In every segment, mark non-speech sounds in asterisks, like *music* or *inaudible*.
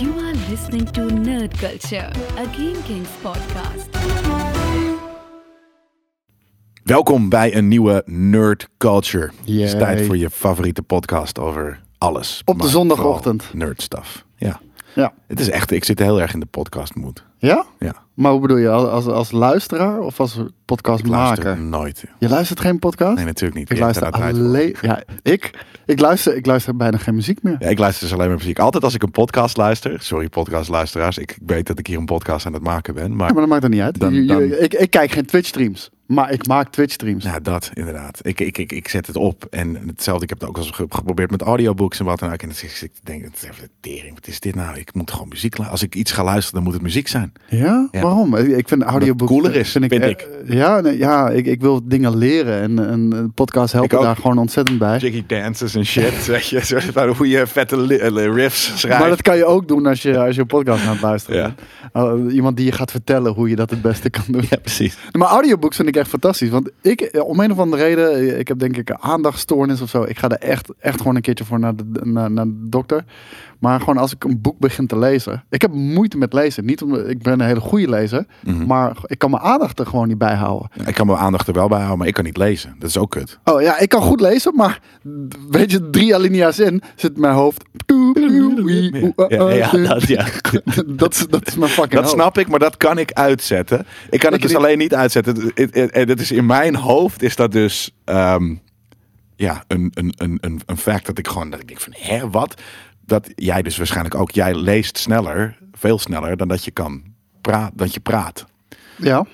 You are listening to Nerd Culture, a Game Kings podcast. Welkom bij een nieuwe Nerd Culture. Het is Yay. tijd voor je favoriete podcast over alles. Op de maar zondagochtend. vooral Nerd stuff. Ja. Ja. Het is echt, ik zit heel erg in de podcast mood. Ja? Ja. Maar hoe bedoel je? Als, als, als luisteraar of als podcastmaker? Luister nooit. Je luistert geen podcast? Nee, natuurlijk niet. ik Je hebt er luister nou tijd voor. alleen... Ja, ik, ik, luister, ik luister bijna geen muziek meer. Ja, ik luister dus alleen maar muziek. Altijd als ik een podcast luister. Sorry, podcastluisteraars. Ik weet dat ik hier een podcast aan het maken ben. Maar Ja, maar dat maakt er niet uit. Dan- Je- je- dan- ik, ik kijk geen Twitch-streams. Maar ik maak Twitch-streams. Nou, dat inderdaad. Ik, ik, ik, ik zet het op. En hetzelfde, ik heb het ook al eens ge- geprobeerd met audiobooks en wat dan ook. En ik, ik denk, het is even tering. Wat is dit nou? Ik moet gewoon muziek luisteren. Als ik iets ga luisteren, dan moet het muziek zijn. Ja? Ja. Waarom? Ik ik vind audiobooks... cooler is, vind eh, ik. Ja, nee, ja ik, ik wil dingen leren. En, en eh, podcasts Ik helpen ook. Dus daar gewoon ontzettend bij. Jiggy dances en shit. *laughs* Weet je, zo van hoe je vette li- eh, riffs schrijft. Maar dat kan je ook doen als je, als je een podcast aan het luisteren Ja. bent. Eh, iemand die je gaat vertellen hoe je dat het beste kan doen. Ja, precies. Maar audiobooks vind ik echt fantastisch. Want ik, eh, om een of andere reden, eh, ik heb denk ik een aandachtstoornis of zo. Ik ga er echt, echt gewoon een keertje voor naar de, naar, naar de dokter. Maar gewoon als ik een boek begin te lezen. Ik heb moeite met lezen. Niet omdat ik ben een hele goede lezer. Mhm. Maar ik kan mijn aandacht er gewoon niet bij houden. Ik kan mijn aandacht er wel bij houden, maar ik kan niet lezen. Dat is ook kut. Oh ja, ik kan goed lezen, maar weet je, drie alinea's in zit mijn hoofd. eh, Ja, ja, dat, ja. *laughs* Dat is, dat is mijn fucking Dat hoofd. snap ik, maar dat kan ik uitzetten. Ik kan het je dus niet- alleen niet uitzetten. Het- het- het- Dat is in mijn hoofd is dat dus ehm, ja, een, een, een, een, een fact dat ik gewoon dat ik denk van hè, wat? Dat jij dus waarschijnlijk ook, jij leest sneller, veel sneller dan dat je kan praat, dat je praat. *laughs* Ja.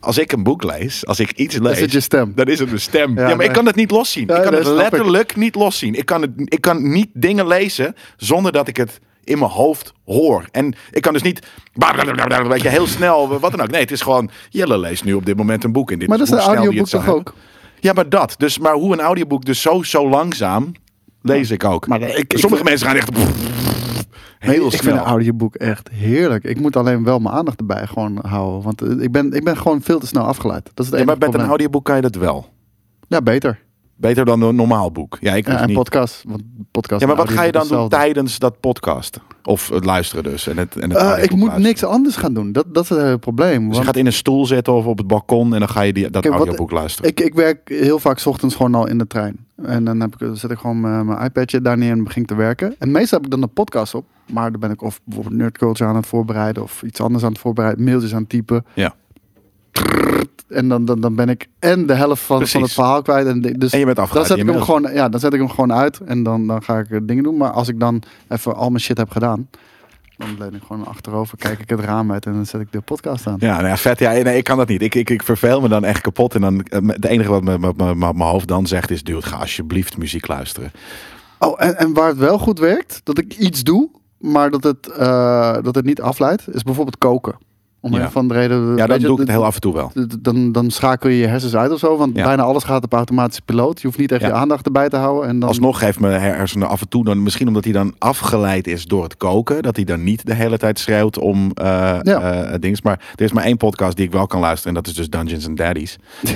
Als ik een boek lees, als ik iets lees, het je stem? dan is het mijn stem. Ja, Ja, maar nee. ik kan het niet loszien. Ja, ik kan nee, het snap ik. letterlijk niet loszien. Ik kan, het, ik kan niet dingen lezen zonder dat ik het in mijn hoofd hoor. En ik kan dus niet, weet je, heel snel, wat dan ook. Nee, het is gewoon, Jelle leest nu op dit moment een boek. En dit Maar dat is hoe een snel die audioboek het zou toch ook? hebben. Ja, maar dat. Dus, maar hoe een audioboek dus zo, zo langzaam, lees ik ook. Maar eh, ik- ik- Sommige mensen gaan echt heel Nee, ik snel. vind een audioboek echt heerlijk. Ik moet alleen wel mijn aandacht erbij gewoon houden. Want eh, ik ben, ik ben gewoon veel te snel afgeleid. Dat is het ja, maar enige met een probleem. audioboek kan je dat wel. Ja, beter. Beter dan een normaal boek. Ja, ik Ja, dus en niet. podcast. Want podcast Ja, maar en wat ga je dan audioboek doen is hetzelfde. tijdens dat podcast? Of het luisteren dus. En het, en het Eh, audioboek ik moet luisteren. niks anders gaan doen. Dat, dat is het hele probleem. Dus je Want gaat in een stoel zitten of op het balkon en dan ga je die, dat Kijk, wat- audioboek luisteren. ik, ik werk heel vaak 's ochtends gewoon al in de trein. En dan heb ik, zet ik gewoon mijn, mijn iPadje daar neer en begin ik te werken. En meestal heb ik dan een podcast op. Maar dan ben ik of bijvoorbeeld nerdculture aan het voorbereiden. Of iets anders aan het voorbereiden. Mailtjes aan het typen. ja. En dan, dan, dan ben ik en de helft van, Precies. van het verhaal kwijt. En, de- dus En je bent dan afgeleid zet, in ik je hem mail. gewoon, ja, dan zet ik hem gewoon uit en dan, dan ga ik eh, dingen doen. Maar als ik dan even al mijn shit heb gedaan, dan leun ik gewoon achterover, kijk ik het raam uit en dan zet ik de podcast aan. Ja, nou ja, vet. Ja, nee, ik kan dat niet. Ik, ik, ik verveel me dan echt kapot. En dan eh, het enige wat me- me- me- me- mijn hoofd dan zegt is... Dude, ga alsjeblieft muziek luisteren. Oh, en, en waar het wel goed werkt, dat ik iets doe, maar dat het, eh, dat het niet afleidt, is bijvoorbeeld koken. Om Ja. een van de reden. Ja, weet dan je, doe ik het d- heel af en toe wel. d- Dan, dan schakel je je hersens uit of zo, want Ja. bijna alles gaat op automatische piloot. Je hoeft niet echt Ja. je aandacht erbij te houden. En dan, Nou, Alsnog geeft mijn hersenen af en toe dan... Misschien omdat hij dan afgeleid is door het koken. Dat hij dan niet de hele tijd schreeuwt om eh Ja. eh, dings. Maar er is maar één podcast die ik wel kan luisteren. En dat is dus Dungeons and *laughs* Daddies. en,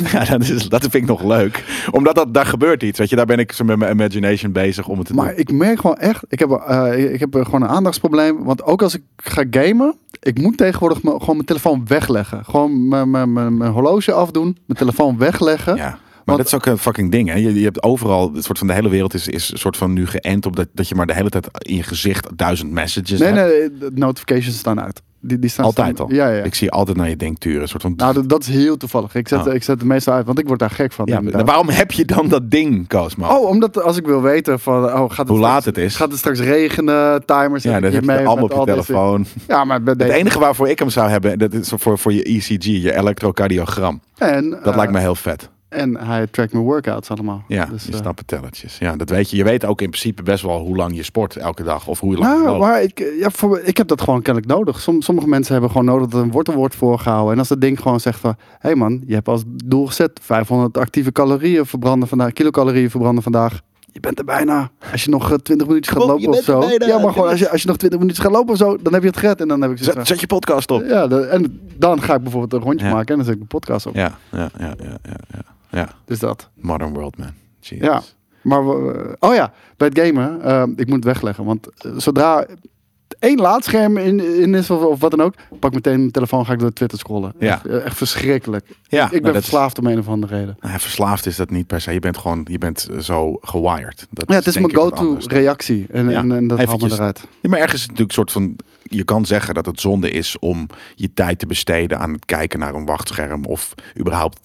*laughs* ja, dat, is, dat vind ik nog leuk. Omdat dat, daar gebeurt iets. Weet je, daar ben ik zo met mijn imagination bezig om het te Maar doen. ik merk gewoon echt, ik heb, eh, ik- ik heb gewoon een aandachtsprobleem. Want ook als ik ga gamen, ik moet tegenwoordig me, gewoon mijn telefoon wegleggen. Gewoon mijn- mijn mijn- mijn horloge afdoen, mijn telefoon wegleggen. Ja. Maar Want- dat is ook een fucking ding. Hè? Je, je hebt overal, het soort van de hele wereld is, is een soort van nu geënt op dat, dat je maar de hele tijd in je gezicht duizend messages nee, hebt. nee, de notifications staan uit. Die, die staan dus Altijd staan- al. Ja, ja. Ik zie altijd naar je denkturen. Een soort van. nou, dat, dat is heel toevallig. Ik zet, Oh. ik zet het meestal uit, want ik word daar gek van. ja, inderdaad. maar waarom heb je dan dat ding, Cosmo? Oh, omdat als ik wil weten van, oh, gaat het Hoe straks- laat het is. Gaat het straks regenen, timers Ja, zet dat ik heb je hiermee allemaal op met je al deze- *laughs* telefoon. Ja, maar bij Het deze- enige waarvoor ik hem zou hebben, dat is voor, voor je ECG, je elektrocardiogram. en, Dat eh, lijkt me heel vet. En hij trackt mijn workouts allemaal. Ja, Dus, je eh, snapt het tellertjes. Ja, dat weet je. Je weet ook in principe best wel hoe lang je sport elke dag. Of hoe lang je Nou, loopt. maar ik, ja, voor, ik heb dat gewoon kennelijk nodig. Som- sommige mensen hebben gewoon nodig dat er een wortelwoord voorgehouden. En als dat ding gewoon zegt van... Hé hey man, je hebt als doel gezet 500 actieve calorieën verbranden vandaag. Kilocalorieën verbranden vandaag. Je bent er bijna. Als je nog eh, 20 minuutjes gaat Kom, je lopen of bent er zo. bijna. Ja, maar gewoon als je, als je nog 20 minuutjes gaat lopen of zo. Dan heb je het gered. En dan heb ik zet, zoiets zet je podcast op. van... Ja, de- en dan ga ik bijvoorbeeld een rondje Ja. maken. En dan zet ik de podcast op. Ja, ja, ja, ja, ja, ja. ja. Dus dat. Modern world, man. Jesus. Ja, maar we- oh ja, bij het gamen, eh, ik moet het wegleggen. Want eh, zodra één laadscherm in, in is of, of wat dan ook, pak meteen mijn telefoon, ga ik door Twitter scrollen. Ja. Echt, eh, echt verschrikkelijk. Ja, nou, ik ben dat is- verslaafd om een of andere reden. Nou, ja, verslaafd is dat niet per se. Je bent gewoon, je bent eh, zo gewired. Dat Ja, het is denk mijn ik wat go-to anders. reactie. En, Ja, en, en dat haalt me eventjes. eruit. Ja, maar ergens is het natuurlijk een soort van. Je kan zeggen dat het zonde is om je tijd te besteden aan het kijken naar een wachtscherm. Of überhaupt.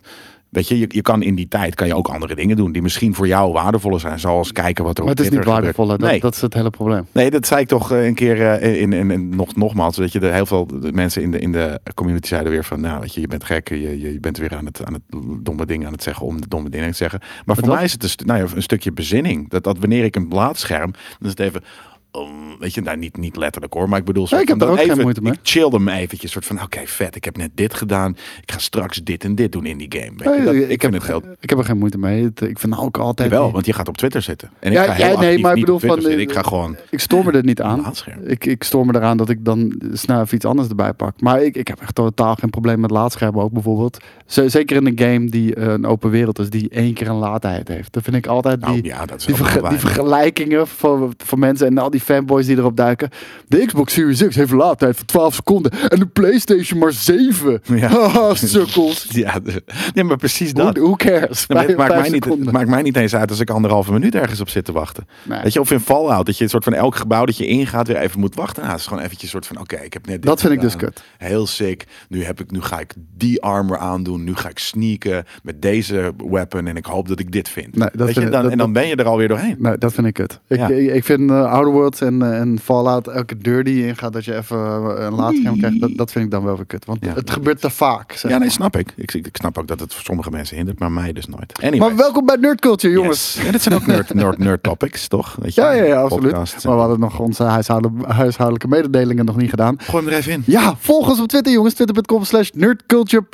Weet je, je, je kan in die tijd kan je ook andere dingen doen die misschien voor jou waardevoller zijn. Zoals kijken wat er Maar op het is niet Twitter gebeurt. waardevol. hè. Dat, Nee. dat is het hele probleem. Nee, dat zei ik toch eh, een keer eh, in, in, in- nog, nogmaals. Weet je, er heel veel mensen in de, in de community zeiden weer van, nou, weet je, je bent gek, je, je je bent weer aan het, aan het domme ding aan het zeggen om de domme dingen te zeggen. Maar voor wat? mij is het een, stu- nou ja, een stukje bezinning. Dat, dat wanneer ik een blaadscherm, dan is het even, um, weet je, nou, niet, niet letterlijk hoor, maar ik bedoel, soort ik heb van daar dan ook geen even- moeite mee. Ik chillde hem eventjes, soort van, oké, vet, ik heb net dit gedaan, ik ga straks dit en dit doen in die game. Weet je, Nee, dat, Eh, ik ik heb vind het geld. Ik heb er geen moeite mee. Het- Ik vind nou ook altijd... Wel, want je gaat op Twitter zitten. En ik Ja, ga ja, heel nee, actief maar ik niet op bedoel Twitter van, zitten. Ik ga gewoon Ik stoor me er niet aan. een blaadscherm. Ik, ik stoor me eraan dat ik dan snel even iets anders erbij pak. Maar ik, ik heb echt totaal geen probleem met laadschermen ook bijvoorbeeld. Z- zeker in een game die eh, een open wereld is, die één keer een laadtijd heeft. Dan vind ik altijd die, Nou, ja, dat is die, wel verge- waar. die vergelijkingen van, van mensen en al die fanboys die erop duiken. De Xbox Series X heeft een laadtijd van 12 seconden en de Playstation maar 7. *laughs* Ja. Haha, sukkels. Ja, de- nee, maar precies dat. Who, who cares? Nee, maar het, Vijf- maakt vijf mij niet, het seconden. maakt mij niet eens uit als ik anderhalve minuut ergens op zit te wachten. Nee. Weet je, of in Fallout, dat je een soort van elk gebouw dat je ingaat weer even moet wachten. Nou, het is gewoon eventjes een soort van, oké, ik heb net dit Dat vind ik dus gedaan. kut. Heel sick. Nu, heb ik, nu ga ik die armor aandoen. Nu ga ik sneaken met deze weapon en ik hoop dat ik dit vind. Nee, dat Weet vind je, ik- dan, dat- en dan ben je er alweer doorheen. Nee, dat vind ik het. Ik, Ja. ik, ik vind eh, Outer Worlds en, eh, en Fallout, elke deur die je ingaat, dat je even eh, een laadscherm krijgt, dat, dat vind ik dan wel weer kut. Want Ja. het gebeurt te vaak. zeg Ja, nee, maar. snap ik. ik. Ik snap ook dat het voor sommige mensen hindert, maar mij dus nooit. Anyway. Maar welkom bij Nerd Culture, jongens. Yes. En dit zijn ook nerd, nerd, nerd topics, toch? Weet je, Ja, ja, ja, absoluut. podcasts en- Maar we hadden nog onze huishouden- huishoudelijke mededelingen nog niet gedaan. Gooi hem er even in. Ja, volg ons op Twitter, jongens. Twitter.com slash nerdculturepc.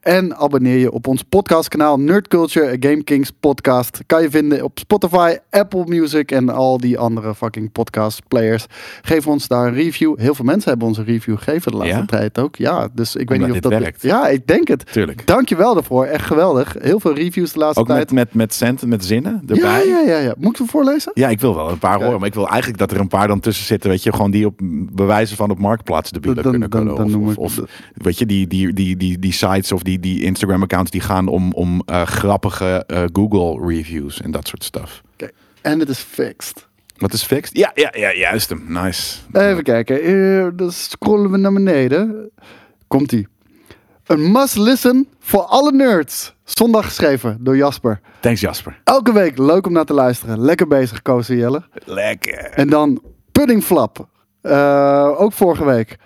En abonneer je op ons podcastkanaal Nerd Culture Game Kings Podcast. Kan je vinden op Spotify, Apple Music en al die andere fucking podcast players. Geef ons daar een review. Heel veel mensen hebben ons een review gegeven de laatste Ja? tijd ook. Ja, dus ik weet Omdat niet dit of dat... werkt. Ja, ik denk het. Tuurlijk. Dankjewel daarvoor. Echt geweldig. Heel veel reviews de laatste Ook tijd. met, met, met centen, met zinnen ja, erbij. ja, ja, ja. Moet ik hem voorlezen? Ja, ik wil wel een paar horen, maar ik wil eigenlijk dat er een paar dan tussen zitten, weet je, gewoon die op bewijzen van op marktplaats de bieden Dan- kunnen dan- kunnen. dan noem Of, ik- of, of, weet je, die, die, die, die, die sites of die, die Instagram accounts die gaan om, om eh, grappige eh, Google reviews en dat soort stuff. Oké. En het is fixed. Wat is fixed? Ja, ja, ja, juist hem. Nice. Even kijken, Eh, dan scrollen we naar beneden. Komt ie. Een must listen voor alle nerds. Zondag geschreven door Jasper. Thanks Jasper. Elke week leuk om naar te luisteren. Lekker bezig, Koos en Jelle. Lekker. En dan Puddingflap. Eh, ook vorige week.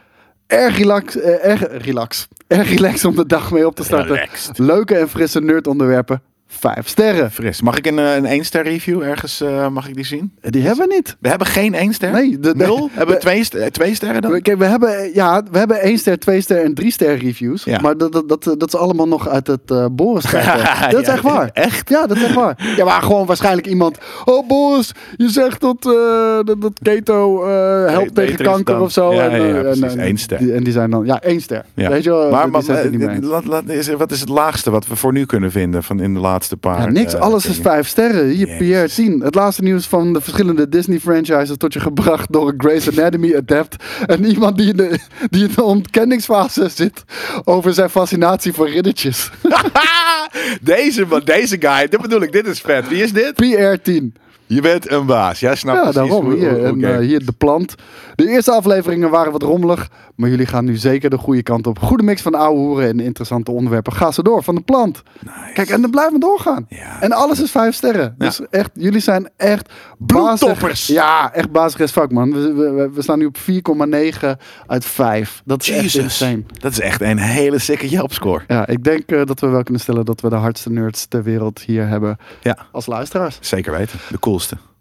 Erg relax, eh, erg relax. Erg relax om de dag mee op te starten. Relaxed. Leuke en frisse nerdonderwerpen. Vijf sterren. Fris. Mag ik een, eh, een 1 ster review ergens, eh, mag ik die zien? Die hebben we niet. We hebben geen 1 ster? Nee, de- de- Nul? hebben we de- twee, st- eh, twee sterren dan? We- Kijk, we hebben, ja, we hebben 1 ster, 2 ster en 3 ster reviews. Ja. Maar dat, dat, dat, dat is allemaal nog uit het eh *laughs* Boris Ja, tijd. dat is echt waar. echt? Ja, dat is echt waar. Ja, maar gewoon waarschijnlijk iemand. Oh, Boris, je zegt dat, eh, dat, dat keto eh, beter helpt tegen is kanker dan- of zo. Ja, en, ja, eh, ja, en- precies. en- Eén ster. Die, en die zijn dan, ja, één ster. Ja. Weet je wel, maar die maar- zijn er niet eh, mee eens. laat- laat- is er- wat is het laagste wat we voor nu kunnen vinden van in de laatste paar? Ja, niks, eh, alles is dingen? vijf sterren. Hier, Jezus. Pierre 10. Het laatste nieuws van de verschillende Disney-franchises tot je gebracht door een Grey's Anatomy adept. En iemand die in, de, die in de ontkenningsfase zit over zijn fascinatie voor riddertjes. *laughs* deze, man, deze guy, dit bedoel ik, dit is vet. Wie is dit? Pierre 10. Je bent een baas. Jij snapt Ja, precies daarom. hoe- Hier, hoe- en, oké. eh, hier de plant. De eerste afleveringen waren wat rommelig, maar jullie gaan nu zeker de goede kant op. Goede mix van oude hoeren en interessante onderwerpen. Ga ze door, van de plant. Kijk, en dan blijven we doorgaan. Ja. En alles is vijf sterren. Dus echt, jullie zijn echt... baas- Bloedtoppers. Ja, echt basis vak, man. We, we, we- we staan nu op 4,9 uit 5. Dat is echt Jezus, insane. dat is echt een hele sikke Yelp score. Ja, ik denk eh, dat we wel kunnen stellen dat we de hardste nerds ter wereld hier hebben Ja, als luisteraars. zeker weten. De coolste.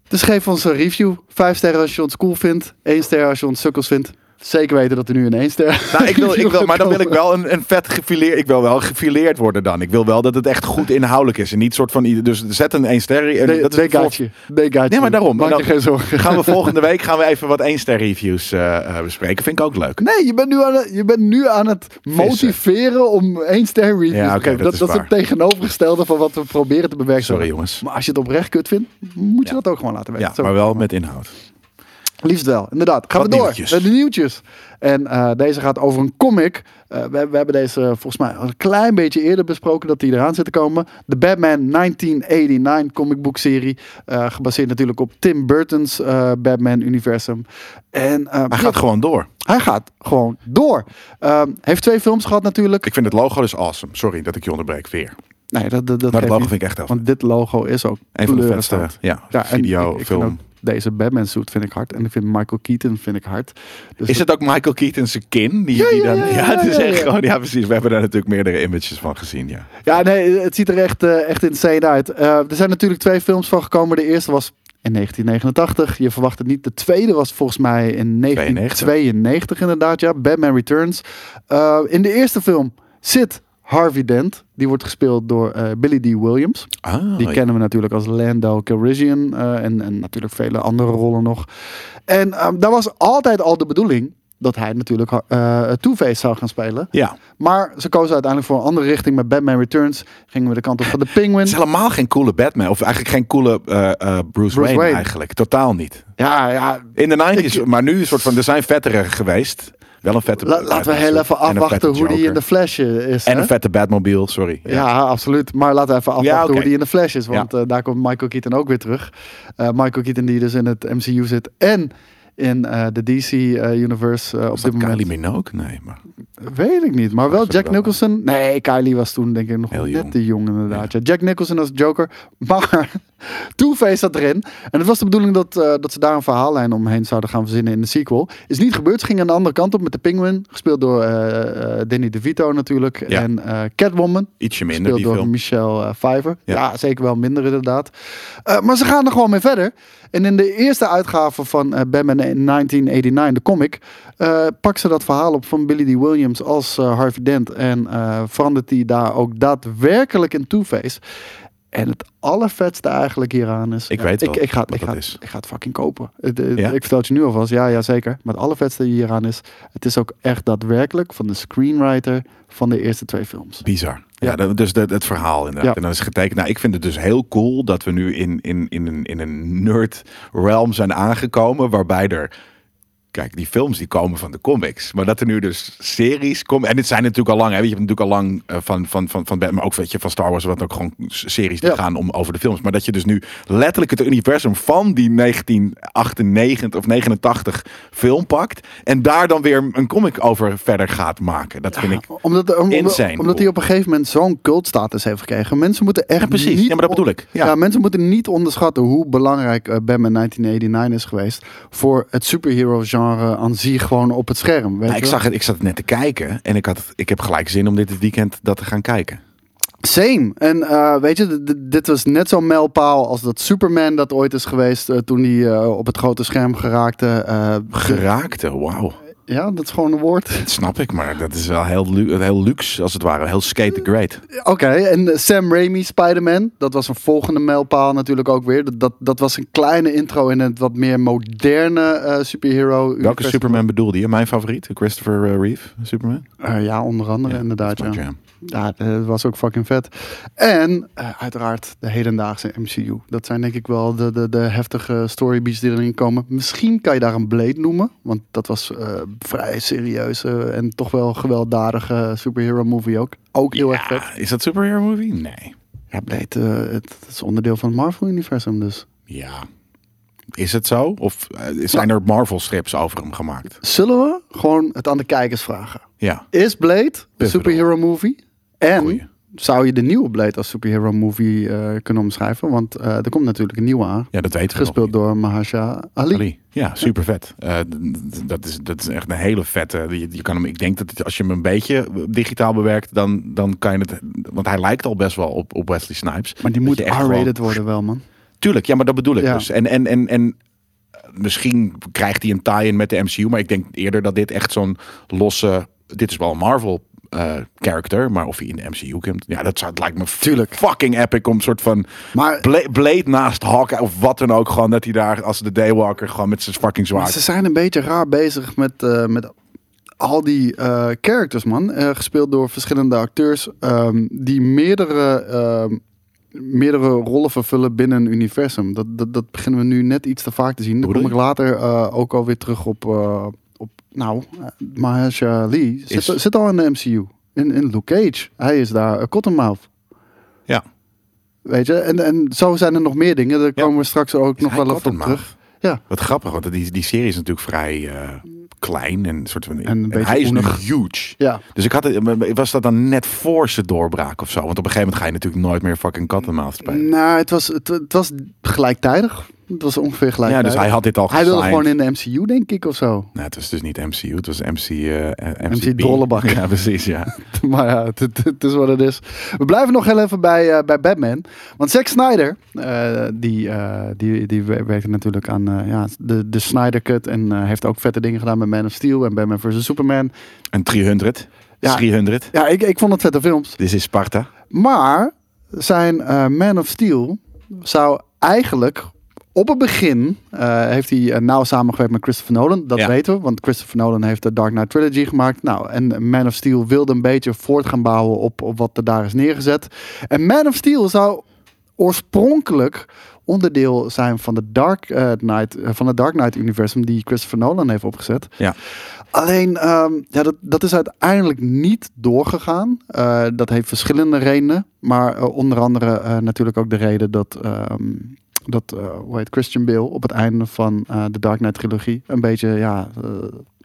Dus geef ons een review. Vijf sterren als je ons cool vindt. Eén ster als je ons sukkels vindt. Zeker weten dat er nu een *laughs* één ster Nou, ik *laughs* wil, ik review wil, gaat maar dan wil ik komen. wel een, een vet gefileerd. Ik wil wel gefileerd worden dan. Ik wil wel dat het echt goed inhoudelijk is. En niet soort van. ieder- Dus zet een 1 ster. en Nee, dat is nee, het vol- gaat je. Nee, gaat Nee, maar je. daarom. Maak Dan je geen zorgen. *laughs* *laughs* Gaan we volgende week gaan we even wat 1 ster reviews eh, eh, bespreken. Vind ik ook leuk. Nee, je bent nu aan het, je bent nu aan het motiveren om één ster reviews Ja, te oké, dat geven. dat, is dat is waar. het tegenovergestelde van wat we proberen te Sorry, bewerkstelligen. jongens. Maar als je het oprecht kut vindt, moet je dat ook gewoon laten weten. Ja, Zo. maar wel met inhoud. Liefst wel, inderdaad. Gaan Wat we door nieuwtjes? naar de nieuwtjes. En eh, deze gaat over een comic. Eh, we, we hebben deze eh, volgens mij al een klein beetje eerder besproken dat die eraan zit te komen. De Batman 1989 comic book serie. Eh, gebaseerd natuurlijk op Tim Burton's eh, Batman universum. En eh, Hij ja, gaat gewoon door. hij gaat gewoon door. Ehm, heeft twee films gehad natuurlijk. Ik vind het logo dus awesome. Sorry dat ik je onderbreek weer. Nee, dat, dat, dat Maar het geeft logo niet. vind ik echt af. Want dit logo is ook Een van de kleurenstand. vetste ja, Ja, en video, ik- ik vind film. ook deze Batman suit vind ik hard. En ik vind Michael Keaton vind ik hard. Dus Is het ook Michael Keaton's kin? Die, Ja, die ja, dan, ja, *laughs* ja, ja, het is ja, echt ja. gewoon. Ja, precies. We hebben daar natuurlijk meerdere images van gezien. Ja. Ja, nee, het ziet er echt, eh, echt insane uit. Eh, er zijn natuurlijk twee films van gekomen. De eerste was in 1989. Je verwacht het niet. De tweede was volgens mij in 1992 inderdaad. Ja, Batman Returns. Eh, in de eerste film zit Harvey Dent. Die wordt gespeeld door eh, Billy D. Williams. Ah, Die kennen we natuurlijk als Lando Calrissian eh, en, en natuurlijk vele andere rollen nog. En ehm daar was altijd al de bedoeling dat hij natuurlijk eh Two-Face zou gaan spelen. ja. Maar ze kozen uiteindelijk voor een andere richting met Batman Returns. Gingen we de kant op van de Penguin. Het is helemaal geen coole Batman. Of eigenlijk geen coole eh, eh, Bruce, Wayne, Wayne. eigenlijk. Totaal niet. Ja, ja. In de 90s, Ik- maar nu een soort van, er zijn vettere geweest. Wel een vette La- laten we Batman, heel even en een afwachten vette hoe die Joker. in de Flash eh, is. En hè? een vette Batmobile, sorry. Ja, absoluut. Maar laten we even afwachten Ja, oké. hoe die in de Flash is. Ja. Want eh, daar komt Michael Keaton ook weer terug. Eh, Michael Keaton die dus in het MCU zit en in eh, de DC-universe op Is dat dit moment. Kylie Minogue? Nee, maar Weet ik niet, maar wel Volgens mij Jack wel. Nicholson. Nee, Kylie was toen denk ik nog Heel net jong. te jong inderdaad. Ja. Jack Nicholson als Joker, maar *laughs* Two-Face zat erin. En het was de bedoeling dat, eh, dat ze daar een verhaallijn omheen zouden gaan verzinnen in de sequel. Is niet gebeurd, ze gingen aan de andere kant op met de Penguin, gespeeld door eh, eh, Danny DeVito natuurlijk. Ja. En eh, Catwoman, ietsje minder gespeeld die door film. Michelle eh, Pfeiffer. Ja. Ja. zeker wel minder inderdaad. Eh, maar ze gaan er gewoon mee verder. En in de eerste uitgave van eh, Batman 1989, de comic, eh pakt ze dat verhaal op van Billy D. Williams als eh, Harvey Dent. En eh, verandert die daar ook daadwerkelijk in Two-Face. En het allervetste eigenlijk hieraan is... Ik weet wel ik, ik ga, het- wat ik, dat ga, is. het- ik ga het fucking kopen. Het- het- Ja? Ik vertel het je nu alvast. Ja, ja, zeker. Maar het allervetste hieraan is... Het is ook echt daadwerkelijk van de screenwriter van de eerste twee films. Bizar. Ja. Ja, dat- dus dat, het verhaal inderdaad. Ja. En dan is het getekend. Nou, ik vind het dus heel cool dat we nu in, in, in, een, in een nerd realm zijn aangekomen. Waarbij er, kijk, die films die komen van de comics. Maar dat er nu dus series komen. En dit zijn natuurlijk al lang, hè. weet Je je hebt natuurlijk al lang eh, van, van, van, van Batman, maar ook weet je, van Star Wars. Wat ook gewoon series die Ja. gaan om, over de films. Maar dat je dus nu letterlijk het universum van die 1998 of 89 film pakt. En daar dan weer een comic over verder gaat maken. Dat vind ik Omdat, om- om- Insane. omdat hij op een gegeven moment zo'n cultstatus heeft gekregen. Mensen moeten echt. precies. Niet Ja, maar dat bedoel ik. Ja. Ja. mensen moeten niet onderschatten hoe belangrijk eh, Batman 1989 is geweest. voor het superhero-genre aan zich gewoon op het scherm. Weet Nou, ik, je wel? zag het, ik zat het net te kijken en ik, had, ik heb gelijk zin om dit het weekend dat te gaan kijken. Same. En eh, weet je, d- d- dit was net zo'n mijlpaal als dat Superman dat ooit is geweest. eh, toen hij eh, op het grote scherm geraakte. eh, Geraakte, wauw. ja, dat is gewoon een woord. Dat snap ik, maar dat is wel heel, lu- heel luxe als het ware. Heel skate the great. Oké, en eh, Sam Raimi Spider-Man, dat was een volgende mijlpaal natuurlijk ook weer. Dat, dat, dat was een kleine intro in het wat meer moderne eh superhero. Welke universum. Superman bedoelde je? Mijn favoriet? Christopher eh, Reeve? Superman? Eh, ja, onder andere Ja, inderdaad. Dat is Ja, mijn jam. ja eh, dat was ook fucking vet. En eh, uiteraard de hedendaagse MCU. Dat zijn denk ik wel de, de, de heftige storybeats die erin komen. Misschien kan je daar een Blade noemen, want dat was eh, vrij serieuze en toch wel gewelddadige superhero movie ook. Ook heel erg vet. Ja, is dat superhero movie? Nee. Ja, Blade, eh, het, het is onderdeel van het Marvel-universum dus. Ja. Is het zo? Of eh, zijn er Marvel strips over hem gemaakt? Zullen we gewoon het aan de kijkers vragen? Ja. Is Blade een Pivotal. superhero movie? En Goeie. zou je de nieuwe Blade als superhero movie eh, kunnen omschrijven? Want eh, er komt natuurlijk een nieuwe aan. Ja, dat weten we nog Gespeeld niet. door Mahasha Ali. Ali. Ja, super vet. dat, is, dat is echt een hele vette. Je, je kan hem, ik denk dat het- als je hem een beetje digitaal bewerkt, dan, dan kan je het. Want hij lijkt al best wel op, op Wesley Snipes. Maar die Dat moet je echt R-rated gewoon- worden wel, man. Tuurlijk, ja, maar dat bedoel ik Ja. dus. En, en, en, en misschien krijgt hij een tie-in met de MCU, maar ik denk eerder dat dit echt zo'n losse. Dit is wel een Marvel. eh character, maar of hij in de MCU komt, ja, dat zou, het lijkt me Tuurlijk. fucking epic om een soort van Maar- Bla- Blade naast Hawkeye of wat dan ook, gewoon dat hij daar als de Daywalker gewoon met zijn fucking Maar zwaard ze zijn een beetje raar bezig met, eh, met al die eh, characters, man. Eh, gespeeld door verschillende acteurs ehm, die meerdere ehm, meerdere rollen vervullen binnen een universum. Dat, dat, dat beginnen we nu net iets te vaak te zien. Dan Hoe kom ik bedoel later eh, ook alweer terug op, eh, op nou, eh, Mahershala Ali. Zit, Is- zit al in de MCU. In, in Luke Cage. Hij is daar, eh, Cottonmouth. Ja. Weet je, en, en zo zijn er nog meer dingen. Daar Ja. komen we straks ook nog Hij wel even op Cottonmouth. terug. Ja. Wat grappig, want die, die serie is natuurlijk vrij eh, klein en soort van. een beetje hij is nog oenig. huge. Ja, Dus ik had het, was dat dan net voor zijn doorbraak of zo? Want op een gegeven moment ga je natuurlijk nooit meer fucking Cottonmouth spelen. nou, het was, het, het was gelijktijdig. Het was ongeveer ja, gelijktijdig. dus hij had dit al Hij wilde gesigned. gewoon in de MCU, denk ik, of zo. *laughs* Nou, het was dus niet MCU, het was MC... eh, eh, MC Drollebak. Ja, precies, ja. Maar ja, het, het- het is wat het is. We blijven nog heel even bij, eh, bij Batman. Want Zack Snyder, eh, die, eh, die, die wer- werkte natuurlijk aan eh, ja, de, de Snyder Cut. En eh, heeft ook vette dingen gedaan met Man of Steel en Batman vs. Superman. Een 300. Ja. 300. Ja, ik, ik vond het vette films. Dit is Sparta. Maar zijn eh, Man of Steel zou eigenlijk op het begin eh, heeft hij eh, nauw samengewerkt met Christopher Nolan. Dat Ja. weten we, want Christopher Nolan heeft de Dark Knight Trilogy gemaakt. Nou, en Man of Steel wilde een beetje voort gaan bouwen op, op wat er daar is neergezet. En Man of Steel zou oorspronkelijk onderdeel zijn van de Dark eh, Knight, eh, van het Dark Knight universum die Christopher Nolan heeft opgezet. Ja. Alleen, ehm, ja, dat, dat is uiteindelijk niet doorgegaan. Eh, dat heeft verschillende redenen. Maar eh, onder andere eh, natuurlijk ook de reden dat, ehm, dat eh, hoe heet, Christian Bale op het einde van eh, de Dark Knight trilogie een beetje ja, eh,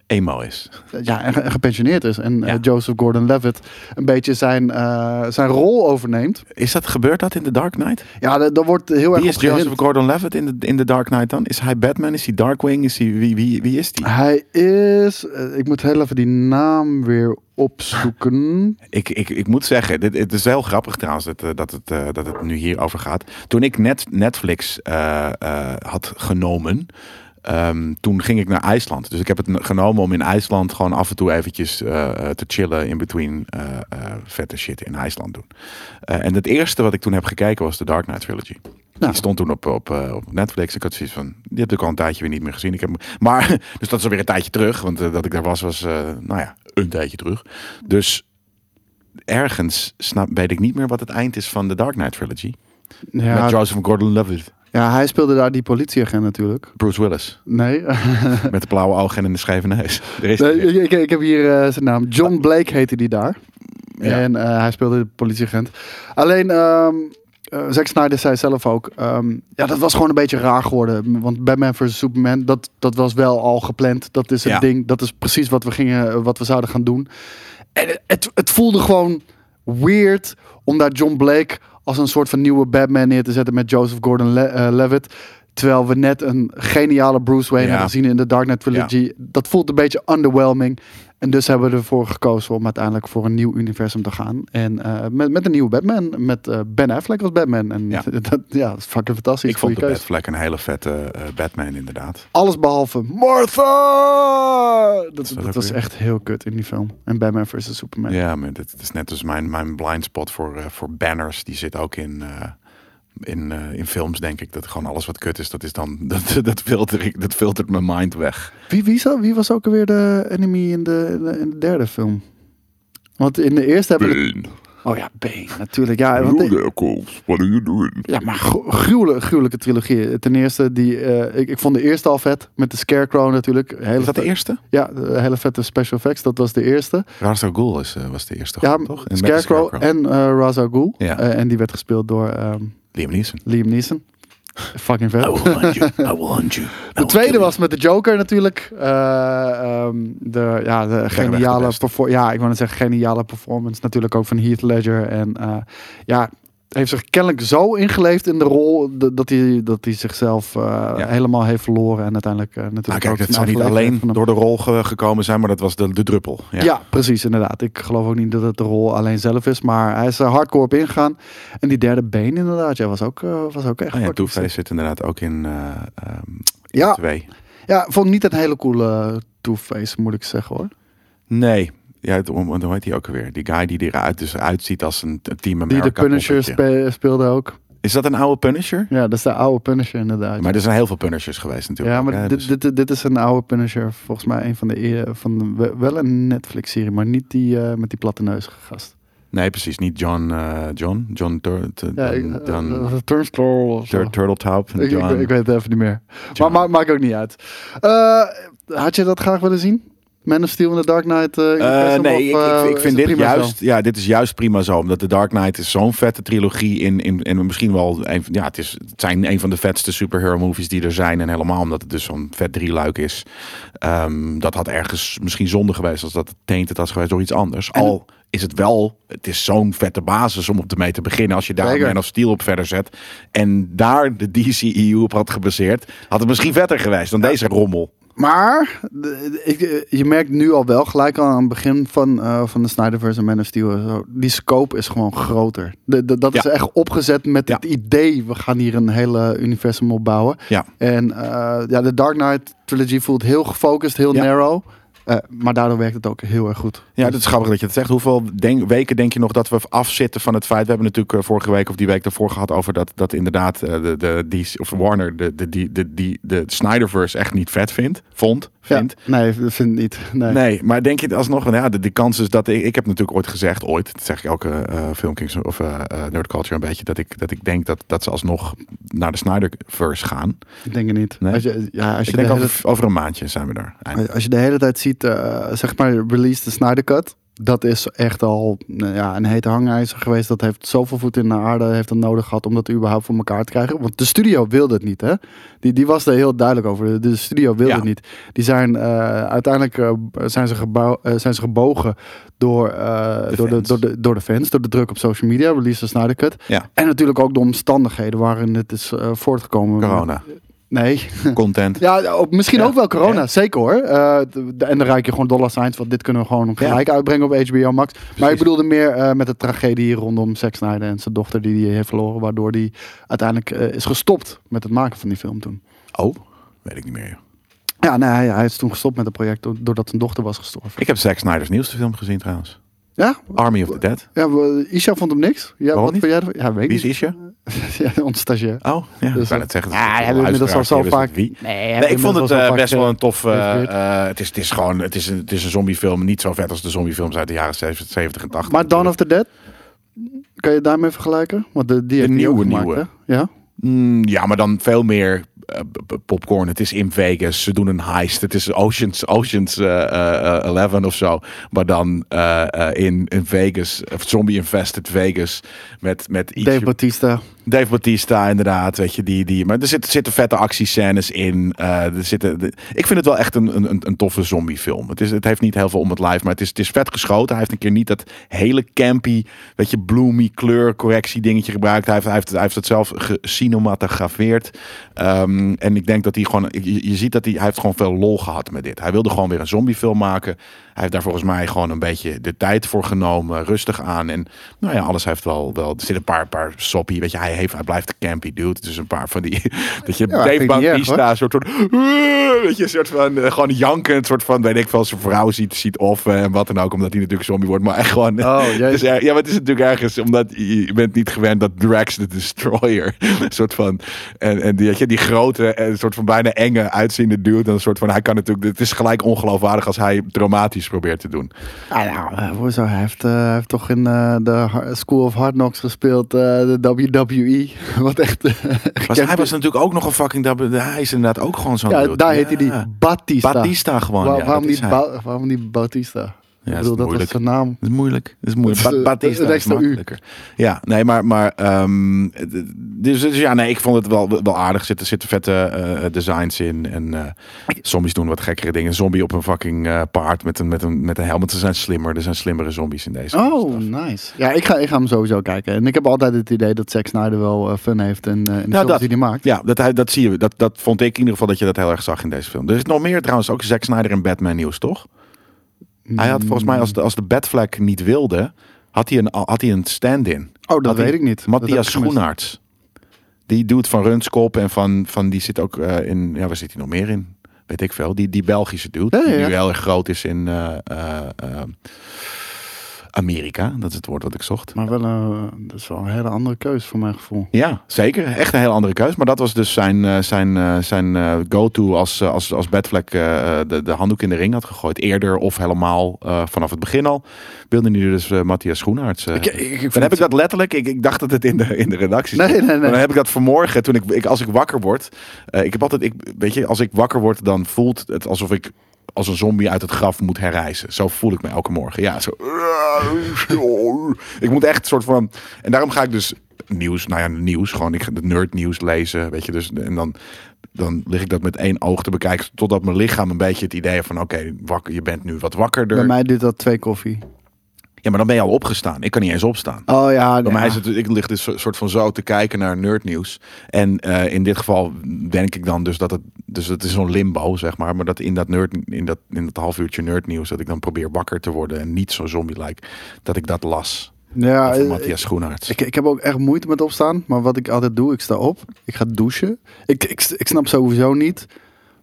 Emo is. ja, en ge- en gepensioneerd is. En Ja. eh, Joseph Gordon-Levitt een beetje zijn, eh, zijn rol overneemt. Is dat, gebeurt dat in The Dark Knight? Ja, dat, dat wordt heel erg Wie is op gehind. Joseph Gordon-Levitt in The, in the Dark Knight dan? Is hij Batman? Is hij Darkwing? Is hij, wie, wie, wie is die? Hij is, eh, ik moet heel even die naam weer opzoeken. Ik, ik, ik moet zeggen, dit, het is heel grappig trouwens dat, eh, dat, het, eh, dat het nu hierover gaat. Toen ik net Netflix eh, eh, had genomen, ehm, toen ging ik naar IJsland. Dus ik heb het n- genomen om in IJsland gewoon af en toe eventjes eh, eh, te chillen in between eh, eh, vette shit in IJsland doen. Eh, en het eerste wat ik toen heb gekeken was de Dark Knight Trilogy. Nou. Die stond toen op, op, eh, op Netflix. Ik had zoiets van, die heb ik al een tijdje weer niet meer gezien. Ik heb, hem- maar, *laughs* dus dat is alweer een tijdje terug. Want eh, dat ik daar was, was, eh, nou ja, een tijdje terug. Dus ergens snap, weet ik niet meer wat het eind is van de Dark Knight Trilogy. Met Ja, Joseph Gordon-Levitt, ja, hij speelde daar die politieagent natuurlijk. Bruce Willis. *laughs* Nee, Met de blauwe ogen en de scheve neus. Er is Nee, ik, ik, ik heb hier eh, zijn naam. John Blake heette die daar. Ja. En eh, hij speelde de politieagent. Alleen, ehm eh, Zack Snyder zei zelf ook... ehm, ja, dat was gewoon een beetje raar geworden. Want Batman vs. Superman, dat, dat was wel al gepland. Dat is het Ja. ding. Dat is precies wat we, gingen, wat we zouden gaan doen. En het, het voelde gewoon weird om daar John Blake... als een soort van nieuwe Batman neer te zetten... met Joseph Gordon-Levitt... Terwijl we net een geniale Bruce Wayne Ja. hebben gezien in de Dark Knight Trilogy. Dat voelt een beetje underwhelming. En dus hebben we ervoor gekozen om uiteindelijk voor een nieuw universum te gaan. En eh, met, met een nieuwe Batman. Met eh, Ben Affleck als Batman. En Ja. *laughs* dat, ja, dat is fucking fantastisch. ik vond de Goeie Bat keus. Fleck een hele vette eh, Batman inderdaad. Alles behalve Martha! Dat, dat dat, ook was weer? echt heel kut in die film. En Batman vs. Superman. Ja, maar dit, dit is net als mijn, mijn blind spot voor, eh, voor banners. Die zit ook in, eh, in, eh, in films, denk ik. Dat gewoon alles wat kut is, dat, is dan, *laughs* dat, dat, filter ik, dat filtert mijn mind weg. Wie, wie, zou- wie was ook alweer de enemy in de, in de, in de derde film? Want in de eerste hebben we... de- Oh ja, Bane. Natuurlijk. Ja, want de- what are you doing? Ja, maar gro- gruwelijke, gruwelijke trilogie. Ten eerste, die, eh, ik, ik vond de eerste al vet. Met de Scarecrow natuurlijk. Hele Is dat de vet- eerste? Ja, de hele vette special effects. Dat was de eerste. Ra's al Ghul is, eh, was de eerste, Ja, gewoon, toch? En met de Scarecrow, en eh Ra's al Ghul. Ja. Eh, en die werd gespeeld door ehm, Liam Neeson. Liam Neeson. Fucking vet. hunt you. I will hunt *laughs* you. Nou, De tweede was met de Joker natuurlijk. Eh, ehm, de, ja, de geniale, beste. perfor- ja, ik wou net zeggen, geniale performance natuurlijk ook van Heath Ledger. En eh, ja, heeft zich kennelijk zo ingeleefd in de rol d- dat hij, dat hij zichzelf eh, Ja. helemaal heeft verloren. En uiteindelijk eh, natuurlijk Nou, kijk, ook dat zijn zou niet eigen alleen leven van hem- door de rol ge- gekomen zijn, maar dat was de, de druppel. Ja. Oh ja. precies, inderdaad. Ik geloof ook niet dat het de rol alleen zelf is, maar hij is er hardcore op ingegaan. En die derde been inderdaad, ja, was ook, eh, was ook echt Oh ja, fucking Two-Face sick. zit inderdaad ook in eh ehm, Ja. twee. Ja, vond ik niet een hele coole Two-Face, moet ik zeggen hoor. Nee. Ja, het- hoe hoe heet die ook alweer? Die guy die eruit dus uitziet als een t- Team Die America de Punisher poppetje. spe- speelde ook. Is dat een oude Punisher? Ja, dat is de oude Punisher inderdaad. Maar er zijn heel veel Punishers geweest natuurlijk. ja, ook, maar hè, dit, dus- dit, dit, dit is een oude Punisher. Volgens mij een van de, eer- van de- we- wel een Netflix-serie, maar niet die eh, met die platte neus gast. Nee, precies. Niet John. eh, John? John Tur Tur- Ja, ik- dan, eh, dan eh, Turnstile of zo. Tur- Turteltaub. Ik, ik, John. ik weet het even niet meer. John. Maar, ma- maakt ook niet uit. Eh, had je dat graag willen zien? Man of Steel in the Dark Knight? eh, Eh, Universum, nee, of, ik, eh, ik, ik is vind het dit prima zo? juist, ja, dit is juist prima zo. Omdat The Dark Knight is zo'n vette trilogie. In, in, en misschien wel, een, van- ja, het, is, het zijn een van de vetste superhero movies die er zijn. En helemaal omdat het dus zo'n vet drieluik is. Ehm, dat had ergens misschien zonde geweest als dat teent het had geweest door iets anders. Al is het wel, het is zo'n vette basis om op te mee te beginnen. Als je daar Zeker. Man of Steel op verder zet. En daar de DCEU op had gebaseerd. Had het misschien vetter geweest dan deze rommel. Maar de- de- ik, eh, je merkt nu al wel, gelijk al aan het begin van, eh, van de Snyderverse en Man of Steel, en zo, die scope is gewoon groter. De, de- dat is Ja. echt opgezet met Ja. het idee, we gaan hier een hele universum opbouwen. Ja. En eh, ja, de Dark Knight trilogy voelt heel gefocust, heel Ja. narrow. Eh, maar daardoor werkt het ook heel erg goed. Ja, dat is grappig dat je dat zegt. Hoeveel denk- weken denk je nog dat we afzitten van het feit... We hebben natuurlijk eh, vorige week of die week daarvoor gehad over dat, dat inderdaad eh, de, de, die, of Warner de, de, die de, die de Snyderverse echt niet vet vindt. Vond, Ja, vindt. nee, vind ik niet. Nee. Nee, maar denk je het alsnog? want Ja, de, de kans is dat ik. Ik heb natuurlijk ooit gezegd, ooit, dat zeg ik elke eh Filmkings of eh eh, Nerd Culture een beetje, dat ik, dat ik denk dat, dat ze alsnog naar de Snyderverse gaan. Ik denk het niet. Nee? Als je, ja, als je ik denk de hele, over, over een maandje zijn we daar. Eind- als je de hele tijd ziet, eh, zeg maar, release de Snyder Cut. Dat is echt al nou ja, een hete hangijzer geweest. Dat heeft zoveel voet in de aarde heeft dat nodig gehad om dat überhaupt voor elkaar te krijgen. Want de studio wilde het niet, hè? Die, die was er heel duidelijk over. De, de studio wilde Ja. het niet. Die zijn eh, uiteindelijk eh, zijn, ze gebouw, eh, zijn ze gebogen door, eh, De door, de, fans. door, de, door de fans, door de druk op social media, release de Snyder Cut. Ja. En natuurlijk ook de omstandigheden waarin het is eh, voortgekomen. Corona, Nee. content. Ja, op, misschien Ja. ook wel corona, Ja. zeker hoor. Eh, de- de- en dan ruik je gewoon dollar signs, want dit kunnen we gewoon gelijk uitbrengen op HBO Max. Maar ik bedoelde meer eh, met de tragedie rondom Zack Snyder en zijn dochter die hij heeft verloren, waardoor hij uiteindelijk eh, is gestopt met het maken van die film toen. Oh, weet ik niet meer. joh. Ja, nee, hij, hij is toen gestopt met het project do- doordat zijn dochter was gestorven. Ik heb Zack Snyder's nieuwste film gezien trouwens. Ja, Army of the Dead. ja we- Isha vond hem niks. Ja, Waarom wat niet? vond jij ervan? Ja, weet ik Wie is niet. Isha? *laughs* ja, ons stagiair. Oh, ja. Dus, ik kan eh, het zeggen. ah, Dat is ja, een we hebben het luisteraar, al zo die wist vaak- het wie. Nee, Nee, ik vond het eh, best wel een tof. eh, geïnspireerd. eh, het, is, het is gewoon, het is een, het is een zombiefilm. Niet zo vet als de zombiefilms uit de jaren 70 70 en 80. Maar Dawn of the Dead, kan je daarmee vergelijken? Want de, die heeft hij nieuwe, ook gemaakt, nieuwe. hè? Ja. Mm, ja, maar dan veel meer eh, p- p- popcorn. Het is in Vegas. Ze doen een heist. Het is Oceans, Oceans eh, eh, eh, 11 of zo. Maar dan eh, eh, in, in Vegas. Of zombie-infested Vegas. Met, met iets. Dave Bautista. Dave Bautista, inderdaad. Weet je, die, die, maar er zitten, zitten vette actiescènes in. eh, er zitten, de- ik vind het wel echt een, een, een- een toffe zombiefilm. Het, is, het heeft niet heel veel om het live, maar het is, het is vet geschoten. Hij heeft een keer niet dat hele campy, weet je, bloomy kleurcorrectie dingetje gebruikt. Hij heeft, hij heeft, hij heeft het zelf gecinematografeerd. Ehm, en ik denk dat hij gewoon, je, je ziet dat hij, hij heeft gewoon veel lol gehad met dit. Hij wilde gewoon weer een zombiefilm maken. Hij heeft daar volgens mij gewoon een beetje de tijd voor genomen. Rustig aan. En nou ja, alles heeft wel, wel er zitten een paar, paar soppie. Weet je, hij, heeft, hij blijft de campy dude. Dus een paar van die, *laughs* dat je Ja, vind ik Dave niet erg, hoor. Bautista, een soort van, weet je, een soort van, eh, gewoon janken. Een soort van, weet ik veel, zijn vrouw ziet, ziet of eh, en wat dan ook. Omdat hij natuurlijk zombie wordt. Maar *laughs* echt gewoon, Oh, het is erg- ja, maar het is natuurlijk ergens, omdat je je bent niet gewend dat Drax de Destroyer, *laughs* een soort van, en, en die, weet je, die grote, en een soort van bijna enge uitziende dude, dan een soort van, hij kan natuurlijk, het is gelijk ongeloofwaardig als hij dramatisch probeert te doen. Ah, nou, eh, hoezo? Hij heeft, eh, hij heeft toch in eh, de Har- School of Hard Knocks gespeeld, eh, de WWE. *laughs* Wat echt. eh, Maar hij was natuurlijk ook nog een fucking, dub- hij is inderdaad ook gewoon zo'n ja, dude. daar heet hij die Batista. Batista gewoon, Wa- ja, waarom, dat is niet hij. Ba- waarom niet Bautista? ik is bedoel, dat was moeilijk. zijn naam. Dat is moeilijk. Dat is moeilijk. Dat is, Ba- eh, Batista het is extra U. makkelijker. Ja, nee, maar, maar ehm, d- dus, dus ja, nee, ik vond het wel, wel aardig. Er zitten, zitten vette eh, designs in en eh zombies doen wat gekkere dingen. Zombie op een fucking eh, paard met een, met een, met een helm. Want ze zijn slimmer. Er zijn slimmere zombies in deze. Oh, nice. Ja, ik ga, ik ga hem sowieso kijken. En ik heb altijd het idee dat Zack Snyder wel eh, fun heeft en eh in de films Nou, dat- die hij maakt. Ja, dat, hij- dat zie je. Dat, dat vond ik in ieder geval dat je dat heel erg zag in deze film. Er is nog meer trouwens, ook Zack Snyder en Batman nieuws, toch? Hij Hmm. had volgens mij, als de, als de Batfleck niet wilde, had hij een, had hij een stand-in. Oh, dat Had hij- weet ik niet. Dat heb ik Matthias gemist. Schoenaerts. Die doet van Runskop en van, van die zit ook eh, in. Ja, waar zit hij nog meer in? Weet ik veel. Die, die Belgische dude. Ja, ja, Die ja. nu heel erg groot is in. eh, eh, eh, Amerika. Dat is het woord wat ik zocht. Maar wel, een, dat is wel een hele andere keus voor mijn gevoel. Ja, zeker. Echt een heel andere keus. Maar dat was dus zijn, eh, zijn, eh, zijn eh, go-to als, eh, als, als bedvlek eh, de, de handdoek in de ring had gegooid. Eerder of helemaal eh, vanaf het begin al. Wilde nu dus eh, Matthias Schoenaerts. eh, Ik- ik- ik vind dan heb het- ik dat letterlijk. Ik, ik dacht dat het in de, in de redactie Nee, nee, nee. Maar dan heb ik dat vanmorgen. Toen ik, ik als ik wakker word. eh, ik heb altijd. Ik, weet je, als ik wakker word, dan voelt het alsof ik als een zombie uit het graf moet herrijzen. Zo voel ik me elke morgen. Ja, zo. Ik moet echt een soort van. En daarom ga ik dus nieuws, nou ja, nieuws, gewoon ik ga het nerdnieuws lezen, weet je, dus en dan dan lig ik dat met één oog te bekijken totdat mijn lichaam een beetje het idee heeft van oké, wakker, je bent nu wat wakkerder. Bij mij duurt dat twee koffie. Ja, maar dan ben je al opgestaan. Ik kan niet eens opstaan. Oh ja, Bij ja. mij is het, ik lig dus soort van zo te kijken naar nerdnieuws. En eh, in dit geval denk ik dan dus dat het, dus het is zo'n limbo, zeg maar. Maar dat in dat, nerd, in dat, in dat half uurtje nerdnieuws, dat ik dan probeer wakker te worden en niet zo zombie-like, dat ik dat las. ja, van eh, Matthias Schoenaerts. Ik, ik heb ook echt moeite met opstaan. Maar wat ik altijd doe, ik sta op. Ik ga douchen. Ik, ik, ik snap sowieso niet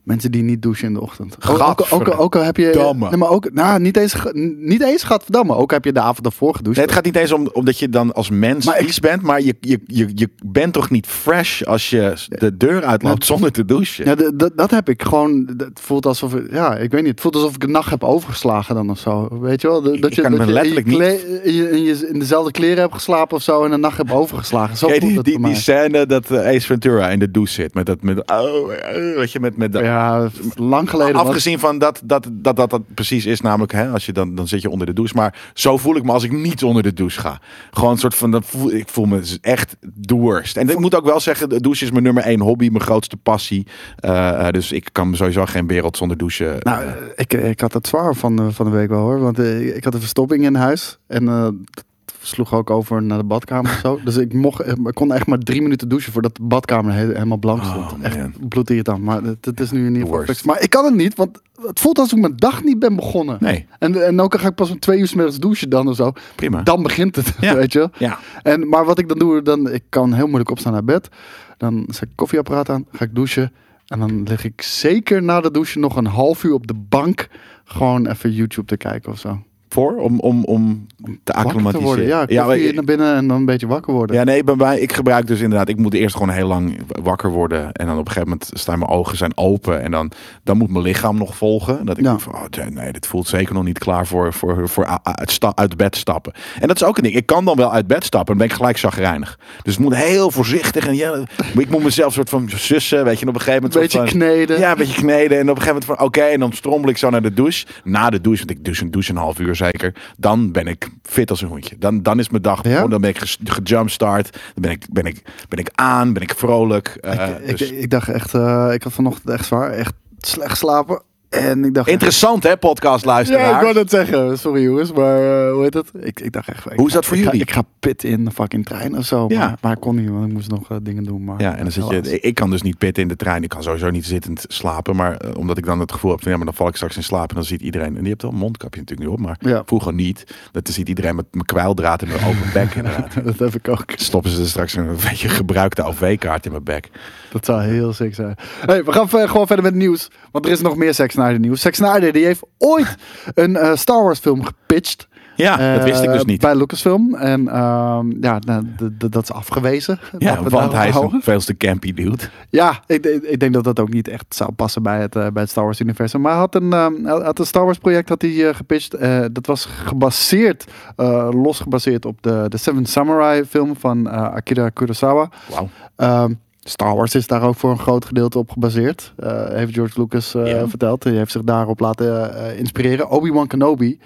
mensen die niet douchen in de ochtend. Ook, ook, ook, ook al heb je... Gadverdamme. Nee, maar ook... Nou, niet eens, ge- niet eens gadverdamme. Ook heb je de avond ervoor gedoucht. Nee, het gaat niet eens om, om dat je dan als mens Maar ik- vies bent, maar je, je, je, je bent toch niet fresh als je de deur uitloopt zonder te douchen? Ja, d- d- dat heb ik gewoon. d- Het voelt alsof ik, ja, ik weet niet. Het voelt alsof ik een nacht heb overgeslagen dan of zo. Weet je wel? D- Dat, Ik je, kan dat me je letterlijk in niet- je, kle- in, je, in je- in dezelfde kleren hebt geslapen of zo en een nacht heb overgeslagen. Zo Ken je voelt die, het die, voor mij. die scène dat eh, Ace Ventura in de douche zit met dat met oh, eh, weet je met met dat, ja, lang geleden. was- afgezien van dat dat, dat dat dat precies is namelijk hè, als je dan dan zit je onder de douche, maar zo voel ik me als ik niet onder de douche ga. Gewoon een soort van dat voel, ik voel me echt doerst. En ik moet ook wel zeggen, de douche is mijn nummer één hobby, mijn grootste passie. Eh, eh, dus ik kan sowieso geen wereld zonder douchen. Nou, eh, ik, ik had het zwaar van de, van de week wel hoor. Want eh, ik had een verstopping in huis. En eh, dat sloeg ook over naar de badkamer of *laughs* zo. Dus ik, mocht, ik kon echt maar drie minuten douchen voordat de badkamer he- helemaal blank stond. Oh, man. echt bloedirritant. Maar het, het is nu in ieder geval Worst. fixed. Maar ik kan het niet, want het voelt alsof ik mijn dag niet ben begonnen. Nee. En, en ook al ga ik pas om twee uur 's middags douchen dan of zo. Prima. Dan begint het, Ja. *laughs* weet je wel. ja. En, maar wat ik dan doe, dan, ik kan heel moeilijk opstaan naar bed. Dan zet ik het koffieapparaat aan, ga ik douchen. En dan lig ik zeker na de douche nog een half uur op de bank. Gewoon even YouTube te kijken of zo. voor om, om, om te Wakker te acclimatiseren. worden. Ja, maar koffie ik- naar binnen en dan een beetje wakker worden. ja, nee, bij mij, ik gebruik dus inderdaad, ik moet eerst gewoon heel lang wakker worden. En dan op een gegeven moment staan mijn ogen zijn open. En dan, dan moet mijn lichaam nog volgen. Dat ik Ja. denk van, oh, tja, nee, dit voelt zeker nog niet klaar voor, voor, voor a- a- uit, sta- uit bed stappen. En dat is ook een ding. Ik kan dan wel uit bed stappen, dan ben ik gelijk chagrijnig. Dus het moet heel voorzichtig. En ja, maar ik moet mezelf soort van sussen, weet je. En op een gegeven moment... Een soort beetje van- kneden. Ja, een beetje kneden. En op een gegeven moment van oké, en dan strommel ik zo naar de douche. Na de douche, want ik douche een douche een half uur zeker. Dan ben ik fit als een hondje. Dan, dan is mijn dag. Ja? oh, dan ben ik ges- gejumpstart. Dan ben ik, ben, ik, ben ik aan, ben ik vrolijk. Eh, ik, dus- ik dacht echt, eh, ik had vanochtend echt zwaar. Echt slecht slapen. En ik dacht... Interessant hè, podcast ja, ik luisteraar. wou dat zeggen. Sorry jongens, maar eh, hoe heet het? Ik, ik dacht echt... ik Hoe is ga- dat voor ik ga- jullie? ik ga pit in de fucking trein of zo. Ja. Maar, maar ik kon niet, want ik moest nog eh, dingen doen. Maar, Ja, en dan zit Helaas. je. Ik kan dus niet pitten in de trein. Ik kan sowieso niet zittend slapen. Maar eh, omdat ik dan het gevoel heb van ja, maar dan val ik straks in slaap. En dan ziet iedereen. En die hebt wel een mondkapje natuurlijk nu op. Maar Ja. vroeger niet. Dat ziet iedereen met mijn kwijldraad in mijn open bek. Inderdaad. *laughs* Dat heb ik ook. Stoppen ze er straks een beetje gebruikte OV-kaart in mijn bek. Dat zou heel sick zijn. Hey, we gaan ver- gewoon verder met het nieuws. Want er is nog meer Zack Snyder nieuws. Zack Snyder die heeft *laughs* ooit een eh, Star Wars film gepitcht. Ja, dat Eh, wist ik dus niet. Bij Lucasfilm. En ehm, ja, nou, d- d- dat is afgewezen. Laten we Ja, het want daarop hij is houden. een veelste campy dude. Ja, ik, ik, ik denk dat dat ook niet echt zou passen bij het, eh, bij het Star Wars universum. Maar hij had een, ehm, hij had een Star Wars project had hij, eh, gepitcht. Eh, dat was gebaseerd, eh, los gebaseerd op de, de Seven Samurai film van eh, Akira Kurosawa. Wauw. Ehm, Star Wars is daar ook voor een groot gedeelte op gebaseerd. Eh, heeft George Lucas eh, Ja. verteld. Hij heeft zich daarop laten eh, eh, inspireren. Obi-Wan Kenobi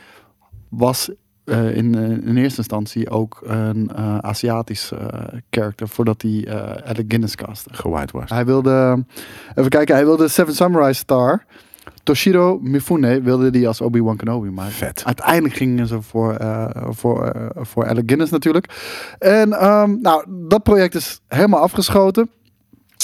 was eh, in, eh, in eerste instantie ook een eh, Aziatisch eh character voordat hij eh Alec Guinness castte. Gewaaid was. Hij wilde, even kijken, hij wilde Seven Samurai Star. Toshiro Mifune wilde die als Obi-Wan Kenobi maken. Vet. Uiteindelijk gingen ze voor, eh, voor, eh, voor Alec Guinness natuurlijk. En ehm, nou, dat project is helemaal afgeschoten.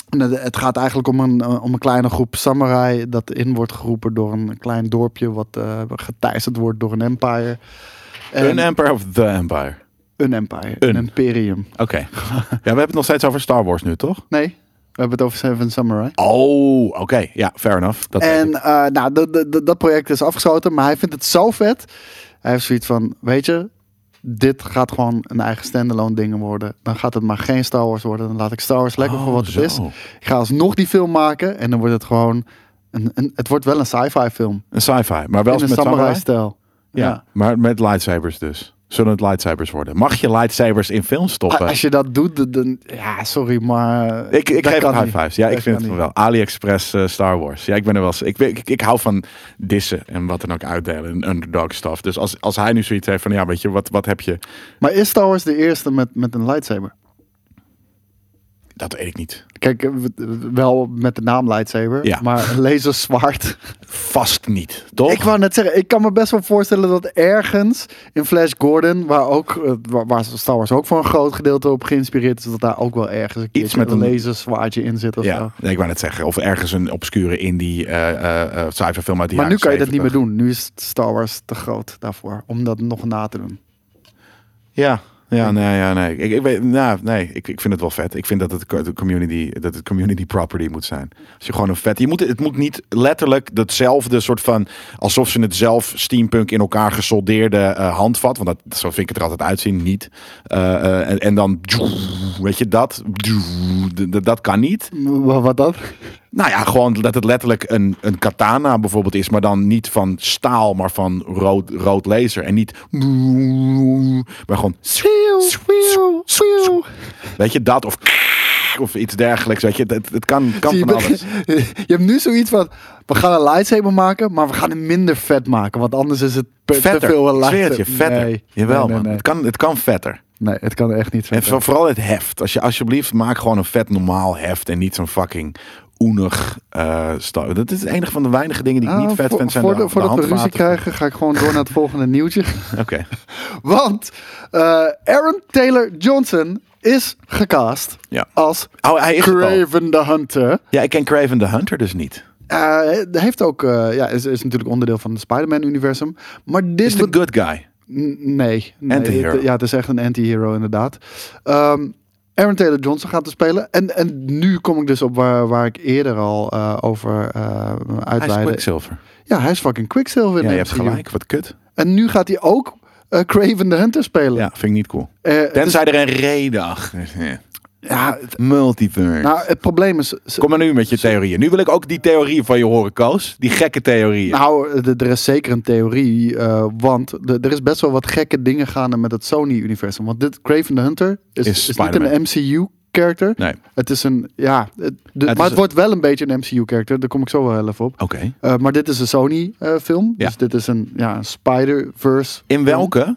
En Het het gaat eigenlijk om een, eh, om een kleine groep samurai dat in wordt geroepen door een klein dorpje wat eh geteisterd wordt door een empire. En- Een Empire of the Empire. een empire, Een. een imperium. Oké. *laughs* ja, we hebben het nog steeds over Star Wars nu, toch? Nee, we hebben het over Seven Samurai. Oh, oké. Ja, fair enough. Dat weet En ik. eh, nou, dat- dat- dat- dat project is afgesloten, maar hij vindt het zo vet. Hij heeft zoiets van, weet je, dit gaat gewoon een eigen standalone ding worden. Dan gaat het maar geen Star Wars worden. Dan laat ik Star Wars lekker voor Oh, wat zo. het is. Ik ga alsnog die film maken en dan wordt het gewoon... Een, een, het wordt wel een sci-fi film. Een sci-fi, maar wel in een met samurai. samurai-stijl. Ja, maar met lightsabers dus. Zullen het lightsabers worden? Mag je lightsabers in films stoppen? Ah, Als je dat doet, dan- dan... Ja, sorry, maar... Ik, ik dat geef kan het high niet. fives. Ja, Dat ik vind kan het van niet. wel. AliExpress, eh, Star Wars. Ja, ik ben er wel eens- Ik, ben- ik, ik hou van dissen en wat dan ook uitdelen. En underdog stuff. Dus als, als hij nu zoiets heeft van, ja, weet je, wat, wat heb je? Maar is Star Wars de eerste met, met een lightsaber? Dat weet ik niet. Kijk, eh, w- w- wel met de naam lightsaber, Ja. maar een *laughs* laserzwaard. Vast niet, toch? Ik wou net zeggen, ik kan me best wel voorstellen dat ergens in Flash Gordon, waar, ook, eh, waar, waar Star Wars ook voor een groot gedeelte op geïnspireerd is, dat daar ook wel ergens een Iets keertje met een een- laserzwaardje in zit of zo. ja, nee, ik wou net zeggen. Of ergens een obscure indie eh eh, eh, sci-fi film uit die Maar nu jaren kan je dat 70. niet meer doen. Nu is Star Wars te groot daarvoor, om dat nog na te doen. Ja, ja, nee, ja, nee. Ik, ik weet, nou, nee, ik, ik vind het wel vet. Ik vind dat het co- de community, dat het community property moet zijn. Als je gewoon een vet, je moet, het moet niet letterlijk datzelfde soort van, alsof ze het zelf steampunk in elkaar gesoldeerde eh, handvat, want dat, zo vind ik het er altijd uitzien, niet. Eh, eh, en, en dan, weet je dat, dat, dat kan niet. Wat, wat dan? Nou ja, gewoon dat het letterlijk een, een katana bijvoorbeeld is, maar dan niet van staal, maar van rood, rood laser. En niet. Maar gewoon. Weet je dat? Of. *laughs* Of iets dergelijks. Weet je, het, het kan, kan Zie van je, ben- alles. *laughs* je hebt nu zoiets van, we gaan een lightsaber maken, maar we gaan hem minder vet maken, want anders is het pe- te Vetter. veel een Ik zweer het lightsaber. je, vetter. Nee. Jawel, Nee, nee, man. nee. Het, kan, het kan vetter. Nee, het kan echt niet En vetter. voor- vooral het heft. Als je alsjeblieft maak gewoon een vet normaal heft en niet zo'n fucking oenig eh sta- Dat is het enige van de weinige dingen die ik Ah, niet vet voor- vind. Zijn voor de, de- de Voordat we ruzie handvaten. krijgen, ga ik gewoon door naar het volgende nieuwtje. *laughs* Oké. Want eh, Aaron Taylor Johnson is gecast Ja. als Oh, hij is het al. Craven the Hunter. Ja, ik ken Craven the Hunter dus niet. Eh, hij heeft ook, eh, ja, is, is natuurlijk onderdeel van het Spider-Man-universum. Maar dit Is de good guy. N- Nee. nee Anti-hero. Het- Ja, het is echt een anti-hero inderdaad. Ehm, Aaron Taylor Johnson gaat er spelen. En, en nu kom ik dus op waar, waar ik eerder al eh, over eh Hij is uitweidde. Quicksilver. ja, hij is fucking Quicksilver in Ja, je de hebt MCU. gelijk. Wat kut. En nu gaat hij ook eh, Craven the Hunter spelen. Ja, vind ik niet cool. Eh, het is- Tenzij er een reden achter is. Ja. ja, het- Multiverse. nou, het probleem is... ze- Kom maar nu met je theorieën. Nu wil ik ook die theorieën van je horen, Koos. Die gekke theorieën. Nou, d- er is zeker een theorie, eh, want d- er is best wel wat gekke dingen gaande met het Sony-universum. Want dit Craven the Hunter is, Is is, niet Spider-Man. een MCU-character. Nee. Het is een, ja, het- de- is maar het een- wordt wel een beetje een MCU-character. Daar kom ik zo wel heel even op. Oké. Eh, maar dit is een Sony-film. Ja. Dus dit is een, ja, een Spider-Verse. In welke? Hm.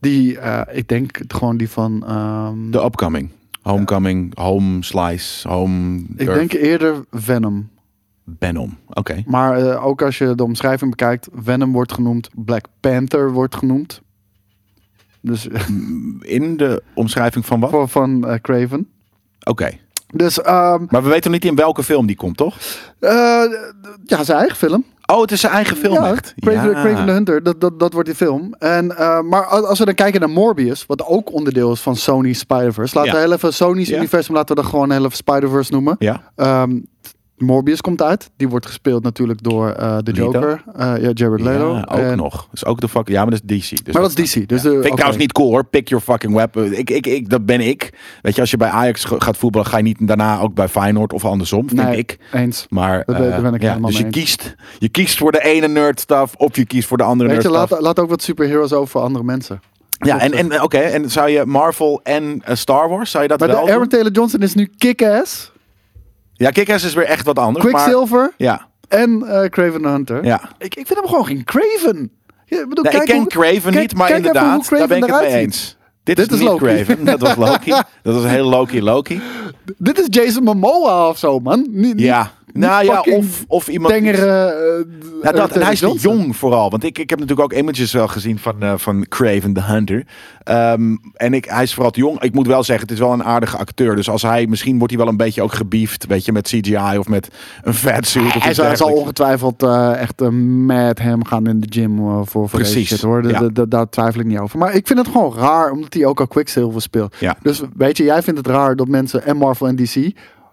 Die, eh, ik denk het gewoon die van... ehm, De upcoming. Homecoming, Home Slice, Home ik Earth, denk eerder Venom. Venom. Oké. Maar eh, ook als je de omschrijving bekijkt, Venom wordt genoemd, Black Panther wordt genoemd. Dus *laughs* In de omschrijving van wat? Oké. van, van eh, Craven. Dus ehm, Maar we weten nog niet in welke film die komt, toch? eh, d- ja, zijn eigen film. Oh, het is zijn eigen film ja, echt. Craven, Ja. Craven the Hunter, dat, dat, dat wordt die film. En, eh, maar a- als we dan kijken naar Morbius, wat ook onderdeel is van Sony's Spider-Verse. Laten Ja. we heel even Sony's Ja. universum, laten we dat gewoon heel even Spider-Verse noemen. Ja. Ehm, Morbius komt uit. Die wordt gespeeld natuurlijk door eh, de Leto. Joker. Eh, ja, Jared Leto. Ja, ook En- nog. Dus ook de fuck. Ja, maar dat is DC. Dus Maar dat- dat is DC. Dus de, Vind ik oké. trouwens niet cool hoor. Pick your fucking weapon. Ik, ik, ik, dat ben ik. Weet je, als je bij Ajax ge- gaat voetballen, ga je niet daarna ook bij Feyenoord of andersom. Vind Nee, ik. Eens. Maar Dat ben- eh, daar ben ik ja, helemaal dus je mee kiest, je kiest voor de ene nerd stuff of je kiest voor de andere Weet nerd je, stuff. laat, laat ook wat superheroes over voor andere mensen. ja, en, en oké, en zou je Marvel en eh, Star Wars, zou je dat Maar de wel Aaron doen? Taylor Johnson is nu kick-ass, Ja, Kick-Ass is weer echt wat anders. Maar, Quicksilver ja, en eh, Craven the Hunter. ja. Ik, ik vind hem gewoon geen Craven. Ja, Nee, bedoel, ik kijk ken hoe- Craven kijk- niet, maar kijk even hoe inderdaad, Craven daar ben ik het eruit mee ziet. eens. Dit, Dit is, is niet Loki. Craven, *laughs* dat was Loki. dat was een hele Loki *laughs* Loki. Dit is Jason Momoa of zo, man. Niet, niet- Ja, niet nou ja, fucking of, of iemand... Tengere. eh, Ja, Aaron dat, en Taylor hij is te Johnson. jong vooral. Want ik, ik heb natuurlijk ook images wel gezien van, eh, van Craven the Hunter. Ehm, en ik, hij is vooral te jong. Ik moet wel zeggen, het is wel een aardige acteur. Dus als hij, misschien wordt hij wel een beetje ook gebiefd. Weet je, met CGI of met een fat suit. of Hij iets zal, hij zal dergelijks. ongetwijfeld eh, echt met hem gaan in de gym eh, voor, voor deze Precies, shit hoor. ja. Da- da- daar twijfel ik niet over. Maar ik vind het gewoon raar, omdat hij ook al Quicksilver speelt. Ja. Dus weet je, jij vindt het raar dat mensen en Marvel en DC...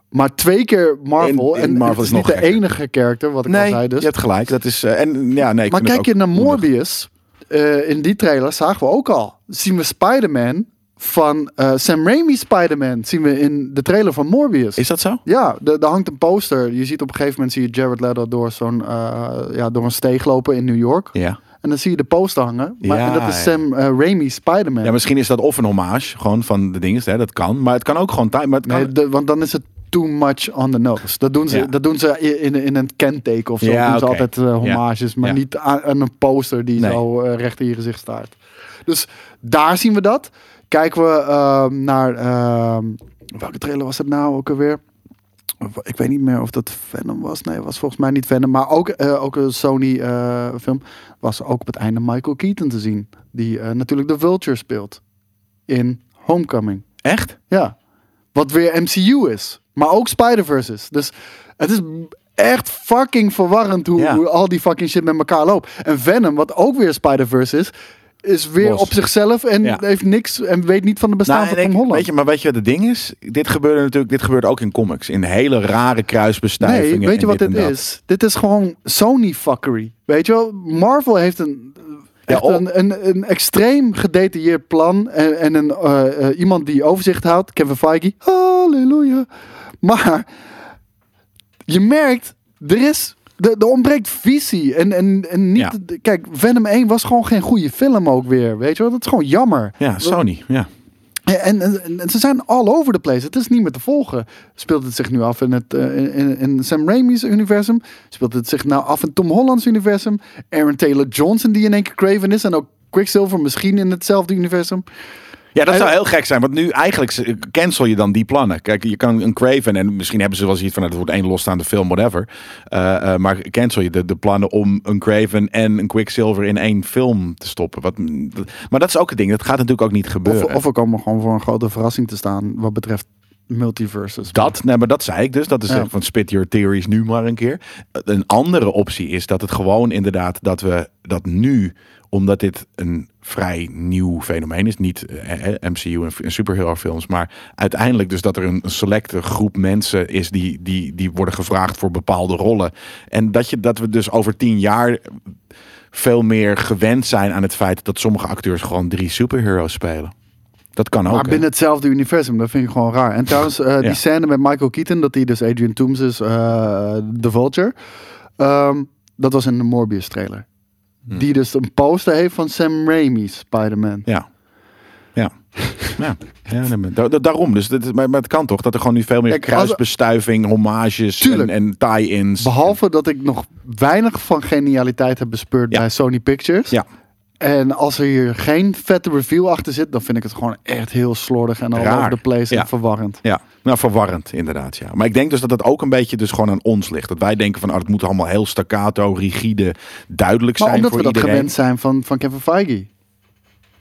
Maar twee keer Marvel. En- en en Marvel het is is niet nog de gekker. enige character, wat ik al Nee, zei dus. je hebt gelijk. Dat is, eh, en, ja, nee, ik maar vind het kijk je ook naar moedig. Morbius... eh, in die trailer zagen we ook al. Zien we Spider-Man van eh, Sam Raimi Spider-Man. Zien we in de trailer van Morbius. Is dat zo? Ja, de- daar hangt een poster. Je ziet op een gegeven moment zie je Jared Leto door, zo'n, eh, ja, door een steeg lopen in New York. Ja. En dan zie je de poster hangen. Maar Ja, en dat is ja. Sam eh, Raimi Spider-Man. Ja, misschien is dat of een hommage, gewoon van de dingen, hè, dat kan. Maar het kan ook gewoon time. Maar het kan, nee, de- want dan is het too much on the nose. Dat doen ze, Ja. dat doen ze i- in, in een kenteken of zo. Ja, doen ze oké. altijd eh, hommages, maar Ja. niet aan, aan een poster die Nee. zo eh, recht in je gezicht staat. Dus daar zien we dat. Kijken we ehm, naar... ehm, welke trailer was het nou ook alweer? Ik weet niet meer of dat Venom was. Nee, het was volgens mij niet Venom. Maar ook, eh, ook een Sony-film was ook op het einde Michael Keaton te zien. Die eh, natuurlijk de Vulture speelt in Homecoming. Echt? Ja. Wat weer MCU is. Maar ook Spider-Verse is. Dus het is echt fucking verwarrend hoe, Ja. hoe al die fucking shit met elkaar loopt. En Venom, wat ook weer Spider-Verse is, is weer Los. op zichzelf en Ja. heeft niks en weet niet van het bestaan Nou, en van Tom ik- Holland. Weet je, maar weet je wat het ding is? Dit gebeurde natuurlijk, dit gebeurt ook in comics. In hele rare kruisbestuivingen. Nee, weet je en wat dit en dat. is? Dit is gewoon Sony fuckery. Weet je wel, Marvel heeft een, echt op- een, een, een extreem gedetailleerd plan en, en een, eh, eh, iemand die overzicht houdt, Kevin Feige. Halleluja. Maar je merkt, er is, er, er ontbreekt visie. En, en, en niet, kijk, Venom 1 was gewoon geen goede film ook weer. Weet je wel, dat is gewoon jammer. Ja, Sony. Ja. En, en, en- en ze zijn all over the place. Het is niet meer te volgen. Speelt het zich nu af in, het, eh, in, in Sam Raimi's universum? Speelt het zich nou af in Tom Holland's universum? Aaron Taylor Johnson die in één keer Craven is en ook Quicksilver misschien in hetzelfde universum. ja, dat En- zou heel gek zijn. Want nu eigenlijk cancel je dan die plannen. Kijk, je kan een Craven en misschien hebben ze wel zoiets van... nou, Het wordt één losstaande film, whatever. Eh, eh, maar cancel je de, de plannen om een Craven en een Quicksilver in één film te stoppen. Wat, maar dat is ook het ding. Dat gaat natuurlijk ook niet Of, gebeuren. of we komen gewoon voor een grote verrassing te staan wat betreft multiverses. Dat, nee, maar dat zei ik dus. Dat is Ja. echt van spit your theories nu maar een keer. Een andere optie is dat het gewoon inderdaad dat we dat nu, omdat dit een vrij nieuw fenomeen is, niet eh, eh, MCU en, en superhero films, maar uiteindelijk dus dat er een, een selecte groep mensen is die, die, die worden gevraagd voor bepaalde rollen. En dat, je, dat we dus over tien jaar veel meer gewend zijn aan het feit dat sommige acteurs gewoon drie superheroes spelen. Dat kan ook. Maar hè? binnen hetzelfde universum, dat vind ik gewoon raar. En trouwens, eh, die Ja. scène met Michael Keaton, dat hij dus Adrian Toomes is, eh The Vulture. ehm, dat was in de Morbius trailer. Hmm. Die dus een poster heeft van Sam Raimi's Spider-Man. Ja. Ja. ja. ja nee, maar da- da- daarom. Dus dit, is- maar, maar het kan toch dat er gewoon nu veel meer Kijk, als- kruisbestuiving, hommages en, Tuurlijk. en tie-ins. Behalve dat ik nog weinig van genialiteit heb bespeurd Ja. bij Sony Pictures. Ja. En als er hier geen vette review achter zit, dan vind ik het gewoon echt heel slordig en all Raar. over the place Ja. en verwarrend. Ja, nou verwarrend inderdaad. Ja. Maar ik denk dus dat dat ook een beetje dus gewoon aan ons ligt. Dat wij denken van oh, het moet allemaal heel staccato, rigide, duidelijk Maar zijn omdat voor we dat iedereen. gewend zijn van, van Kevin Feige.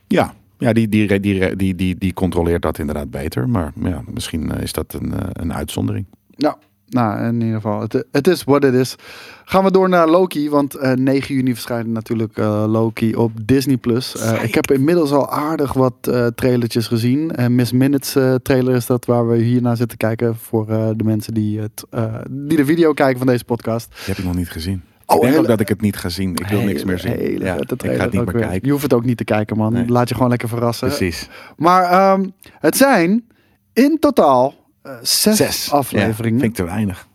Ja, ja die, die, die, die, die, die controleert dat inderdaad beter. Maar ja, misschien eh, is dat een, eh, een uitzondering. Nou, nou, in ieder geval, het, het is wat het is. Gaan we door naar Loki, want eh, 9 juni verschijnt natuurlijk eh, Loki op Disney+. Plus. Eh, ik heb inmiddels al aardig wat eh trailertjes gezien. En Miss Minutes eh, trailer is dat, waar we hierna zitten kijken voor eh, de mensen die, het, eh, die de video kijken van deze podcast. Die heb ik nog niet gezien. Oh, ik denk hele- ook dat ik het niet ga zien. Ik wil niks meer zien. Hele Ja, vette ik ga trailer het niet ook meer weer. kijken. Je hoeft het ook niet te kijken, man. Nee. Laat je gewoon lekker verrassen. Precies. Maar ehm, het zijn in totaal eh, zes, Zes afleveringen. Ja, vind ik te weinig.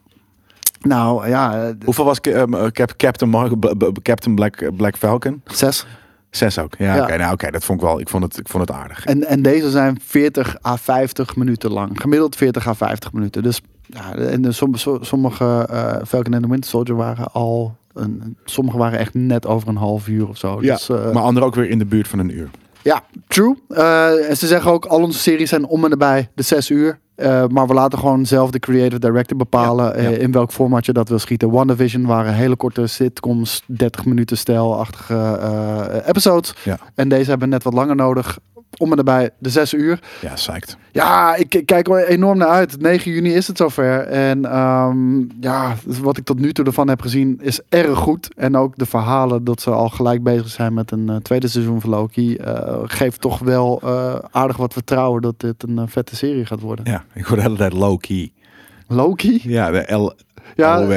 Nou ja, eh, Hoeveel was Ca- ehm, eh, Cap- Captain, Marvel, B- B- Captain Black, eh, Black Falcon? zes. Zes ook. Ja, Ja. Oh, oké. nou, oké, dat vond ik wel. Ik vond het, ik vond het aardig. En, en deze zijn 40 à 50 minuten lang. Gemiddeld 40 à 50 minuten. Dus ja, en de som- so- sommige eh Falcon and the Winter Soldier waren al... Een, sommige waren echt net over een half uur of zo. ja, Dus, eh, maar anderen ook weer in de buurt van een uur. ja, true. Eh, en ze zeggen ook, al onze series zijn om en nabij de 6 uur. Eh, maar we laten gewoon zelf de creative director bepalen Ja, ja. eh, in welk format je dat wil schieten. WandaVision waren hele korte sitcoms, 30 minuten stijlachtige eh, episodes. Ja. En deze hebben net wat langer nodig. Om en nabij de 6 uur. Ja, psyched. Ja, ik ik kijk er enorm naar uit. 9 juni is het zover. En ehm, ja, dus wat ik tot nu toe ervan heb gezien is erg goed. En ook de verhalen dat ze al gelijk bezig zijn met een eh, tweede seizoen van Loki... eh, geeft toch wel eh, aardig wat vertrouwen dat dit een eh, vette serie gaat worden. Ja, ik hoorde de hele tijd low-key. Loki? Ja, de L, Ja, LOW,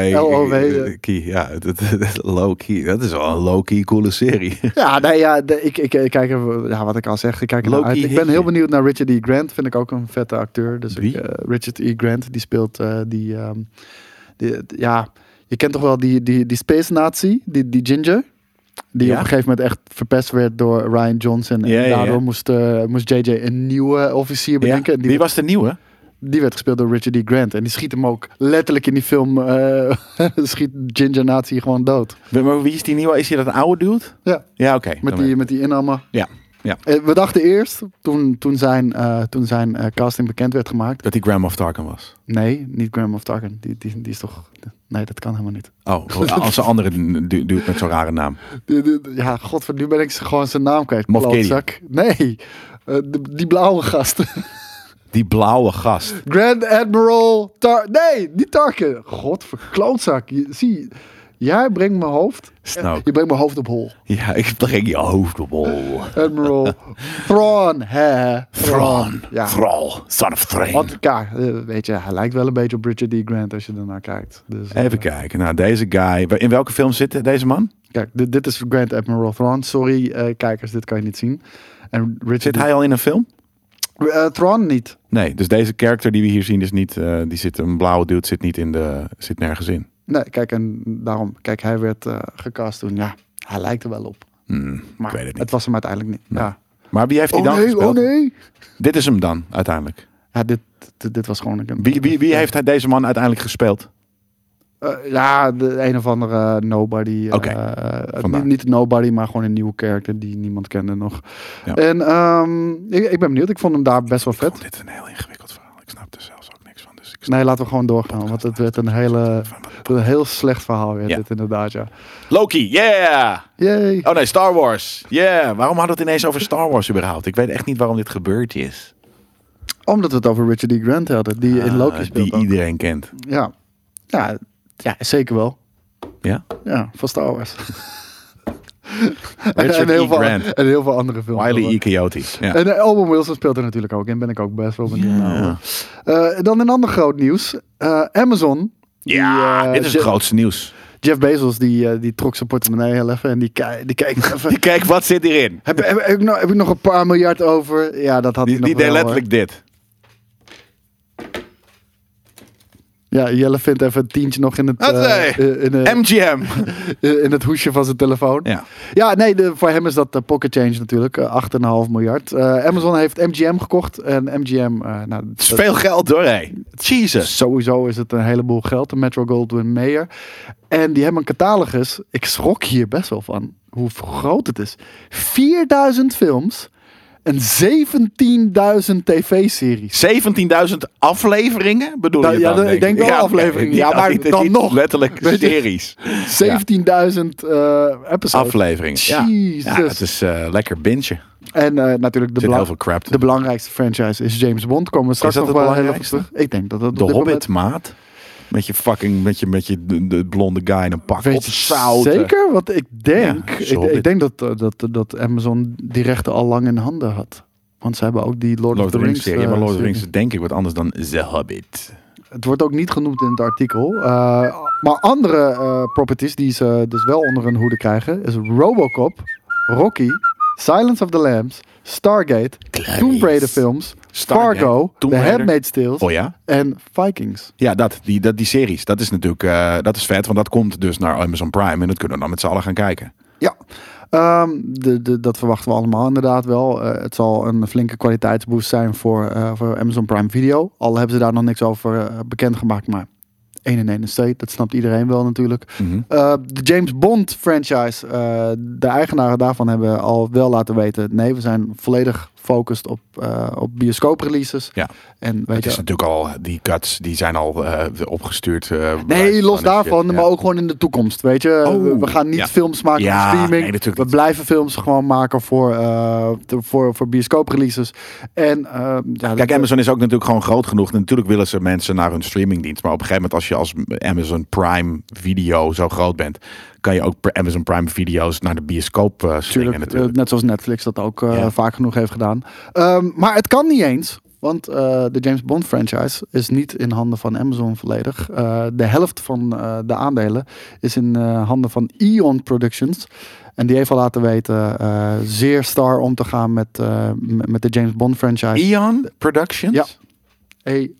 eh, ja. Key. Ja, dat- *laughs* dat- low key. Dat is wel een low key coole serie. Ja, nee, ja, de- ik, ik, ik kijk er- ja, wat ik al zeg, ik kijk er naar Loki uit. Ik Hitler. ben heel benieuwd naar Richard E. Grant, vind ik ook een vette acteur. Dus ik, Wie? eh, Richard E. Grant, die speelt eh, die, ehm, die- die- ja, je kent toch wel die, die, die space nazi, die, die Ginger? Die Ja. op een gegeven moment echt verpest werd door Ryan Johnson. En Ja, ja, ja. daardoor Moest, eh, moest JJ een nieuwe officier bedenken. En Wie die, was de nieuwe? die werd gespeeld door Richard E. Grant. En die schiet hem ook letterlijk in die film, eh, *laughs* schiet Ginger nazi gewoon dood. Maar wie is die nieuwe? Is hij dat een oude dude? Ja, Ja, oké. met Dan die, weet- met die inamen. Ja, ja. Eh, We dachten eerst, toen, toen zijn, eh, toen zijn eh, casting bekend werd gemaakt. Dat die Graham of Tarkin was. Nee, niet Graham of Tarkin. Die, die, die is toch... Nee, dat kan helemaal niet. *laughs* Oh, als een andere du- dude met zo'n rare naam. Die- die- die- Ja, godver, nu ben ik ze gewoon zijn naam kwijt. Moff Gideon. klootzak. Nee, eh, de- die blauwe gast. *laughs* Die blauwe gast. Grand Admiral Tar... Nee, niet Tarkin. Godver, klootzak. Je- zie, jij brengt mijn hoofd... Snoke. Je brengt mijn hoofd op hol. Ja, ik breng je hoofd op hol. *laughs* Admiral Thrawn. hè? Thrawn. Ja. Thrall. Son of Thrawn. Want ja, eh, weet je, hij lijkt wel een beetje op Richard D. Grant als je ernaar kijkt. Dus, eh, Even kijken. Nou, deze guy. In welke film zit deze man? Kijk, dit, dit is Grand Admiral Thrawn. Sorry, eh, kijkers, dit kan je niet zien. En Richard Zit hij al in een film? Eh, Thrawn niet. Nee, dus deze character die we hier zien is niet... eh, die zit, een blauwe dude zit niet in de... Zit nergens in. Nee, kijk, en daarom, kijk, hij werd eh, gecast toen. Ja, hij lijkt er wel op. Hmm, Maar ik weet het niet. het was hem uiteindelijk niet. Ja. Maar wie heeft hij Oh dan nee, gespeeld? oh nee. Dit is hem dan, uiteindelijk. Ja, dit, dit, dit was gewoon een... Wie, wie, wie heeft hij- deze man uiteindelijk gespeeld? Eh, ja, de een of andere nobody. eh, Oké, eh, vandaar. niet, niet nobody, maar gewoon een nieuwe character die niemand kende nog. Ja. En ehm, ik, ik ben benieuwd. Ik vond hem daar best wel vet. Vond Oh, dit een heel ingewikkeld verhaal. Ik snap er zelfs ook niks van. Dus ik snap Nee, laten we gewoon doorgaan. Want het werd een, hele, een heel slecht verhaal werd Ja. dit inderdaad, ja. Loki, yeah! Yay. Oh nee, Star Wars. Yeah. Waarom hadden we het ineens over Star Wars überhaupt? Ik weet echt niet waarom dit gebeurd is. Omdat we het over Richard D. Grant hadden, die in Ah, Loki speelt die ook. iedereen kent. Ja. Ja, ja, zeker wel. *laughs* Ja? Ja, van Star Wars. en, *laughs* Richard heel E. veel, Grant. en heel veel andere films. Wiley E. Coyote. Ja. En eh, Owen Wilson speelt er natuurlijk ook in. Ben ik ook best wel benieuwd naar. Ja. hoor. Eh, dan een ander groot nieuws. Eh, Amazon. die, Ja, eh, dit is het Je- grootste *laughs* nieuws. Jeff Bezos die, eh, die trok zijn portemonnee heel even. En die, ki- die keek *laughs* even. Kijk, wat zit hierin? Heb, heb, heb ik nog, heb ik nog een paar miljard over? Ja, dat had Die, hij nog die wel, deed letterlijk dit. hoor. Ja, Jelle vindt even een tientje nog in het, eh, Hatzij. eh, in, eh, *laughs* MGM. eh, in het hoesje van zijn telefoon. Ja. Ja, nee, de- voor hem is dat eh, pocket change natuurlijk. eh, 8,5 miljard. Eh, Amazon heeft MGM gekocht. En MGM, eh, nou, Het is veel geld door, hé. Jesus. sowieso is het een heleboel geld. De Metro Goldwyn Mayer. En die hebben een catalogus. Ik schrok hier best wel van hoe groot het is. 4000 films en 17.000 tv-series. 17.000 afleveringen bedoel Nou, je ja, dan? ik denk wel oké. afleveringen. Niet- Ja, maar niet- dan niet nog. Letterlijk Weet je- Oh, series. 17.000 eh episodes. Afleveringen. Ja. ja, Jezus. het is eh, lekker bintje. Er En eh, natuurlijk de, zit bela- heel veel crap de tussen. belangrijkste franchise is James Bond. Komen we straks dat nog het wel heel even belangrijkste? terug. Ik denk dat dat op De dit moment- Hobbit, maat. Met je fucking, met je, met je de, de blonde guy in een pak. Weet op je zouten. Zeker, want ik denk, Ja, ik, zo ik dit. denk dat, eh, dat, dat Amazon die rechten al lang in handen had. Want ze hebben ook die Lord, Lord of the Rings serie. eh, maar Lord of the Rings serie. is denk ik wat anders dan The Hobbit. Het wordt ook niet genoemd in het artikel. Eh, maar andere eh, properties die ze dus wel onder hun hoede krijgen is Robocop, Rocky, Silence of the Lambs, Stargate, Clarice. Tomb Raider films, Stargate, Fargo, Tomb The Raider. Handmaid's Tale Oh ja? en Vikings. Ja, dat, die, dat, die series. Dat is natuurlijk eh, dat is vet, want dat komt dus naar Amazon Prime. En dat kunnen we dan met z'n allen gaan kijken. Ja, ehm, de, de, dat verwachten we allemaal inderdaad wel. Eh, het zal een flinke kwaliteitsboost zijn voor, eh, voor Amazon Prime Video. Al hebben ze daar nog niks over eh, bekendgemaakt, maar 1 in 1 is twee. Dat snapt iedereen wel natuurlijk. Mhm. Eh, de James Bond franchise, eh, de eigenaren daarvan hebben al wel laten weten... nee, we zijn volledig gefocust op, eh op bioscoop-releases. Ja. En weet Het je, is natuurlijk al, die cuts die zijn al eh, opgestuurd. eh, bij- Nee, los van- daarvan, ja. maar ook gewoon in de toekomst. Weet je, Oh, we, we gaan niet ja. films maken Ja, voor nee, streaming. natuurlijk we niet. blijven films gewoon maken voor, eh, te- voor, voor bioscoop-releases. En eh, ja, Kijk, Amazon is ook natuurlijk gewoon groot genoeg. En natuurlijk willen ze mensen naar hun streamingdienst. Maar op een gegeven moment, als je als Amazon Prime Video zo groot bent, kan je ook per Amazon Prime Video's naar de bioscoop eh slingen natuurlijk, eh, natuurlijk. net zoals Netflix dat ook eh, Ja. vaak genoeg heeft gedaan. Ehm, maar het kan niet eens. Want eh, de James Bond franchise is niet in handen van Amazon volledig. Eh, de helft van eh, de aandelen is in eh, handen van Eon Productions. En die heeft al laten weten eh, zeer star om te gaan met, eh, m- met de James Bond franchise. Eon Productions? eh, Ja. EON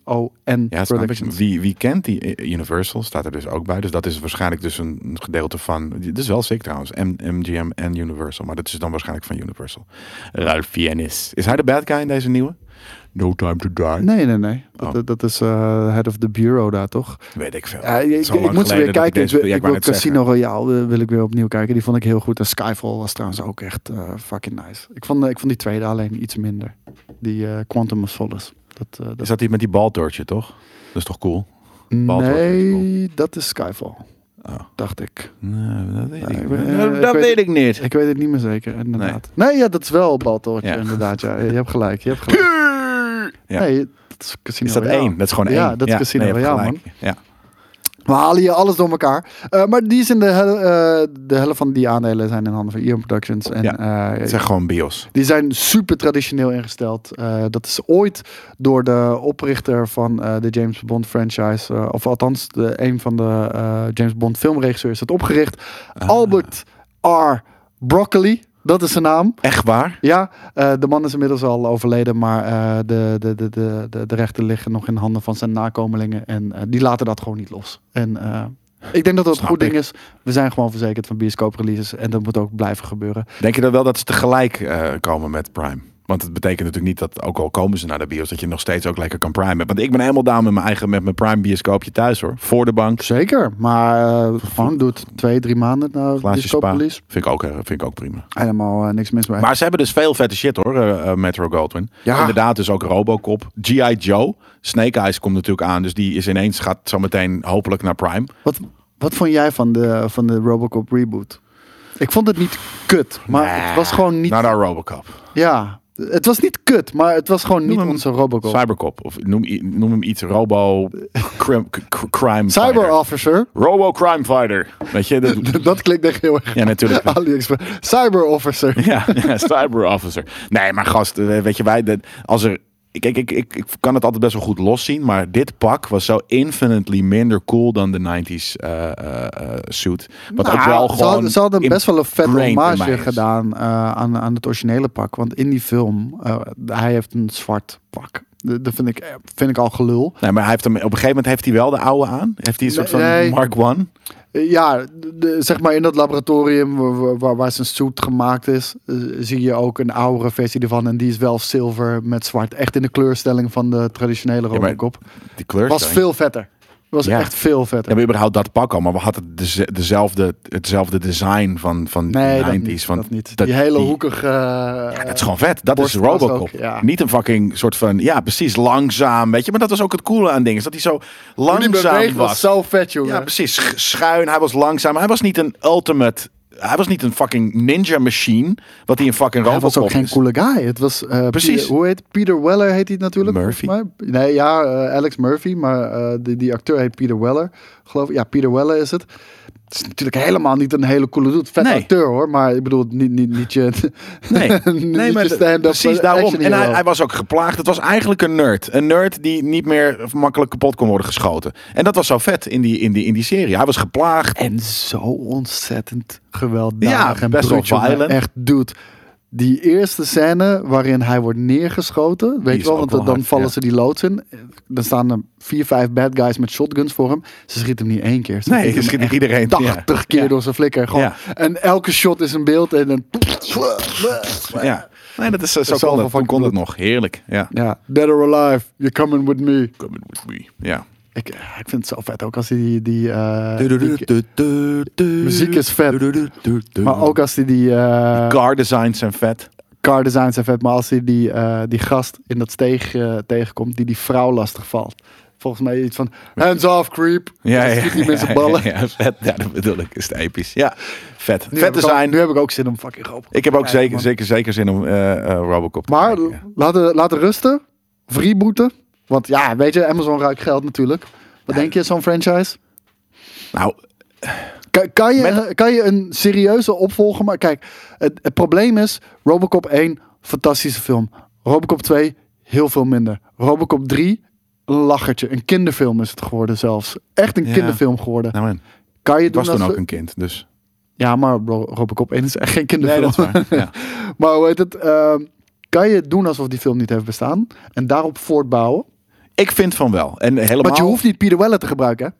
Ja, snap ik. Productions. Wie, wie kent die eh, Universal staat er dus ook bij. Dus dat is waarschijnlijk dus een een gedeelte van... Dit is wel sick trouwens. M- MGM en Universal. Maar dat is dan waarschijnlijk van Universal. Ralph Fiennes. Is hij de bad guy in deze nieuwe? No Time to Die. Nee, nee, nee. Dat, Oh. dat- dat is eh, head of the bureau daar toch? Weet ik veel. Ja, ik- Zo ik, lang ik moet ze geleden weer dat kijken. Ik, deze- wil- ja, ik wou wil net Casino Royale eh, wil ik weer opnieuw kijken. Die vond ik heel goed. En Skyfall was trouwens ook echt eh, fucking nice. Ik vond, eh, ik vond die tweede alleen iets minder. Die eh, Quantum of Solace. Dat, eh, zeggen. Is dat... dat die met die baltortje, toch? Dat is toch cool? Baldur's Gate is Nee, dat is Skyfall. Oh. Dacht ik. Nee, dat weet ik, ik niet. ben- Dat- eh, dat ik weet- weet ik niet. Ik weet het niet meer zeker, inderdaad. Nee, ja, dat is wel Baltoortje, Ja. inderdaad. Ja. Je hebt gelijk, je hebt gelijk. *laughs* Ja. Nee, dat is Casino Is dat Royale. één? Dat is gewoon één. Ja, dat is Casino je hebt Royale, gelijk. Ja. We halen hier alles door elkaar. Eh, maar die is in de, hel- eh, de helft van die aandelen zijn in handen van Ion Productions. En, Ja, eh, Het zijn gewoon bios. Die zijn super traditioneel ingesteld. Eh, dat is ooit door de oprichter van eh, de James Bond franchise, eh, of althans de, een van de eh, James Bond filmregisseurs, is dat opgericht. Ah. Albert R. Broccoli, dat is zijn naam. Echt waar? Ja, eh, de man is inmiddels al overleden, maar eh, de, de, de, de, de, de rechten liggen nog in handen van zijn nakomelingen. En eh, die laten dat gewoon niet los. En eh, ik denk dat dat een Snap goed ding ik. is. We zijn gewoon verzekerd van bioscoopreleases en dat moet ook blijven gebeuren. Denk je dan wel dat ze tegelijk eh, komen met Prime? Want het betekent natuurlijk niet dat, ook al komen ze naar de bios, dat je nog steeds ook lekker kan primen. Want ik ben helemaal down met mijn eigen met mijn Prime bioscoopje thuis hoor. Voor de bank. Zeker, maar eh gewoon doet twee, drie maanden na Glaasje spa. bioscooprelease. Vind ik, ook, eh, vind ik ook prima. Helemaal eh, niks mis mee. Maar ze hebben dus veel vette shit hoor, eh, eh, Metro Goldwyn. Ja. Inderdaad, dus ook Robocop. G.I. Joe. Snake Eyes komt natuurlijk aan. Dus die is ineens, gaat zometeen hopelijk naar Prime. wat, wat vond jij van de, van de Robocop reboot? Ik vond het niet kut, maar Nah, het was gewoon niet... Naar naar Robocop. Ja, het was niet kut, maar het was gewoon niet hem onze Robocop. Cybercop. Of noem, i- noem hem iets. Robo. Crim, c- c- crime Cyber Fighter. Officer. *laughs* Robo Crime Fighter. Weet je? Dat, Dat klinkt echt heel erg. ja, natuurlijk. *laughs* AliExpress. Cyber Officer. *laughs* Ja, ja, cyber officer. Nee, maar gast, eh, weet je, wij, dat- als er. Kijk, ik, ik, ik kan het altijd best wel goed loszien, maar dit pak was zo infinitely minder cool dan de 90s eh, eh, eh, suit. Wat ook wel Nou, ze, gewoon. hadden, ze hadden best wel een vet ingrained in mij hommage is. gedaan eh, aan, aan het originele pak. Want in die film, eh, hij heeft een zwart pak. D- Dat vind ik, eh, vind ik al gelul. Nee, maar hij heeft hem, op een gegeven moment heeft hij wel de oude aan. Heeft hij een soort van Nee. Mark One? Eh, Ja, de- de- zeg maar in dat laboratorium wa- wa- waar, waar zijn suit gemaakt is, eh, zie je ook een oudere versie ervan. En die is wel zilver met zwart. Echt in de kleurstelling van de traditionele maar- Robocop. Die kleur. was veel vetter. Was Ja. echt veel vetter. Ja, maar überhaupt dat pak al, maar we hadden deze- dezelfde, hetzelfde design van, van Nee, de dat 90s. niet, van, dat niet. dat- die hele hoekige... eh, Ja, dat is gewoon vet. Dat is Borst was Robocop. ook, ja. Niet een fucking soort van, ja, precies, langzaam, weet je. Maar dat was ook het coole aan dingen, is dat hij zo hoe die langzaam beweegt was. zo vet, jongen. Ja, precies, sch- schuin. Hij was langzaam. Hij was niet een ultimate, hij was niet een fucking ninja machine, wat hij een fucking hij Robocop was ook geen is. coole guy. Het was, eh, Precies. Peter- hoe heet Peter Weller heet hij natuurlijk? volgens Murphy. mij. Nee, ja, eh, Alex Murphy. Maar eh, die, die acteur heet Peter Weller. Geloof ik. Ja, Peter Weller is het. Het is natuurlijk helemaal niet een hele coole dude. Vet Nee. acteur hoor. Maar ik bedoel, niet, niet, niet je... *laughs* Nee, niet nee je maar stand-up, precies eh, daarom. action En hij, hero. hij was ook geplaagd. Het was eigenlijk een nerd. Een nerd die niet meer makkelijk kapot kon worden geschoten. En dat was zo vet in die, in die, in die serie. Hij was geplaagd. En zo ontzettend gewelddadig Ja, en best wel brutal. violent. Echt, dude. Die eerste scène waarin hij wordt neergeschoten. Weet is je wel, ook want wel dan hard, vallen ja. ze die loods in. Dan staan er vier, vijf bad guys met shotguns voor hem. Ze schieten hem niet één keer. Ze Nee, schieten je hem schiet echt iedereen. 80 keer Ja. door zijn flikker. Gewoon. Ja. En elke shot is een beeld. En dan... Ja. Nee, dat is eh, zo, Zoveel kon, het, toen fucking kon het bloed. nog. Heerlijk. Ja. Ja, dead or alive, you're coming with me. Ja. Ik, ik vind het zo vet ook als hij die... die, eh, die- Muziek is vet. maar ook als hij die... eh, Car designs zijn vet. car design zijn vet, maar als hij die, eh, die gast in dat steeg eh, tegenkomt, die die vrouw lastig valt. Volgens mij iets van, hands off creep. Ja, ja, Dan schiet hij met zijn ja, ballen. Ja, vet. Ja, dat bedoel ik. Is het episch. Ja, vet. Nu vet heb ik ook- design. nu heb ik ook zin om fucking Robocop ik te heb ook kijken, zeker, man. zeker, zeker zin om eh, eh, Robocop te Maar kijken. laten, laten rusten, of rebooten. Want ja, weet je, Amazon ruikt geld natuurlijk. Wat denk je, zo'n franchise? Nou, Kan, kan, je, Met- kan je een serieuze opvolger maken? Kijk, het, het probleem is, Robocop 1, fantastische film. Robocop 2, heel veel minder. Robocop 3, een lachertje. Een kinderfilm is het geworden zelfs. Echt een Ja. kinderfilm geworden. Nou man, Kan je ik doen was als toen ook we- een kind, dus... Ja, maar Ro- Robocop 1 is echt geen Nee, kinderfilm. dat is waar. *laughs* Ja. maar hoe heet het? ehm, kan je doen alsof die film niet heeft bestaan en daarop voortbouwen? Ik vind van wel. En helemaal... Want je hoeft niet Peter Weller te gebruiken, hè?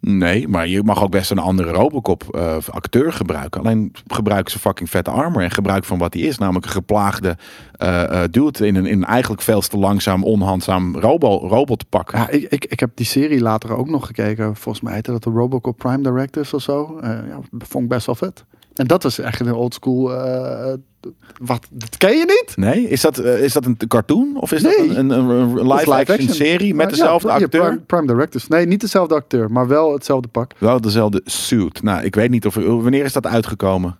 Nee, maar je mag ook best een andere Robocop eh, acteur gebruiken. Alleen gebruik zijn fucking vette armor en gebruik van wat hij is. Namelijk een geplaagde eh eh, dude in een, in een eigenlijk veel te langzaam, onhandzaam robo, robotpak. Ja, ik, ik, ik heb die serie later ook nog gekeken. Volgens mij heette dat de Robocop Prime Directives of zo. Eh, ja, vond ik best wel vet. En dat was echt een oldschool... eh wat, dat ken je niet? Nee? Is dat, eh, is dat een cartoon? Of is Nee. dat een, een, een live, Of action, serie met Maar ja, dezelfde ja, acteur? Prime, Prime Directives. Nee, niet dezelfde acteur, maar wel hetzelfde pak. Wel dezelfde suit. Nou, ik weet niet of... Wanneer is dat uitgekomen?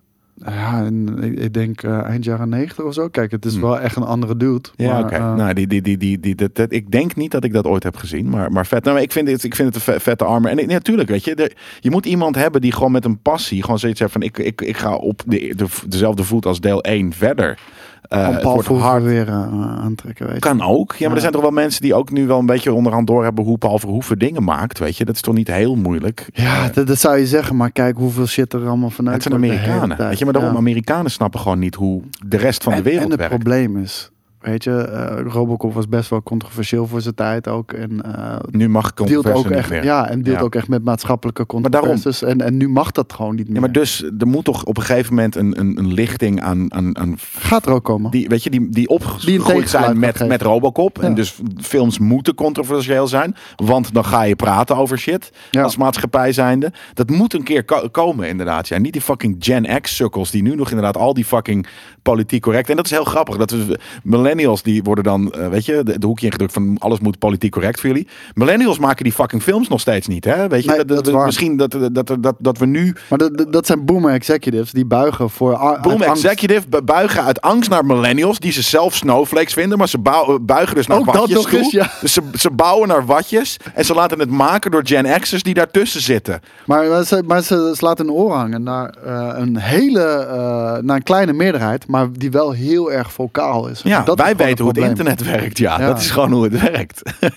Ja, en ik, ik denk eh, eind jaren negentig of zo. Kijk, het is wel echt een andere dude. Hmm. Ja, maar, oké. eh, Nou, die, die, die, die, die, dat, dat- ik denk niet dat ik dat ooit heb gezien, maar, maar vet. Nou, maar ik, vind het, ik vind het een ve- vette armor. En ik- natuurlijk, weet je, er- je moet iemand hebben die gewoon met een passie gewoon zoiets heeft van: ik, ik, ik ga op de, de, dezelfde voet als deel 1 verder. Eh, om het Paul wordt Verhoeven weer eh, aantrekken, weet je. Kan ook. Ja, maar er zijn toch wel mensen die ook nu wel een beetje onderhand door hebben hoe Paul Verhoeven dingen maakt, weet je. Dat is toch niet heel moeilijk. Ja, dat, dat zou je zeggen, maar kijk hoeveel shit er allemaal vanuit Het zijn wordt de hele Amerikanen, tijd. weet je. Maar daarom, Ja. Amerikanen snappen gewoon niet hoe de rest van de En- wereld En het werkt. probleem is, weet je, eh, Robocop was best wel controversieel voor zijn tijd ook. En eh Nu mag deelt controverse ook niet echt, meer. ja, en deelt Ja. ook echt met maatschappelijke daarom- controversies. En, en nu mag dat gewoon niet meer. Ja, maar dus er moet toch op een gegeven moment een, een, een lichting aan, aan, aan Gaat er ook komen. die, weet je, die, die Die een opgegroeid tegengeluid zijn gaat met, geven. met Robocop. Ja. En dus films moeten controversieel zijn. Want dan ga je praten over shit. Ja. Als maatschappij zijnde. Dat moet een keer ko- komen inderdaad. Ja. Niet die fucking Gen X-sukkels. Die nu nog inderdaad al die fucking politiek correct. En dat is heel grappig. Dat we, millennials die worden dan, eh, weet je, de, de hoekje ingedrukt van alles moet politiek correct voor jullie. Millennials maken die fucking films nog steeds niet. Hè? Weet je, Nee, dat, dat dat- is waar. misschien dat, dat, dat, dat, dat we nu Maar dat, dat- dat zijn boomer executives die buigen voor a- uit Boom angst. Executive bu- buigen uit angst naar millennials die ze zelf snowflakes vinden, maar ze bou- buigen dus naar Ook dat watjes nog toe. eens, ja. Dus ze, ze bouwen naar watjes en ze laten het maken door Gen X'ers die daartussen zitten. Maar, maar ze, maar ze slaat een oor hangen naar eh, een hele, eh, naar een kleine meerderheid, maar die wel heel erg vocaal is. Ja, En dat is wij gewoon weten hoe het probleem. internet werkt. Ja, Ja. dat is gewoon hoe het werkt. Echt,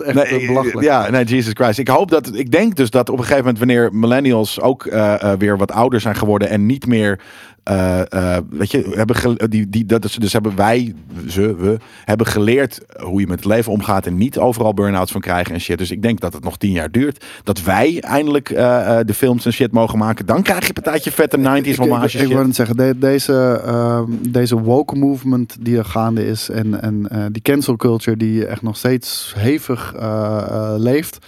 echt Nee, eh, belachelijk. Ja, nee, Jesus Christ. Ik hoop dat, ik denk dus dat op een gegeven moment wanneer millennials ook eh, eh, weer wat ouder zijn geworden en niet meer, eh, eh, weet je, hebben gele- die, die, dat ze dus hebben wij, ze, we, hebben geleerd hoe je met het leven omgaat en niet overal burn-outs van krijgen en shit. Dus ik denk dat het nog tien jaar duurt, dat wij eindelijk eh, eh, de films en shit mogen maken. Dan krijg je een partijtje vette 90s Ik, ik, hommage ik shit. wil het zeggen, de- deze, ehm, deze woke movement die er gaande is en, en eh, die cancel culture die echt nog steeds hevig eh, eh, leeft,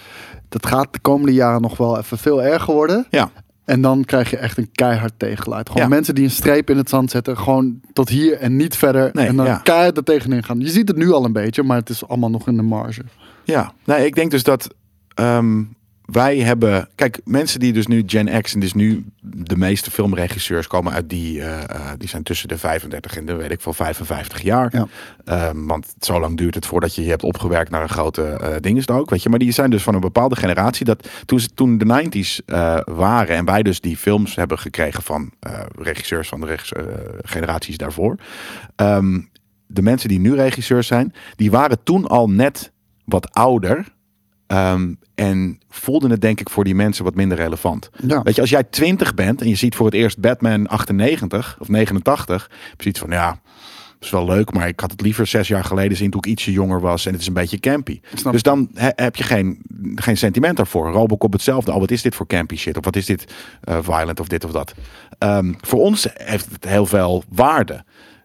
dat gaat de komende jaren nog wel even veel erger worden. Ja. En dan krijg je echt een keihard tegengeluid. Gewoon Ja. mensen die een streep in het zand zetten. Gewoon tot hier en niet verder. Nee, en dan ja. keihard er tegenin gaan. Je ziet het nu al een beetje, maar het is allemaal nog in de marge. Ja, nee, ik denk dus dat ehm, wij hebben. Kijk, mensen die dus nu Gen X en dus nu de meeste filmregisseurs komen uit die. eh, eh, die zijn tussen de 35 en de weet ik veel 55 jaar. Ja. Ehm, want zo lang duurt het voordat je je hebt opgewerkt naar een grote eh ding is het ook, weet je. Maar die zijn dus van een bepaalde generatie dat toen, ze, toen de 90s eh, waren en wij dus die films hebben gekregen van eh, regisseurs van de regs- eh, generaties daarvoor. Ehm, de mensen die nu regisseurs zijn, die waren toen al net wat ouder. ehm, en voelden het denk ik voor die mensen wat minder relevant. Ja. Weet je, als jij 20 bent en je ziet voor het eerst Batman 98 of 89, heb je iets van ja, dat is wel leuk, maar ik had het liever zes jaar geleden zien toen ik ietsje jonger was en het is een beetje campy. snap Dus dan he- heb je geen, geen sentiment daarvoor. Robocop hetzelfde. Oh, wat is dit voor campy shit? Of wat is dit eh, violent of dit of dat? Ehm, voor ons heeft het heel veel waarde.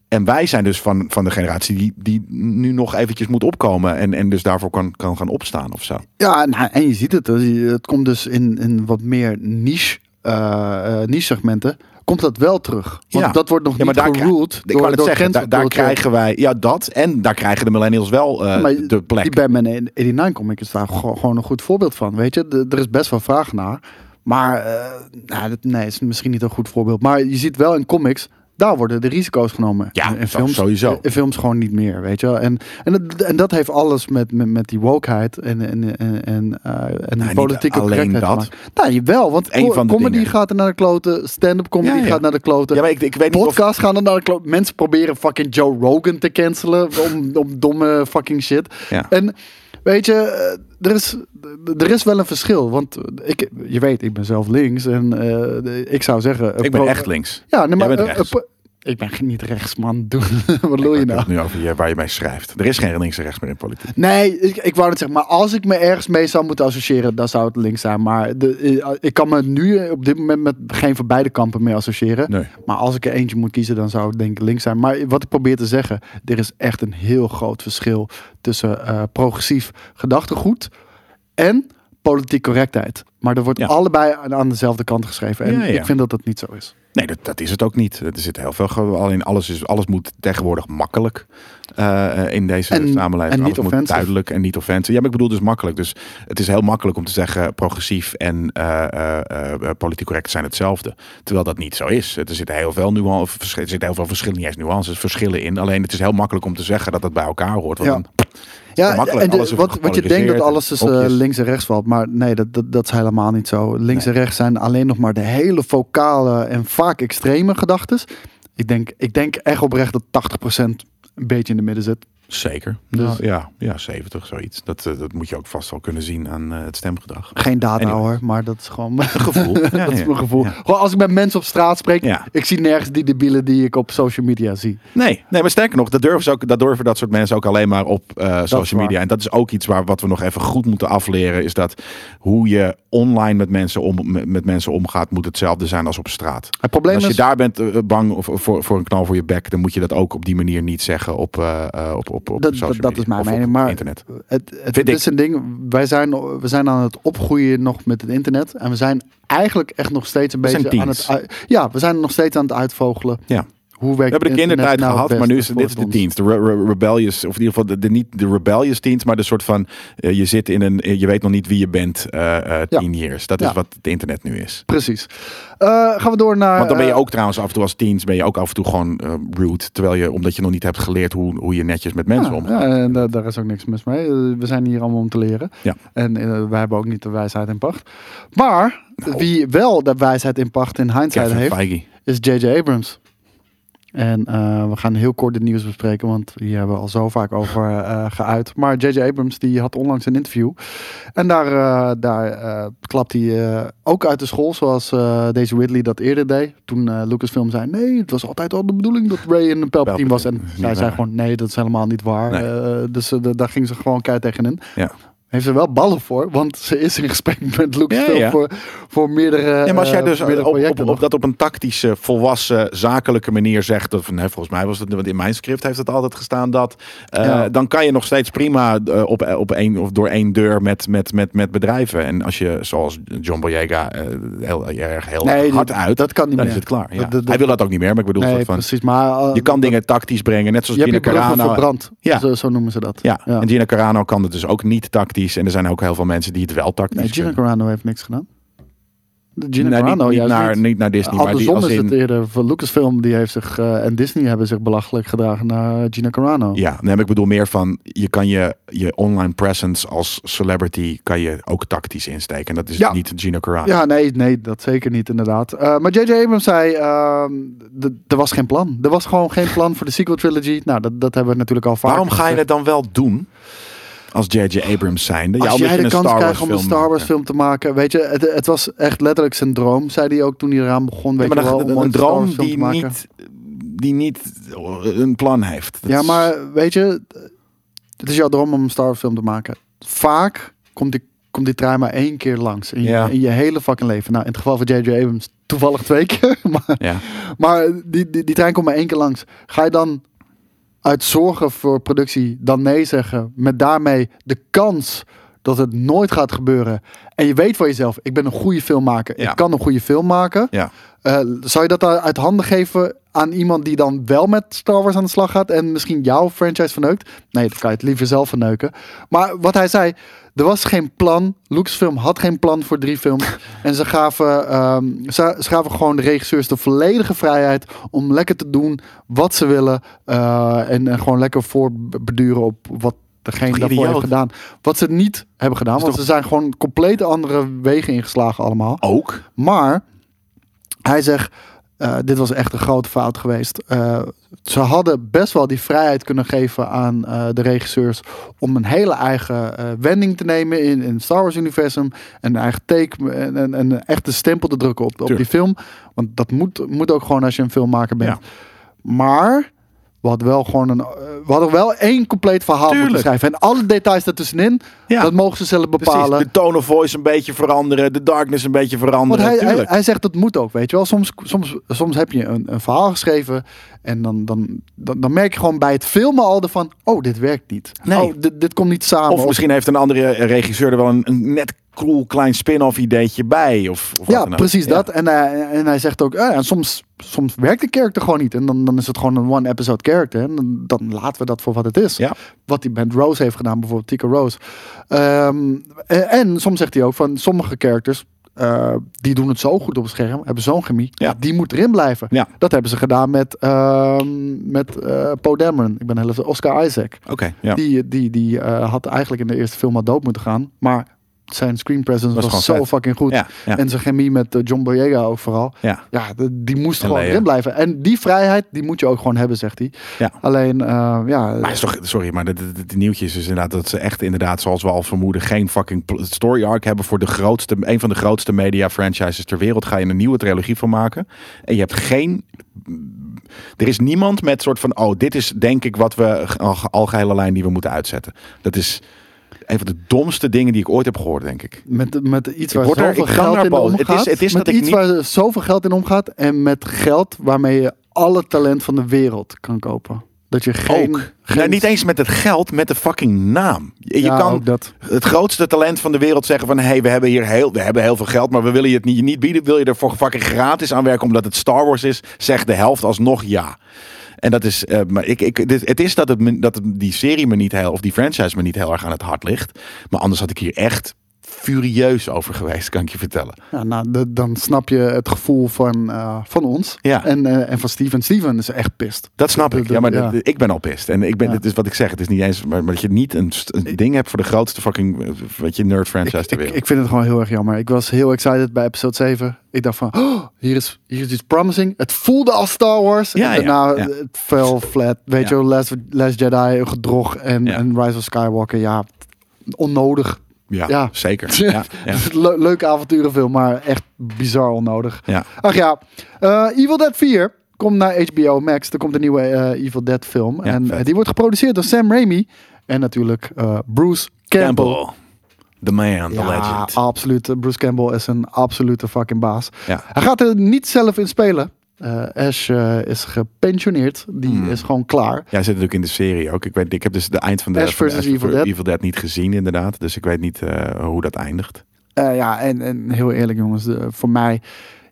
En wij zijn dus van, van de generatie die, die nu nog eventjes moet opkomen. En, en dus daarvoor kan, kan gaan opstaan of zo. Ja, nou, en je ziet het. dus je- Het komt dus in, in wat meer niche, eh, eh, niche segmenten. Komt dat wel terug? Want Ja. dat wordt nog Ja, maar niet daar krijg- geroeld Ik kan door, het door zeggen, daar, cancel daar culture. krijgen wij, ja dat, en daar krijgen de millennials wel eh, maar de plek. Die Batman 89 comic is daar gewoon gewoon een goed voorbeeld van. Weet je, De- er is best wel vraag naar. Maar eh, nou, dat, nee, is misschien niet een goed voorbeeld. Maar je ziet wel in comics daar worden de risico's genomen. Ja, in zo- sowieso. In films gewoon niet meer, weet je wel. En, en, dat, en dat heeft alles met, met, met die wokeheid en, en, en, en, eh, en niet die politieke alleen correctheid te dat. maken. Nou, wel, want Eén co- van de comedy dingen. gaat er naar de kloten, stand-up comedy Ja, ja. gaat naar de kloten. Ja, maar ik, ik weet niet of... Podcasts gaan er naar de kloot. Mensen proberen fucking Joe Rogan te cancelen om, om domme fucking shit. Ja. En weet je, eh, er is, d- er is wel een verschil. Want ik, je weet, ik ben zelf links en eh, ik zou zeggen... eh, Ik ben pro- echt links. Ja, nee, maar... bent eh, eh, rechts. pro- ik ben niet rechts, man. *laughs* Doe- Wat wil je Ik heb nou? het nu over je, waar je mee schrijft. Er is geen links en rechts meer in politiek. Nee, ik, ik wou het zeggen, maar als ik me ergens mee zou moeten associëren, dan zou het links zijn. Maar de, eh, ik kan me nu eh, op dit moment met geen van beide kampen mee associëren. Nee. Maar als ik er eentje moet kiezen, dan zou het denk ik links zijn. Maar wat ik probeer te zeggen, er is echt een heel groot verschil tussen eh, progressief gedachtegoed en politiek correctheid. Maar er wordt Ja. allebei aan, aan dezelfde kant geschreven. En Ja, ja. ik vind dat dat niet zo is. Nee, dat, dat is het ook niet. Er zit heel veel ge- al in. Alles, is, alles moet tegenwoordig makkelijk eh, eh, in deze En- samenleving. en niet alles moet offensive. duidelijk en niet offensive. Ja, maar ik bedoel dus makkelijk. Dus het is heel makkelijk om te zeggen progressief en eh, eh, eh, eh, politiek correct zijn hetzelfde. Terwijl dat niet zo is. Er zitten heel veel, nuance, verschil- er zitten heel veel verschillen, niet eens nuances, verschillen in. Alleen het is heel makkelijk om te zeggen dat dat bij elkaar hoort. Want Ja. dan- Ja, makkelijk, en de- alles is wat, wat je denkt dat gepolariseerd, alles tussen eh, hokjes. links en rechts valt. Maar nee, dat, dat, dat is helemaal niet zo. Links Nee. en rechts zijn alleen nog maar de hele vocale en vaak extreme gedachten. Ik denk, ik denk echt oprecht dat 80% een beetje in de midden zit. Zeker. Dus- ja, ja, 70, zoiets. Dat, eh, dat moet je ook vast wel kunnen zien aan eh, het stemgedrag. Geen data Anyway. hoor, maar dat is *laughs* gewoon mijn gevoel. Gevoel. Ja, dat is ja. mijn gevoel. Ja. Gewoon als ik met mensen op straat spreek, Ja. ik zie nergens die debielen die ik op social media zie. Nee, nee, maar sterker nog, dat durven, ze ook, dat durven dat soort mensen ook alleen maar op eh, is social waar. media. En dat is ook iets waar wat we nog even goed moeten afleren. Is dat hoe je online met mensen, om, met, met mensen omgaat, moet hetzelfde zijn als op straat. Het probleem als je is, daar bent eh, bang of- of voor, voor een knal voor je bek, dan moet je dat ook op die manier niet zeggen op, eh, eh, op, op, op Dat- social dat- dat media is mijn of op mening, maar- internet. het, het, Vind het is een ding, wij zijn, we zijn aan het opgroeien nog met het internet. En we zijn eigenlijk echt nog steeds een We zijn beetje aan het... teens. ui- Ja, we zijn nog steeds aan het uitvogelen. Ja. Hoe werkt We hebben de het internet kindertijd nou het gehad, maar beste nu is dit is voor de ons? dienst. De re- re- rebellious, of in ieder geval de, de- niet de rebellious dienst, maar de soort van eh, je zit in een, eh, je weet nog niet wie je bent, eh eh Ja. tien years. Dat is Ja. wat het internet nu is. Precies. Eh, gaan we door naar... Want dan ben je eh, ook trouwens af en toe als teens ben je ook af en toe gewoon eh, rude. Terwijl je, omdat je nog niet hebt geleerd hoe, hoe je netjes met mensen ja, eh, omgaat. ja, en daar, daar is ook niks mis mee. Eh, We zijn hier allemaal om te leren. Ja. En eh, wij hebben ook niet de wijsheid in pacht. Maar wie wel de wijsheid in pacht in hindsight Nou. Kevin heeft, Feige. is J.J. Abrams. En eh, we gaan heel kort het nieuws bespreken, want hier hebben we al zo vaak over eh, geuit. Maar J.J. Abrams die had onlangs een interview. En daar, eh, daar eh, klapt hij eh, ook uit de school, zoals eh, Daisy Ridley dat eerder deed. Toen eh, Lucasfilm zei, nee, het was altijd al de bedoeling dat Ray een Palpatine was. En Palpatine, is zij niet zei waar. gewoon, nee, dat is helemaal niet waar. Nee. Eh, dus eh, da- daar ging ze gewoon keihard tegenin. Ja. Heeft ze wel ballen voor, want ze is in gesprek *laughs* met Lucasfilm Ja, ja. Voor, voor meerdere Ja, maar als jij eh, dus voor op, meerdere op, projecten op, nog. dat op een tactische, volwassen, zakelijke manier zegt. Dat, van, nee, volgens mij was het, want in mijn script heeft het altijd gestaan dat. eh, Ja. Dan kan je nog steeds prima eh, op, op één of door één deur met, met, met, met bedrijven. En als je, zoals John Boyega, eh, heel, erg heel Nee, hard dat- uit, dat kan niet dan meer. is het klaar. Ja. Dat- dat- Hij wil dat ook niet meer, maar ik bedoel, soort Nee, van, precies. Maar, eh, je kan dat- dingen tactisch brengen, net zoals Je hebt je Gina bruggen Carano. verbrand. Ja. Zo, zo noemen ze dat. Ja. en Gina Carano kan het dus ook niet tactisch. En er zijn ook heel veel mensen die het wel tactisch Nee, Gina kunnen. Carano heeft niks gedaan. De Gina Nee, niet- Carano, niet, juist naar, niet. niet naar Disney, maar die Andersom als is in... het eerder van Lucasfilm die heeft zich eh, en Disney hebben zich belachelijk gedragen naar Gina Carano. Ja, nee, maar ik bedoel meer van je kan je, je online presence als celebrity kan je ook tactisch insteken. En dat is Ja. niet Gino Carano. Ja, nee, nee, dat zeker niet inderdaad. Eh, maar J.J. Abrams zei, ehm, d- er was geen plan. Er was gewoon geen plan voor de sequel trilogy. Nou, dat, dat hebben we natuurlijk al vaak Waarom ga je gezegd. het dan wel doen als J.J. Abrams zijnde? Als omdat jij je de een kans Star Wars krijgt om een film Star Wars maakt. film te maken, weet je, het, het was echt letterlijk zijn droom, zei hij ook toen hij eraan begon. Ja, Weet maar je wel, dan- om een Star Wars droom film te die maken. niet, die niet een plan heeft. Dat Ja, is- maar weet je, het is jouw droom om een Star Wars film te maken. Vaak komt die, komt die trein maar één keer langs in je, Ja. in je hele fucking leven. Nou, in het geval van J.J. Abrams toevallig twee keer. *laughs* Maar, Ja. maar die, die, die trein komt maar één keer langs. Ga je dan uit zorgen voor productie dan nee zeggen? Met daarmee de kans dat het nooit gaat gebeuren. En je weet van jezelf, ik ben een goede filmmaker. Ja. Ik kan een goede film maken. Ja. Eh, zou je dat uit handen geven aan iemand die dan wel met Star Wars aan de slag gaat en misschien jouw franchise verneukt. Nee, dan kan je het liever zelf verneuken. Maar wat hij zei, er was geen plan. Lucasfilm had geen plan voor drie *laughs* films. en ze gaven, ehm, ze, ze gaven gewoon de regisseurs de volledige vrijheid om lekker te doen wat ze willen. eh, en, en gewoon lekker voorbeduren op wat degene Toch daarvoor heeft idioot? gedaan. Wat ze niet hebben gedaan, want toch- ze zijn gewoon compleet andere wegen ingeslagen allemaal. Ook. Maar hij zegt, eh, dit was echt een grote fout geweest. Eh, ze hadden best wel die vrijheid kunnen geven aan eh, de regisseurs om een hele eigen eh, wending te nemen in, in het Star Wars universum. En een eigen take en, en, en echt de stempel te drukken op, op die Tuurlijk. film. Want dat moet, moet ook gewoon als je een filmmaker bent. Ja. Maar we hadden wel gewoon een. eh, We hadden wel één compleet verhaal moeten Tuurlijk. schrijven. En alle details daartussenin, Ja. dat mogen ze zelf bepalen. Precies, de tone of voice een beetje veranderen, de darkness een beetje Want veranderen. hij, hij, tuurlijk. hij zegt dat moet ook, weet je wel. Soms, soms, soms heb je een, een verhaal geschreven en dan, dan, dan, dan merk je gewoon bij het filmen al ervan... oh, dit werkt niet. Nee. Oh, dit, dit komt niet samen. of misschien heeft een andere regisseur er wel een, een net cool klein spin-off ideetje bij. Of, of wat Ja, dan ook. precies Ja. dat. En, hij- en hij zegt ook, eh, en soms, soms werkt de character gewoon niet. En dan, dan is het gewoon een one-episode character. En dan, dan laten we dat voor wat het is. Ja. Wat hij met Rose heeft gedaan, bijvoorbeeld Tika Rose. Ehm, en, en soms zegt hij ook van sommige characters... eh, die doen het zo goed op het scherm, hebben zo'n chemie. Ja. Die moet erin blijven. Ja. Dat hebben ze gedaan met, ehm met eh Poe Dameron. Ik ben heel even Oscar Isaac. Oké, ja. Die, die, die eh, had eigenlijk in de eerste film al dood moeten gaan. Maar zijn screen presence Was was, gewoon zo vet. fucking goed. Ja, ja. En zijn chemie met eh, John Boyega ook vooral. Ja. Ja, de- die moest En gewoon Leia. erin blijven. En die vrijheid, die moet je ook gewoon hebben, zegt hij. Ja. Alleen, eh, ja... Maar is toch, sorry, maar het- het het nieuwtje is dus inderdaad dat ze echt inderdaad, zoals we al vermoeden, geen fucking pl- story arc hebben voor de grootste, een van de grootste media franchises ter wereld. Ga je een nieuwe trilogie van maken en je hebt geen, er is niemand met soort van, oh, dit is denk ik wat we ge- al- algehele lijn die we moeten uitzetten. Dat is een van de domste dingen die ik ooit heb gehoord, denk ik. Met, met iets waar word er- zoveel ik kan geld daar in boos. omgaat. Het is- het is met dat ik iets niet- waar zoveel geld in omgaat. En met geld waarmee je alle talent van de wereld kan kopen. Dat je geen... ook. geen- Nou, niet eens met het geld, met de fucking naam. Je, je Ja, kan ook dat. het grootste talent van de wereld zeggen van... hé, hey, we hebben hier heel, we hebben heel veel geld, maar we willen je het niet, niet bieden. Wil je er voor fucking gratis aan werken omdat het Star Wars is? Zegt de helft alsnog ja. En dat is, eh, maar ik, ik, dit, het is dat, het, me- dat het die serie me niet heel, of die franchise me niet heel erg aan het hart ligt. Maar anders had ik hier echt furieus over geweest, kan ik je vertellen. Ja, nou, de- dan snap je het gevoel van, eh, van ons. Ja. En, eh, en van Steven. Steven is echt pist. Dat snap Dat- ik. Ja, dat- maar ja. dat- ik ben al pist. En ik ben, Ja. dit is wat ik zeg. Het is niet eens, maar, maar dat je niet een, st- een ding hebt voor de grootste fucking, eh, weet je, nerd franchise ter Ik, wereld. ik vind het gewoon heel erg jammer. Ik was heel excited bij episode 7. Ik dacht van, oh, hier, is, hier is iets promising. Het voelde als Star Wars. Ja, en ja, daarna ja. het fell flat. Weet Ja. je wel, Last, Last Jedi, een gedrog. En, Ja. en Rise of Skywalker, ja, onnodig. ja, ja. *laughs* zeker. Ja, ja. Le- leuk avonturenfilm, maar echt bizar onnodig. Ja. Ach ja, eh, Evil Dead 4 komt naar HBO Max. Er komt een nieuwe eh, Evil Dead film. Ja, en vet. eh, die wordt geproduceerd door Sam Raimi. En natuurlijk eh, Bruce Campbell. Campbell. The man, the legend. absoluut. Eh, Bruce Campbell is een absolute fucking baas. Ja. Hij gaat er niet zelf in spelen. Eh, Ash eh, is gepensioneerd. Die Hmm. is gewoon klaar. Ja, hij zit natuurlijk in de serie ook. Ik, weet, ik heb dus de eind van de Ash van de versus Evil Dead. niet gezien, inderdaad. Dus ik weet niet eh, hoe dat eindigt. Eh, ja, en, en heel eerlijk jongens, de- voor mij,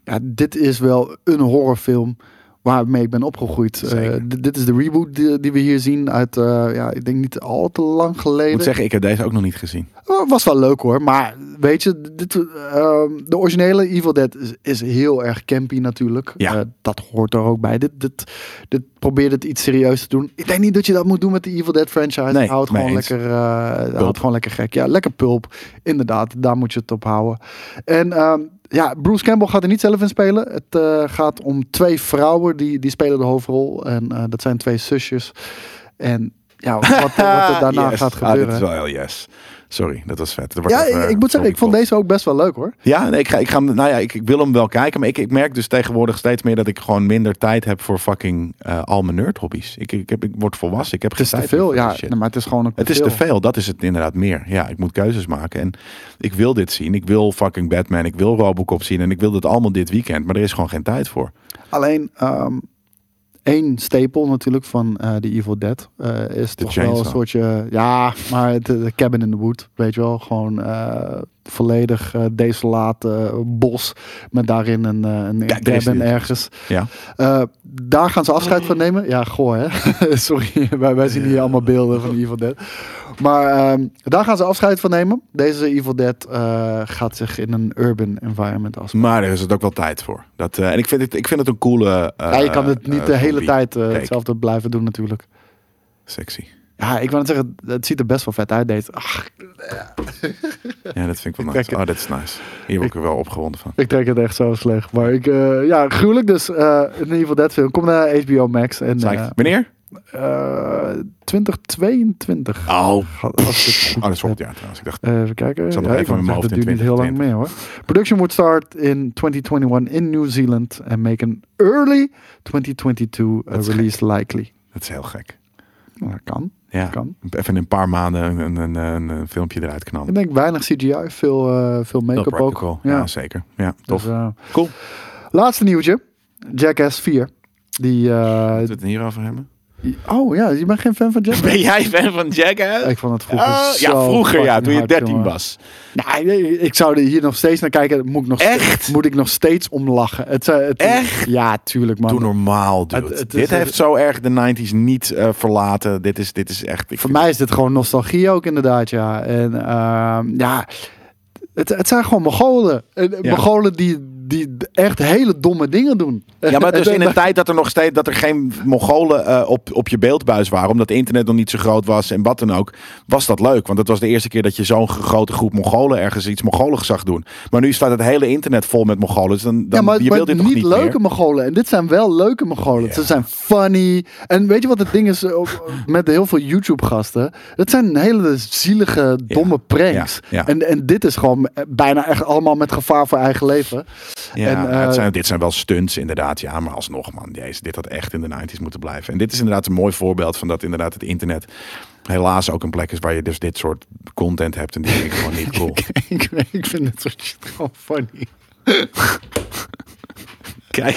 ja, dit is wel een horrorfilm waarmee ik ben opgegroeid. Eh, Zeker. dit- dit is de reboot die, die we hier zien uit, eh, ja, ik denk niet al te lang Ik geleden. moet zeggen, ik heb deze ook nog niet gezien. Eh, was wel leuk hoor, maar weet je, dit, ehm, de originele Evil Dead is, is heel erg campy natuurlijk. Ja. Eh, dat hoort er ook bij. Dit, dit, dit probeert het iets serieus te doen. Ik denk niet dat je dat moet doen met de Evil Dead franchise. Nee, houd mee gewoon eens. lekker, eh Pulp. houd gewoon lekker gek. Ja, lekker pulp. Inderdaad, daar moet je het op houden. En ehm, ja, Bruce Campbell gaat er niet zelf in spelen. Het eh, gaat om twee vrouwen die, die spelen de hoofdrol. En eh, dat zijn twee zusjes. En ja, wat, wat *laughs* er daarna Yes. gaat Ah, gebeuren. dat is wel heel yes. Sorry, dat was vet. Er wordt Ja, even, ik, ik moet zeggen, ik vond omgekocht. deze ook best wel leuk hoor. Ja, nee, ik, ga, ik, ga, hem- nou ja, ik, ik wil hem wel kijken. Maar ik, ik merk dus tegenwoordig steeds meer dat ik gewoon minder tijd heb voor fucking eh, al mijn nerd hobby's. Ik, ik, heb, ik word volwassen. Ik heb Het is geen te tijd meer veel, voor ja. die shit. nee, maar het is gewoon ook Het is te veel, dat is het inderdaad meer. Ja, ik moet keuzes maken en ik wil dit zien. Ik wil fucking Batman, ik wil Robocop zien en ik wil dat allemaal dit weekend. Maar er is gewoon geen tijd voor. Alleen ehm, één stapel natuurlijk van eh The Evil Dead eh, is toch wel chainsaw. een soortje... Ja, maar de, de Cabin in the Wood, weet je wel. Gewoon eh, volledig eh desolaat eh, bos met daarin een, eh, een Ja, er is cabin dit. ergens. Ja. Eh, daar gaan ze afscheid van nemen. Ja, goh hè. *laughs* Sorry, wij, wij zien hier allemaal beelden van Evil Dead. Maar ehm, daar gaan ze afscheid van nemen. Deze Evil Dead eh, gaat zich in een urban environment afspelen. Maar er is het ook wel tijd voor. Dat, eh, en ik vind, het, ik vind het een coole. eh, ja, je kan het niet eh, de hele zombie tijd eh, take. hetzelfde blijven doen natuurlijk. Sexy. Ja, ik wou net zeggen, het ziet er best wel vet uit. Deze. Ach, Ja, dat vind ik wel trek nice. het. Oh, dat is nice. Hier word ik er wel opgewonden van. ik trek het echt zo slecht. Maar ik, eh, ja, gruwelijk dus. eh in ieder geval, dat film. Kom naar HBO Max. En, Psych. eh, Meneer? eh, 2022. Oh. Gaat- als ik het goed Oh, dat is volgend heb. jaar trouwens. Ik dacht, Eh, Even kijken. zat nog even ik wou in mijn zeggen, hoofd dat in duurt niet heel lang meer hoor. Production would start in 2021 in New Zealand. And make an early 2022 Dat is release likely. dat is heel gek. Nou, dat kan. Ja. kan. Even in een paar maanden een, een, een, een, een filmpje eruit Ik knallen. denk weinig CGI, veel, eh, veel Heel make-up ook. practical. Ja, zeker. Ja, tof. Dus, eh, Cool. Laatste nieuwtje. Jackass 4. Die, eh, Moeten we het hierover hebben? oh ja, je bent geen fan van Jackass? *laughs* Ben jij fan van Jackass? Ik vond het vroeger zo Eh, ja, vroeger ja, fucking toen je hard, 13 jongen. was. Nee, nee, ik zou er hier nog steeds naar kijken. Moet ik nog Echt? Steeds, moet ik nog steeds om lachen. Het, eh, het- Echt? Ja, tuurlijk man. Doe normaal, dude. Het- het is- dit heeft zo erg de 90s niet eh, verlaten. Dit is, dit is echt... ik Voor vind- mij is dit gewoon nostalgie ook inderdaad, ja. En ehm, ja, het, het zijn gewoon Mongolen. En, Ja. Mongolen die, die echt hele domme dingen doen. Ja, maar dus *laughs* En- in een tijd dat er nog steeds dat er geen Mongolen eh, op, op je beeldbuis waren, omdat internet nog niet zo groot was en wat dan ook, was dat leuk. Want het was de eerste keer dat je zo'n g- grote groep Mongolen ergens iets Mongoligs zag doen. Maar nu staat het hele internet vol met Mongolen. Dus dan, dan ja, maar, je maar wil dit niet, toch niet leuke meer? Mongolen. En dit zijn wel leuke Mongolen. Ze zijn funny. En weet je wat het ding is eh, ook *laughs* met heel veel YouTube-gasten? Dat zijn hele zielige, domme pranks. ja, ja. En, en dit is gewoon eh, bijna echt allemaal met gevaar voor eigen leven. Ja, en, eh, het zijn, dit zijn wel stunts inderdaad. Ja, maar alsnog man, deze, dit had echt in de 90s moeten blijven. En dit is inderdaad een mooi voorbeeld van dat inderdaad het internet helaas ook een plek is waar je dus dit soort content hebt en die vind ik gewoon *laughs* niet cool. *laughs* ik, weet- ik vind dit soort shit gewoon funny. *laughs* Kijk,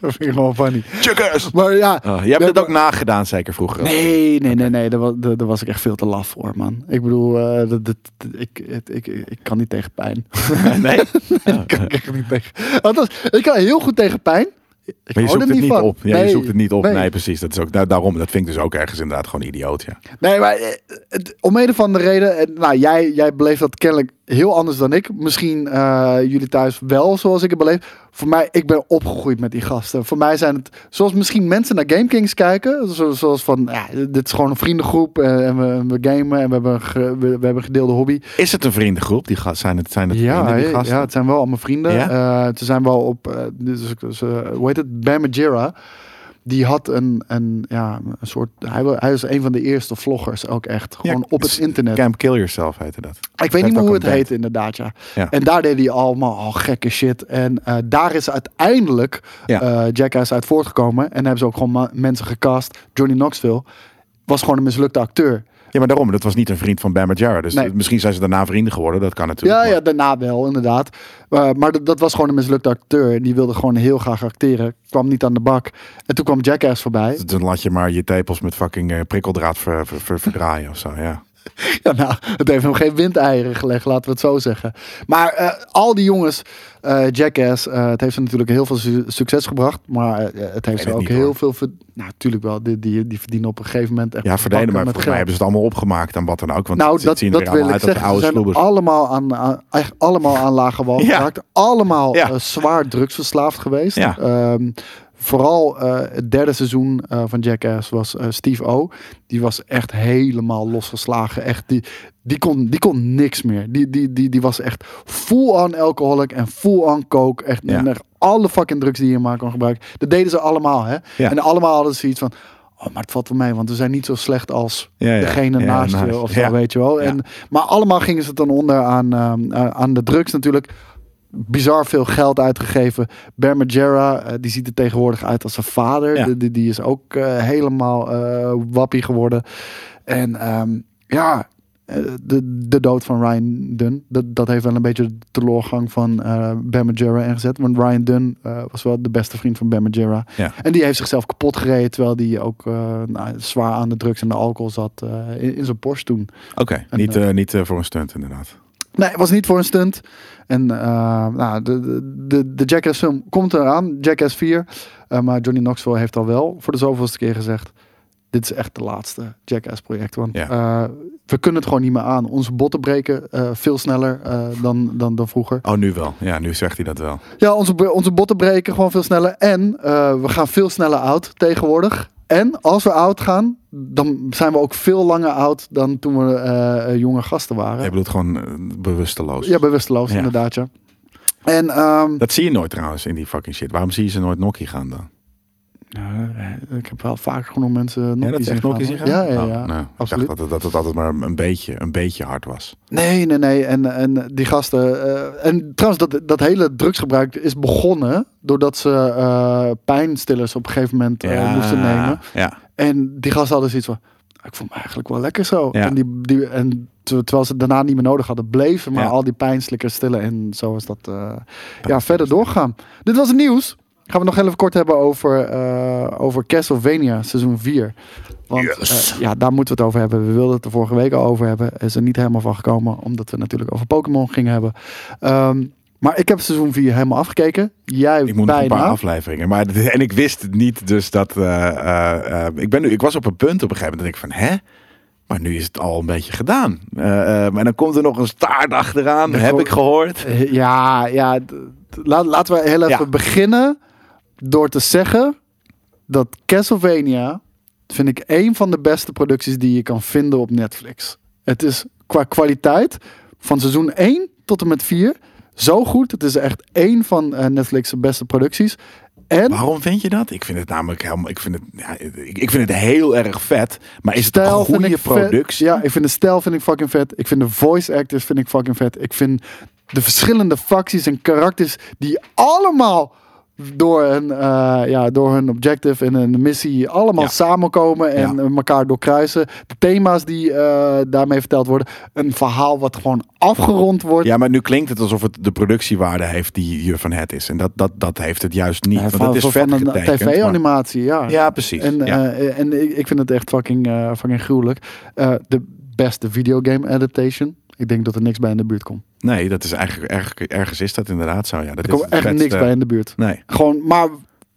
Dat vind ik gewoon funny. checkers! Maar ja... Oh, je hebt ja, het maar- ook nagedaan zeker vroeger. Nee, nee, nee, nee. Daar was, daar, daar was ik echt veel te laf voor, man. Ik bedoel, eh, dat, dat, ik, het- ik, ik, ik kan niet tegen pijn. *laughs* nee? ik kan echt niet tegen. Althans, ik kan heel goed tegen pijn. Ik Maar je hou zoekt er het niet van. op. Ja, je Nee, zoekt het niet op. Nee, Nee, precies. Dat is ook, nou, daarom, dat vind ik dus ook ergens inderdaad gewoon idioot. Ja. Nee, maar eh, het, om een of andere reden. en Nou, jij, jij beleeft dat kennelijk heel anders dan ik. Misschien eh, jullie thuis wel zoals ik het beleef. Voor mij, ik ben opgegroeid met die gasten. Voor mij zijn het, zoals misschien mensen naar Game Kings kijken. zo- Zoals van, ja, dit is gewoon een vriendengroep. eh, En we, we gamen en we hebben, een ge- we, we hebben een gedeelde hobby. Is het een vriendengroep? Die gast, zijn het, zijn het Ja, vrienden, die ja, gasten? ja, het zijn wel allemaal vrienden. Ja? Eh, ze zijn wel op, eh, dus, dus, eh, hoe heet het? Bamajira. Die had een, een, ja, een soort. Hij, wa- hij is een van de eerste vloggers ook echt. Gewoon op het s- internet. Camp Kill Yourself heette dat. ik weet heeft niet meer ook hoe een het band. heet, inderdaad. Ja. Ja. En daar deed hij allemaal al gekke shit. En eh, daar is uiteindelijk Ja. eh, Jackass uit voortgekomen. En hebben ze ook gewoon ma- mensen gecast. Johnny Knoxville was gewoon een mislukte acteur. Ja, maar daarom. Dat was niet een vriend van Bam Margera. Dus Nee. misschien zijn ze daarna vrienden geworden. Dat kan natuurlijk. Ja, maar- ja, daarna wel, inderdaad. Eh, maar dat, dat was gewoon een mislukte acteur. En die wilde gewoon heel graag acteren. Kwam niet aan de bak. En toen kwam Jackass voorbij. *laughs* Dan laat je maar je tepels met fucking eh, prikkeldraad ver, ver- ver- verdraaien of zo. Ja. Ja, nou, het heeft hem geen windeieren gelegd, laten we het zo zeggen. Maar eh, al die jongens, eh, Jackass, eh, het heeft ze natuurlijk heel veel su- succes gebracht. Maar eh, het heeft ze het ook niet, heel hoor. veel... verd- nou, natuurlijk wel. Die, die, die verdienen op een gegeven moment echt ja, verdelen. bakken Maar met volgens mij geld. hebben ze het allemaal opgemaakt aan wat dan ook. Want Nou, het, dat, zien er dat weer wil allemaal ik uit als zeggen. Ze oude zijn sloebers. allemaal aan, aan, echt allemaal aan lage *laughs* wal Ja. geraakt. Allemaal Ja. eh, zwaar drugsverslaafd geweest. Ja. Ehm, vooral eh, het derde seizoen eh, van Jackass was eh, Steve O. Die was echt helemaal losgeslagen. Echt, die, die, kon, die kon niks meer. Die, die, die, die was echt full-on alcoholic en full-on coke. Echt, Ja. en echt alle fucking drugs die je maar kon gebruiken. Dat deden ze allemaal. Hè? Ja. En allemaal hadden ze iets van... Oh, maar het valt wel mee, want we zijn niet zo slecht als Ja, ja. degene Ja, naast je nice. of zo, Ja. weet je wel. Ja. En, maar allemaal gingen ze dan onder aan, ehm, eh, aan de drugs natuurlijk. Bizar veel geld uitgegeven. Bear Margera, eh, die ziet er tegenwoordig uit als zijn vader. Ja. Die- Die, die is ook eh, helemaal eh, wappie geworden. En ehm, ja, eh, de, de dood van Ryan Dunn. Dat, dat heeft wel een beetje de teleurgang van eh Ben Margera ingezet. Want Ryan Dunn eh, was wel de beste vriend van Ben Margera. Ja. En die heeft zichzelf kapot gereden. Terwijl die ook eh, nou, zwaar aan de drugs en de alcohol zat eh, in, in zijn borst toen. Oké, niet, En, eh, niet eh, voor een stunt inderdaad. Nee, het was niet voor een stunt. En eh, nou, de, de, de, de Jackass film komt eraan, Jackass 4. Eh, maar Johnny Knoxville heeft al wel voor de zoveelste keer gezegd... dit is echt de laatste Jackass project. Want Ja. eh, we kunnen het gewoon niet meer aan. Onze botten breken eh, veel sneller eh, dan, dan, dan vroeger. Oh, nu wel. Ja, nu zegt hij dat wel. Ja, onze, b- onze botten breken gewoon veel sneller. En eh, we gaan veel sneller oud tegenwoordig. En als we oud gaan, dan zijn we ook veel langer oud dan toen we eh, jonge gasten waren. Hij bedoelt gewoon eh, bewusteloos. Ja, bewusteloos Ja. inderdaad, ja. En ehm, Dat zie je nooit trouwens in die fucking shit. Waarom zie je ze nooit Nokkie gaan dan? nou, eh, ik heb wel vaak genoeg mensen nog Ja, dat is echt Nokkie zien gaan? Ja, ja, ja. Oh, nou, ik dacht absoluut. dat het, dat het altijd maar een beetje, een beetje hard was. Nee, nee, nee. En, en die gasten... eh, en trouwens, dat, dat hele drugsgebruik is begonnen doordat ze eh, pijnstillers op een gegeven moment eh, moesten nemen. Ah, Ja. En die gasten hadden zoiets van... Ik vond me eigenlijk wel lekker zo. Ja. En, die, die, en ter- terwijl ze het daarna niet meer nodig hadden, bleven maar Ja. al die pijnstillers stillen. En zo is dat eh, ja, verder doorgaan. Dit was het nieuws. Gaan we nog heel even kort hebben over, eh, over Castlevania seizoen 4. Want Yes. eh, ja, daar moeten we het over hebben. We wilden het er vorige week al over hebben. Is er niet helemaal van gekomen, omdat we natuurlijk over Pokémon gingen hebben. Ehm, maar ik heb seizoen 4 helemaal afgekeken. Jij Ik moet nog bijna. een paar afleveringen. Maar, *laughs* en ik wist het niet, dus dat... eh, eh, eh, ik, ben nu, ik was op een punt op een gegeven moment dat ik van... Hè? Maar nu is het al een beetje gedaan. Eh, eh, maar dan komt er nog een staart achteraan, Dat heb wel- ik gehoord. Eh, *laughs* Ja, ja. d- d- la- laten we heel even Ja. beginnen door te zeggen dat Castlevania vind ik een van de beste producties die je kan vinden op Netflix. Het is qua kwaliteit van seizoen 1 tot en met 4 zo goed. Het is echt één van eh, Netflix' beste producties. En Waarom vind je dat? Ik vind het namelijk helemaal... Ik vind het, ja, ik, ik vind het heel erg vet. Maar is het een stijl vind goede ik vet. productie? Ja, ik vind de stijl vind ik fucking vet. Ik vind de voice actors vind ik fucking vet. Ik vind de verschillende facties en karakters die allemaal door hun, eh, ja, door hun objective en hun missie allemaal Ja. samenkomen en Ja. elkaar doorkruisen. De thema's die eh, daarmee verteld worden. Een verhaal wat gewoon afgerond wordt. Ja, maar nu klinkt het alsof het de productiewaarde heeft die je van het is. En dat, dat, dat heeft het juist niet. Ja, want het is vet van een uh, getekend, maar- tv-animatie, ja. Ja, precies. En, ja. eh, en ik, ik vind het echt fucking, eh, fucking gruwelijk. Eh, de beste videogame adaptation. Ik denk dat er niks bij in de buurt komt. nee, dat is eigenlijk erg, ergens is dat inderdaad zo. Ja, dat Er is komt het echt vetste- niks bij in de buurt. Nee, Gewoon, maar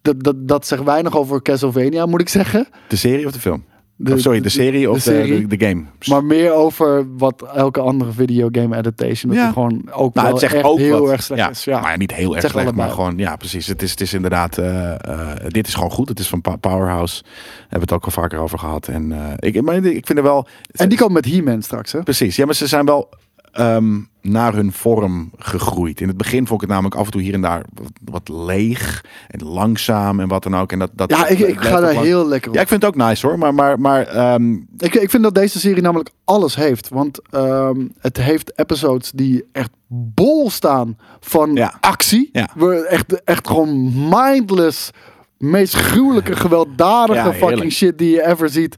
dat, dat, dat zegt weinig over Castlevania, moet ik zeggen. de serie of de film? De- Of sorry, de serie of de, serie. de, de game? Maar meer over wat elke andere videogame adaptation. Dat Ja. die gewoon ook nou, wel het zegt echt ook heel wat. erg slecht ja. is. Ja. Maar ja, niet heel erg zegt slecht, maar allebei. gewoon, ja, precies. Het is, het is inderdaad, eh, eh, dit is gewoon goed. Het is van Pa- Powerhouse. We hebben het ook al vaker over gehad. En eh, ik, maar ik vind er wel, En die komt met He-Man straks, hè? Precies, ja, maar ze zijn wel ehm, naar hun vorm gegroeid. In het begin vond ik het namelijk af en toe hier en daar wat, wat leeg en langzaam en wat dan ook. En dat, dat, Ja, ik, dat ik blijft ga ook daar wel- heel lekker op. Ja, ik vind het ook nice hoor, maar, maar, maar ehm, Ik, ik vind dat deze serie namelijk alles heeft. Want ehm, het heeft episodes die echt bol staan van Ja. actie. Ja. We echt, echt gewoon mindless, meest gruwelijke, gewelddadige Ja, heerlijk. fucking shit die je ever ziet.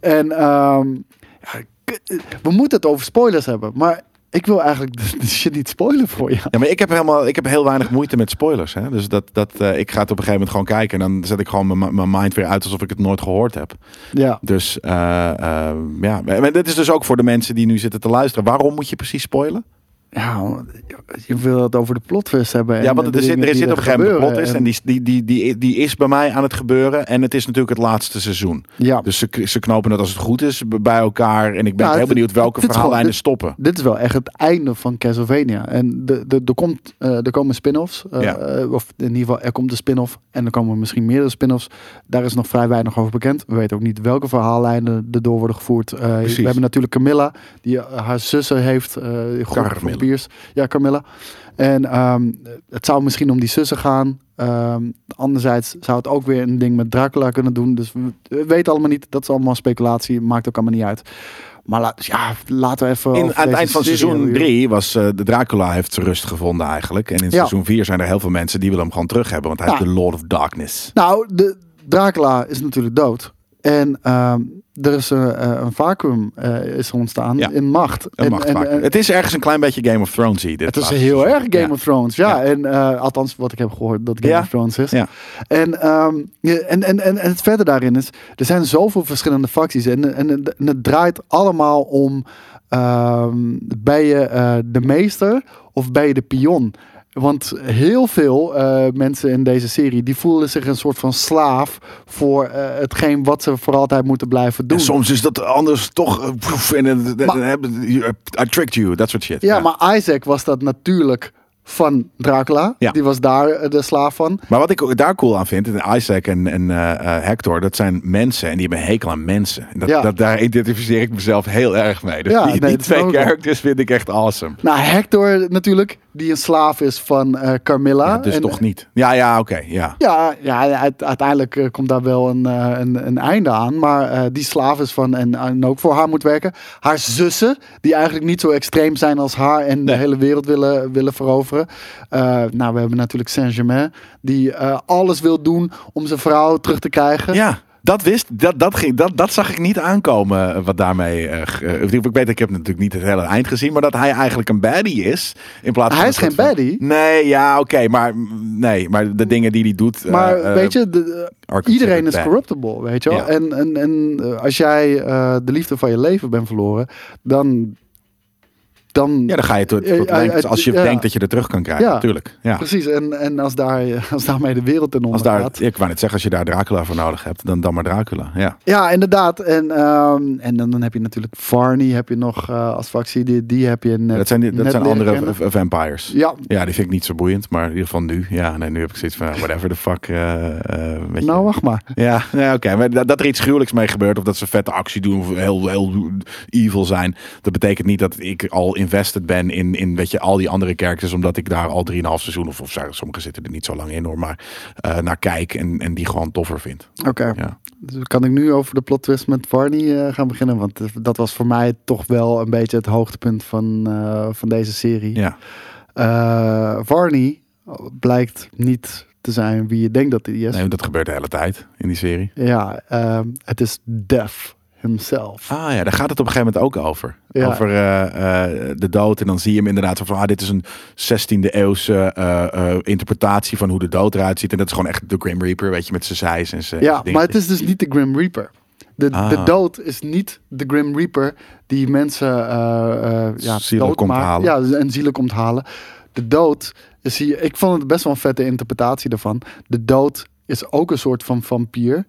En ehm, ja, k- we moeten het over spoilers hebben. Maar ik wil eigenlijk de, de shit niet spoilen voor je. Ja, maar ik heb, helemaal, ik heb heel weinig moeite met spoilers. Hè? Dus dat, dat, eh, ik ga het op een gegeven moment gewoon kijken. En dan zet ik gewoon mijn- mijn mind weer uit alsof ik het nooit gehoord heb. Ja. Dus eh, eh, ja, maar dit is dus ook voor de mensen die nu zitten te luisteren. Waarom moet je precies spoilen? ja, want je wil het over de plotwist hebben. en Ja, want de er zit, dingen er die zit op een gegeven moment een gebeuren. plot is. En die, die, die, die, die is bij mij aan het gebeuren. En het is natuurlijk het laatste seizoen. Ja. Dus ze, ze knopen het als het goed is b- bij elkaar. En ik ben Ja, heel het- benieuwd welke het is gewoon- verhaallijnen dit- stoppen. Dit is wel echt het einde van Castlevania. En de, de, er, komt, eh, er komen spin-offs. eh, Ja. eh, of in ieder geval, er komt een spin-off. En er komen misschien meerdere spin-offs. Daar is nog vrij weinig over bekend. We weten ook niet welke verhaallijnen erdoor worden gevoerd. Eh, Precies. we hebben natuurlijk Camilla, die eh, haar zussen heeft. eh groep Carmilla. vampiers. Ja, Camilla. En ehm, het zou misschien om die zussen gaan. Ehm, anderzijds zou het ook weer een ding met Dracula kunnen doen. Dus we we weten allemaal niet. Dat is allemaal speculatie. Maakt ook allemaal niet uit. Maar la- ja, laten we even. In, over aan het deze eind van serie seizoen hebben. 3 was eh, de Dracula heeft zijn rust gevonden eigenlijk. En in Ja. seizoen 4 zijn er heel veel mensen die willen hem gewoon terug hebben. Want hij Ja. is de Lord of Darkness. Nou, de Dracula is natuurlijk dood. En ehm, er is eh, eh, een vacuüm eh, is ontstaan Ja. in macht. Een en, en- machtvaak. en- het is ergens een klein beetje Game of Thrones. Dit het is laatste heel seizoen. erg Game Ja. of Thrones. Ja, Ja. en eh, althans wat ik heb gehoord dat Game Ja. of Thrones is. Ja. En, ehm, ja, en, en, en, en het verder daarin is, er zijn zoveel verschillende facties. En, en, en het draait allemaal om ehm, ben je eh, de meester of ben je de pion? Want heel veel eh, mensen in deze serie die voelen zich een soort van slaaf voor eh, hetgeen wat ze voor altijd moeten blijven doen. En soms is dat anders toch. eh, poef, en dan- dan- dan hebben- I tricked you, dat soort shit. ja, maar Isaac was dat natuurlijk van Dracula. Ja. Die was daar eh, de slaaf van. Maar wat ik ook daar cool aan vind, en Isaac en, en eh, eh, Hector, dat zijn mensen en die hebben een hekel aan mensen. En Dat, Ja. dat, daar identificeer ik mezelf heel erg mee. Dus Ja, die, nee, die dat twee snap ik wel. characters vind ik echt awesome. Nou, Hector natuurlijk, die een slaaf is van eh, Carmilla. Ja, dus En- toch niet. Ja, ja, oké. ja. Ja, ja uit- uiteindelijk eh, komt daar wel een, eh, een, een einde aan. Maar eh, die slaaf is van en, en ook voor haar moet werken. Haar zussen, die eigenlijk niet zo extreem zijn als haar en de Nee. hele wereld willen, willen veroveren. Eh, nou, we hebben natuurlijk Saint-Germain, die eh, alles wil doen om zijn vrouw terug te krijgen. Ja, dat wist, dat, dat, ging, dat, dat zag ik niet aankomen eh, wat daarmee... eh, ge- eh, ik weet, ik heb natuurlijk niet het hele eind gezien, maar dat hij eigenlijk een baddie is. In plaats van Hij een is geen soort van- baddie. Nee, ja, oké, maar, mm, nee, maar de dingen die hij doet... eh, Maar eh, weet je, de- de- eh, Arkham iedereen City is Bad. corruptible, weet je wel. Ja. En, en, en eh, als jij eh, de liefde van je leven bent verloren, dan... dan Ja, dan ga je tot, tot Eh, eh, lengtes eh, als je ja. denkt dat je er terug kan krijgen, Ja. natuurlijk. Ja. Precies, en, en als, daar, *laughs* als daarmee de wereld in Als onder daar, gaat. ik wou net zeggen, als je daar Dracula voor nodig hebt, dan, dan maar Dracula. Ja. Ja, inderdaad. En, ehm, en dan, dan heb je natuurlijk Varney heb je nog eh, als fractie. Die, die heb je net Dat zijn, die- dat net zijn leren andere kennen. v- vampires. Ja, Ja, die vind ik niet zo boeiend, maar in ieder geval nu. Ja, nee, nu heb ik zoiets van, whatever the fuck. eh, eh, weet je. nou wacht maar. Ja, nee, oké. Maar dat, dat er iets gruwelijks mee gebeurt, of dat ze vette actie doen, of heel, heel evil zijn. Dat betekent niet dat ik al invested ben in, in weet je, al die andere characters, omdat ik daar al 3,5 seizoen, of, of sommigen zitten er niet zo lang in hoor, maar eh, naar kijk en, en die gewoon toffer vind. Oké, Ja. dus kan ik nu over de plot twist met Varney eh, gaan beginnen? Want eh, dat was voor mij toch wel een beetje het hoogtepunt van, eh, van deze serie. ja. Eh, Varney blijkt niet te zijn wie je denkt dat hij is. Nee, want dat gebeurt de hele tijd in die serie. Ja, ehm, het is Death himself. Ah ja, daar gaat het op een gegeven moment ook over. Ja. Over eh, eh, de dood. En dan zie je hem inderdaad zo van, ah, dit is een 16e eeuwse eh, eh, interpretatie van hoe de dood eruit ziet. En dat is gewoon echt de Grim Reaper, weet je, met zijn zijs en zijn Ja, zijn maar het dingetjes. is dus niet de Grim Reaper. De, de Ah. dood is niet de Grim Reaper die mensen eh, eh, ja, Zielen dood komt maakt. halen. Ja, en zielen komt halen. De dood is hier, ik vond het best wel een vette interpretatie daarvan. De dood is ook een soort van vampier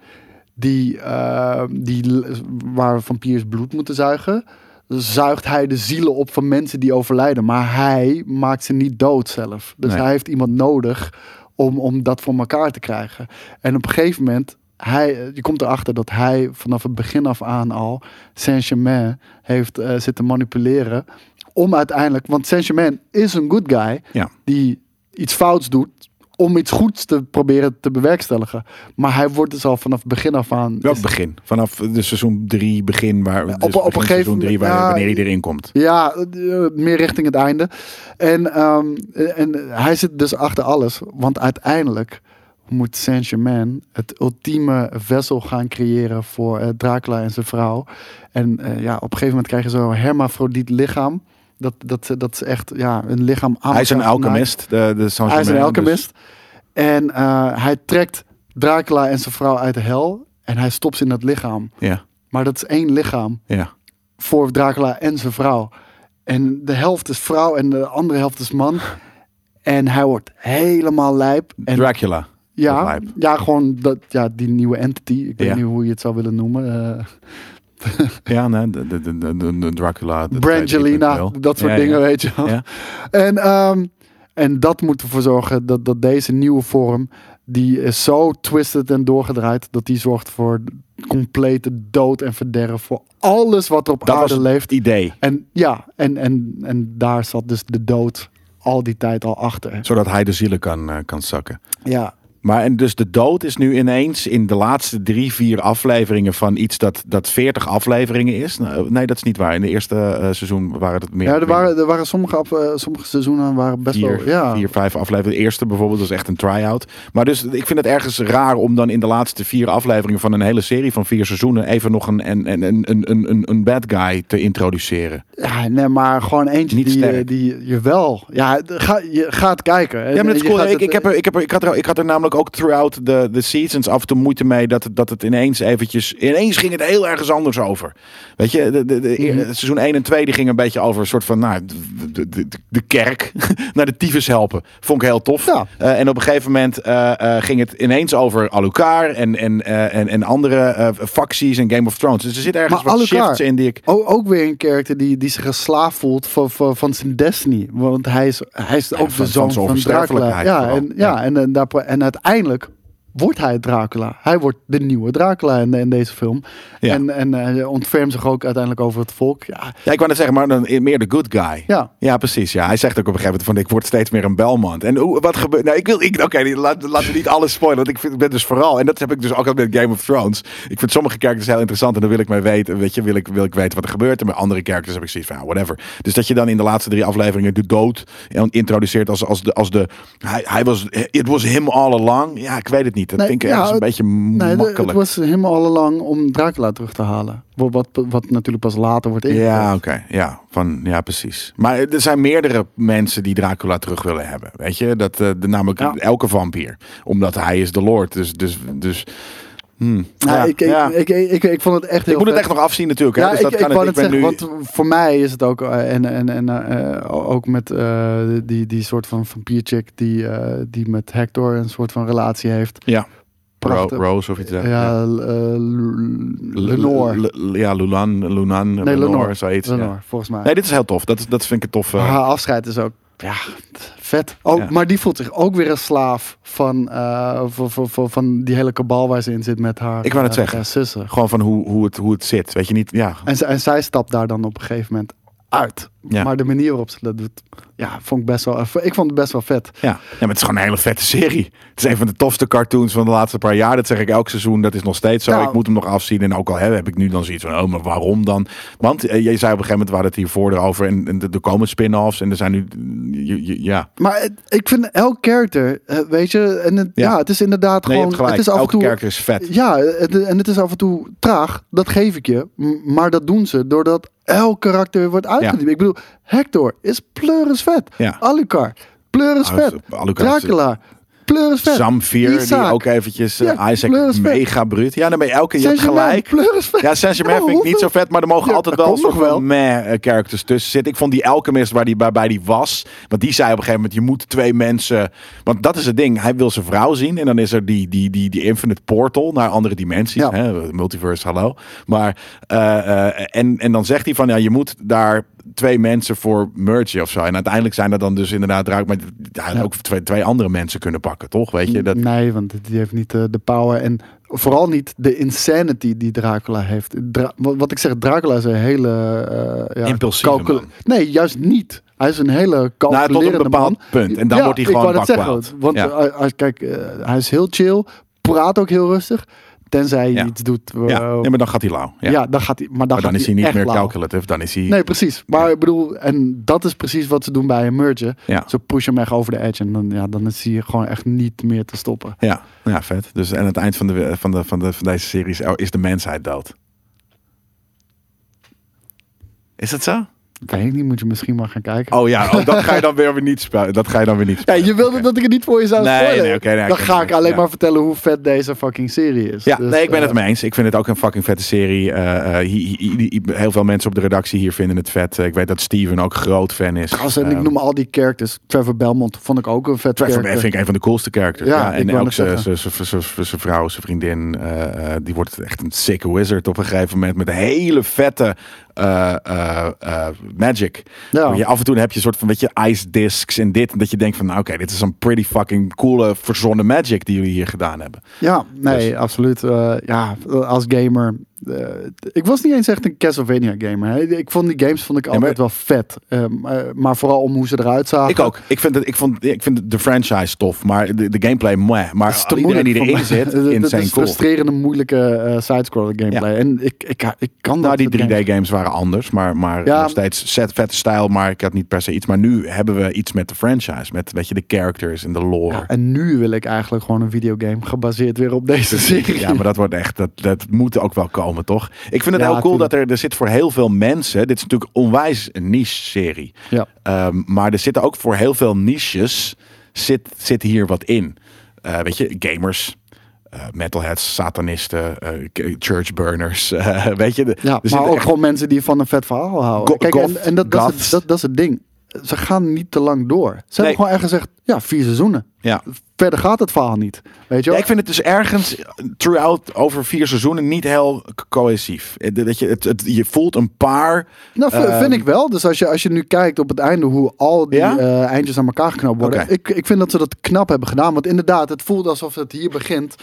die, eh, die l- waar vampiers bloed moeten zuigen. Zuigt hij de zielen op van mensen die overlijden. Maar hij maakt ze niet dood zelf. Dus Nee. hij heeft iemand nodig om, om dat voor elkaar te krijgen. En op een gegeven moment, hij, eh, je komt erachter dat hij vanaf het begin af aan al Saint-Germain heeft eh, zitten manipuleren. Om uiteindelijk, want Saint-Germain is een good guy Ja. die iets fouts doet om iets goeds te proberen te bewerkstelligen. Maar hij wordt dus al vanaf het begin af aan... Welk is- begin? Vanaf de seizoen 3 begin, waar, dus Dus- op een begin gegeven seizoen moment- drie, waar, ja, wanneer hij erin komt. Ja, eh, meer richting het einde. En, ehm, en hij zit dus achter alles. Want uiteindelijk moet Saint-Germain het ultieme vessel gaan creëren voor eh, Dracula en zijn vrouw. En eh, ja, op een gegeven moment krijg je zo'n hermafrodiet lichaam. Dat, dat, dat is echt ja, een lichaam aan Hij is een elkaar genaaid. alchemist. De, de Saint-Germain, Hij is een dus- alchemist. En eh, hij trekt Dracula en zijn vrouw uit de hel. En hij stopt ze in dat lichaam. ja, Maar dat is één lichaam ja. voor Dracula en zijn vrouw. En de helft is vrouw en de andere helft is man. *laughs* En hij wordt helemaal lijp. En Dracula. wordt ja, lijp. ja, gewoon dat, ja, die nieuwe entity. Ik weet Ja. niet hoe je het zou willen noemen. eh, Ja, nee, de, de, de, de- de Dracula. de Brangelina, 2.0. dat soort Ja, ja. dingen, weet je wel. Ja. En, ehm, en dat moet ervoor zorgen dat, dat deze nieuwe vorm, die is zo twisted en doorgedraaid, dat die zorgt voor complete dood en verderf voor alles wat er op Dat was aarde leeft. het idee. En ja, en, en, en daar zat dus de dood al die tijd al achter. Zodat hij de zielen kan, eh, kan zakken. Ja, Maar en dus de dood is nu ineens in de laatste drie, vier afleveringen van iets dat, dat 40 afleveringen is. Nou, nee, dat is niet waar. In de eerste eh, seizoen waren het meer. ja er, waren, er waren sommige, af- eh, sommige seizoenen waren best vier, wel... Ja. vier, vijf afleveringen. De eerste bijvoorbeeld was echt een try-out. Maar dus ik vind het ergens raar om dan in de laatste vier afleveringen van een hele serie van vier seizoenen even nog een, een, een, een, een, een, een bad guy te introduceren. Ja, nee, maar gewoon eentje Niet die, eh, sterk. die je wel. Ja, ga, je gaat kijken. En- Ja, maar en dat is je cool. gaat Ik, het- ik, heb er, ik, heb er, ik, had er, ik had er namelijk namelijk ook throughout de, de seasons af en toe moeite mee dat het, dat het ineens eventjes... Ineens ging het heel ergens anders over. Weet je, de, de, de, Mhm. seizoen 1 en 2 die gingen een beetje over een soort van... Nou, de, de, de- de kerk *laughs* naar de tyfus helpen. Vond ik heel tof. Ja. Eh, en op een gegeven moment eh, eh, ging het ineens over Alucard en, en, eh, en, en andere eh, facties en Game of Thrones. Dus er zit ergens Maar wat Alucard- shifts in die ik... O- ook weer een character die, die zich geslaafd voelt van, van, van zijn destiny. Want hij is, hij is ook van- de van zoon zijn van, Dracula. onsterfelijkheid Ja, vooral. en, ja, En, eh, daar- en uiteindelijk wordt hij Dracula. Hij wordt de nieuwe Dracula in, in deze film. Ja. En, en eh, hij ontfermt zich ook uiteindelijk over het volk. Ja, Ja, ik wou net zeggen, maar dan meer de good guy. Ja. ja, precies. Ja. Hij zegt ook op een gegeven moment van ik word steeds meer een Belmont. En hoe, wat gebeurt... Nou, ik wil... Ik, Oké, laat- laten we niet alles spoilen. Want ik, vind, ik ben dus vooral... En dat heb ik dus ook altijd met Game of Thrones. Ik vind sommige characters heel interessant en dan wil ik mij weten. Weet je, wil ik, wil ik weten wat er gebeurt. En bij andere characters heb ik zoiets van, ja, whatever. Dus dat je dan in de laatste drie afleveringen de dood introduceert als, als de... Als de hij, hij was... It was him all along. Ja, ik weet het niet. Dat Nee, vind ik ja, ergens een het- beetje nee, de- makkelijk. het was hem all along om Dracula terug te halen. Wat, wat, wat natuurlijk pas later wordt ingevoerd. Ja, oké. Ja, van, ja, precies. Maar er zijn meerdere mensen die Dracula terug willen hebben. Weet je, dat, eh, de, namelijk Ja. elke vampier. Omdat hij is de lord. Dus, dus, dus hmm. Nou, Ja, ik, ik, ja. ik, ik, ik, ik vond het echt heel Ik moet het vet. echt nog afzien natuurlijk. Hè? Ja, dus ik, dat ik kan wou het, net ik ben zeggen, nu... want voor mij is het ook, eh, en, en, en eh, eh, ook met eh, die, die soort van vampierchick die, eh, die met Hector een soort van relatie heeft. Ja, Ro- Prachtig. Rose of iets Ja, dergelijks. ja. eh, L- Lenore. L- L- Ja, Lulan, Lunan, Nee, Lenore, Lenore. zoiets. ja. Lenore, volgens mij. Nee, dit is heel tof. Dat, is- dat vind ik een tof. eh, Haar afscheid is ook ja, vet. Ook, Ja. Maar die voelt zich ook weer een slaaf van, eh, van, van, van, van die hele kabal waar ze in zit met haar, Ik wou net eh, zeggen. haar zussen. Gewoon van hoe, hoe, het, hoe het zit. Weet je niet? Ja, En, zij- en zij stapt daar dan op een gegeven moment uit. Ja. Maar de manier waarop ze dat doet, ja, vond ik best wel. eh, Ik vond het best wel vet. Ja. ja, maar het is gewoon een hele vette serie. Het is een van de tofste cartoons van de laatste paar jaar. Dat zeg ik elk seizoen. Dat is nog steeds zo. Nou. ik moet hem nog afzien. En ook al heb, heb ik nu dan zoiets van, oh, maar waarom dan? Want eh, je zei op een gegeven moment, we hadden het hiervoor erover. En, en er komen spin-offs. En er zijn nu, je- je- ja. Maar het- ik vind elk character, eh, weet je, en het, Ja. ja. het is inderdaad Nee, je gewoon. hebt gelijk. Het is af en Elke toe. character is vet. Ja, het- en het is af en toe traag, dat geef ik je. M- Maar dat doen ze doordat elk karakter weer wordt uitgediept. Ik bedoel, Hector is pleuris vet. Ja. Alucard, pleuris Alucard- vet. Alucard is- Dracula, pleuris vet. Zamfir, die Isaac, ook eventjes, eh, Ja, kleur Isaac, is vet. mega bruut. Ja, dan ben je elke, je hebt Saint-Germain, gelijk. Pleuris vet. Ja, Saint-Germain vind ik niet zo vet, maar er mogen Ja, altijd dat wel een kon soort nog wel. van meh eh, characters tussen zitten. Ik vond die Alchemist waar die, waarbij die was, want die zei op een gegeven moment, je moet twee mensen, want dat is het ding, hij wil zijn vrouw zien en dan is er die, die, die, die infinite portal naar andere dimensies, Ja. hè, multiverse, hallo. Maar, eh, eh, en, en dan zegt hij van, ja, je moet daar twee mensen voor mergen of zo. En uiteindelijk zijn er dan dus inderdaad raak, maar hij had Ja. Mm, ook twee, twee andere mensen kunnen pakken, toch? Weet je, dat, Nee, want die heeft niet eh, de power en vooral niet de insanity die Dracula heeft. Dra- wat, wat ik zeg, Dracula is een hele... eh, ja, Impulsieve calcul- man. Nee, juist niet. Hij is een hele Nou, tot op een calculerende bepaald man. punt. En dan Ja, wordt hij ik gewoon wou net buckwild. zeggen, Want Ja. eh, als, kijk, eh, hij is heel chill, praat ook heel rustig. Tenzij hij Ja. iets doet... eh, ja, nee, maar dan gaat hij lauw. Ja. ja. dan gaat hij... Maar dan, maar dan gaat is hij niet echt meer lauw. calculative, dan is hij... Nee, precies. Maar ik bedoel, en dat is precies wat ze doen bij een merger. Ja. Ze pushen hem echt over de edge en dan, ja, dan is hij gewoon echt niet meer te stoppen. Ja, nou ja, vet. Dus aan het eind van, de, van, de, van, de, van deze serie is- is de mensheid dood. Is dat zo? Weet ik niet, moet je misschien maar gaan kijken. Oh ja, oh, dat ga je dan weer weer niet spelen. Dat ga je dan weer niet Ja, spelen. je wilde Oké. dat ik het niet voor je zou Nee, spoilen. nee, oké, nee, Dan oké, ga ik nee, alleen ja. maar vertellen hoe vet deze fucking serie is. Ja, Dus, nee, ik ben eh, het mee eens. Ik vind het ook een fucking vette serie. Eh, eh, hi- hi- hi- hi- heel veel mensen op de redactie hier vinden het vet. Eh, Ik weet dat Steven ook groot fan is. Trouwens, en ik Ehm, noem al die characters. Trevor Belmont vond ik ook een vet Trevor character. vind ik een van de coolste characters. Ja, Ja, ik en wou ook net zijn zeggen. vrouw, zijn vriendin, eh, eh, die wordt echt een sick wizard op een gegeven moment met een hele vette eh, eh, eh, magic. Ja. Waar Je, af en toe heb je een soort van, weet je, ice discs en dit. En dat je denkt van, nou, oké, dit is een pretty fucking coole verzonnen magic die jullie hier gedaan hebben. Ja, nee, Dus- absoluut. Eh, ja, als gamer. eh, ik was niet eens echt een Castlevania gamer. Hè. Ik vond die games vond ik altijd wel vet. Eh, maar, maar vooral om hoe ze eruit zagen. Ik ook. Ik vind, het, ik, vond, ik vind de franchise tof, maar de, de gameplay, meh. Maar Het is te iedereen moeilijk die voor erin mij. zit, *laughs* Dat- dat insane is cool. frustrerende, moeilijke eh sidescroller gameplay. En ik, ik, ik kan Nou, dat die soort games 3D-games waren anders, maar, maar Ja. nog steeds set, vette stijl, maar ik had niet per se iets. Maar nu hebben we iets met de franchise, met weet je, de characters en de lore. Ja, en nu wil ik eigenlijk gewoon een videogame gebaseerd weer op deze serie. Ja, maar dat wordt echt, dat, dat moet ook wel komen, toch? Ik vind het Ja, heel cool tuurlijk. dat er, er zit voor heel veel mensen, dit is natuurlijk onwijs een niche-serie. Ja. Ehm, maar er zitten ook voor heel veel niches, zit, zit hier wat in. Eh, eh, weet je, gamers, eh, metalheads, satanisten, eh, churchburners, *laughs* eh, weet je. de- Ja, er maar zitten ook echt- gewoon mensen die van een vet verhaal houden. Go- Kijk, en, goth, en dat, dat, is goths. het, dat, dat is het ding. Ze gaan niet te lang door. Ze hebben gewoon echt gezegd, ja, vier seizoenen. Ja. Verder gaat het verhaal niet. Weet je wel? Ja, ik vind het dus ergens eh, throughout over vier seizoenen niet heel c- cohesief. Eh, Dat je, het, het- je voelt een paar. Nou, v- Ehm, vind ik wel. Dus als je, als je nu kijkt op het einde hoe al die Ja? eh, eindjes aan elkaar geknapt worden. Oké. Ik, ik vind dat ze dat knap hebben gedaan. Want inderdaad, het voelt alsof het hier begint.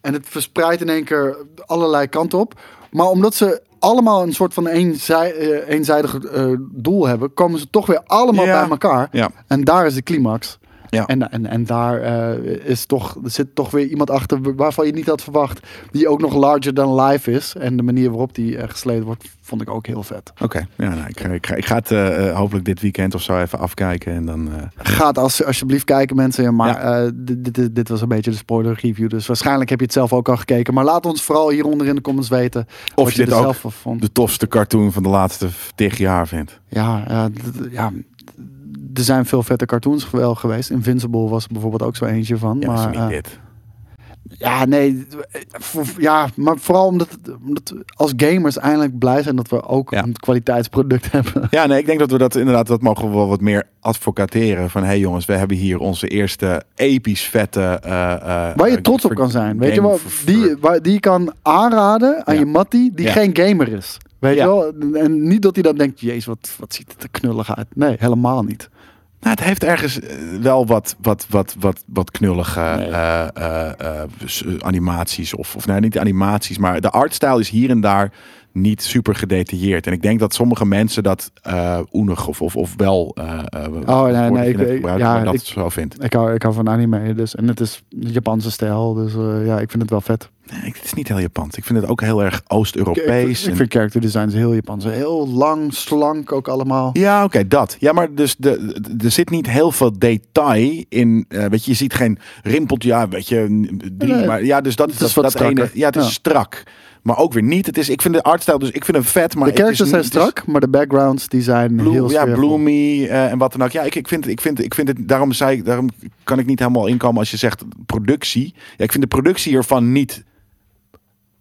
En het verspreidt in één keer allerlei kanten op. Maar omdat ze allemaal een soort van eenzij, eh, eenzijdig eh, doel hebben, komen ze toch weer allemaal Ja. bij elkaar. Ja. En daar is de climax. Ja. En, en, en daar eh, is toch, er zit toch weer iemand achter waarvan je niet had verwacht. Die ook nog larger than life is. En de manier waarop die eh, gesleten wordt, vond ik ook heel vet. Oké, ja, nou, ik, ga- ik, ga, ik ga het eh, eh, hopelijk dit weekend of zo even afkijken. En dan, eh, Gaat als, alsjeblieft kijken mensen. Ja, Maar Ja. eh, dit- dit, dit, dit was een beetje de spoiler review. Dus waarschijnlijk heb je het zelf ook al gekeken. Maar laat ons vooral hieronder in de comments weten. of wat je dit er ook zelf van vond. de tofste cartoon van de laatste v- tig jaar vindt. Ja, ja, d- d- ja, er zijn veel vette cartoons wel geweest. Invincible was er bijvoorbeeld ook zo eentje van. Ja, maar, dat is niet eh, dit. ja, nee. eh, voor- ja, maar vooral omdat, omdat we als gamers eindelijk blij zijn dat we ook Ja. een kwaliteitsproduct *laughs* hebben. Ja, nee, ik denk dat we dat inderdaad, dat mogen we wel wat meer advocateren. Van, hé hey jongens, we hebben hier onze eerste episch vette... eh, eh, Waar je eh, trots op ver- kan zijn. Weet je game wel, ver- die, waar, die je kan aanraden aan Ja. je mattie die Ja. geen gamer is. Weet Ja. je wel? En niet dat hij dan denkt, jezus, wat, wat ziet het er knullig uit. Nee, helemaal niet. Nou, het heeft ergens eh, wel wat, wat, wat, wat, wat knullige eh, eh, eh, s- animaties. Of, of nou, niet de animaties, maar de artstijl is hier en daar niet super gedetailleerd. En ik denk dat sommige mensen dat eh oenig of, of, of wel... eh, eh, woorden Oh, nee, die ik- net ik- gebruikt ja, worden, dat ik- zo vindt. Ik hou, ik hou van anime dus. En het is Japanse stijl, dus eh, ja, ik vind het wel vet. Nee, het is niet heel Japans. Ik vind het ook heel erg Ik, ik, Oost-Europees. ik en- vind character designs heel Japans. Heel lang, slank ook allemaal. Ja, oké, dat. Ja, maar dus de, de- er zit niet heel veel detail in. eh, weet je, je ziet geen rimpeltje, ja, weet je, n- drie. Nee. maar ja, dus dat Het dat, is wat dat strakker. Ja, het is Ja. strak. Maar ook weer niet. Het is, ik vind de artstijl, dus ik vind hem vet. Maar de characters het zijn is, niet- het is strak, maar de backgrounds die zijn bloem- heel ja, sfeervol. bloomy eh, en wat dan ook. Ja, ik, ik, vind, ik, vind, ik vind het, daarom, zei, ik- daarom kan ik niet helemaal inkomen als je zegt productie. Ja, ik vind de productie hiervan niet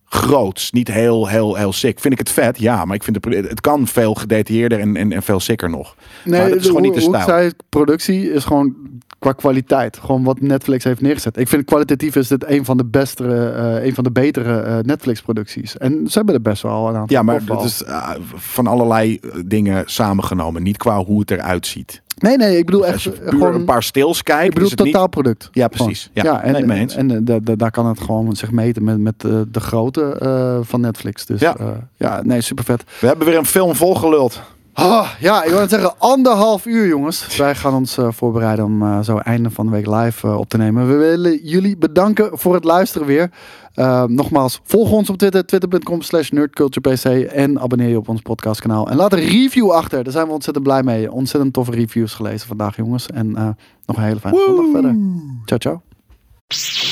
groots, niet heel, heel, heel sick. Vind ik het vet, ja, maar ik vind de, produ- het kan veel gedetailleerder en, en, en veel sicker nog. maar dat is de- gewoon niet de hoe- hoe ik stijl. zei, productie is gewoon qua kwaliteit. Gewoon wat Netflix heeft neergezet. Ik vind kwalitatief is dit een van de bestere, eh, een van de betere eh, Netflix-producties. En ze hebben er best wel een aantal. Ja, maar toffe het al. is eh, van allerlei eh, dingen samengenomen. Niet qua hoe het eruit ziet. Nee, nee, ik bedoel Als echt je eh, puur gewoon. een paar stils kijkt, ik bedoel is het niet... totaalproduct. Ja, precies. Ja, Gewoon. en, nee, mee eens. en, eh, da- da- daar kan het gewoon zich meten met, met eh, de grootte eh, van Netflix. Dus Ja. ja, ja nee, super vet. We hebben weer een film volgeluld. Ah, ja, ik wil net zeggen, anderhalf uur jongens. Wij gaan ons eh, voorbereiden om eh, zo einde van de week live eh, op te nemen. We willen jullie bedanken voor het luisteren weer. Eh, nogmaals, volg ons op Twitter, twitter.com slash nerdculturepc en abonneer je op ons podcastkanaal. En laat een review achter, daar zijn we ontzettend blij mee. Ontzettend toffe reviews gelezen vandaag jongens. En eh, nog een hele fijne zondag verder. Ciao, ciao.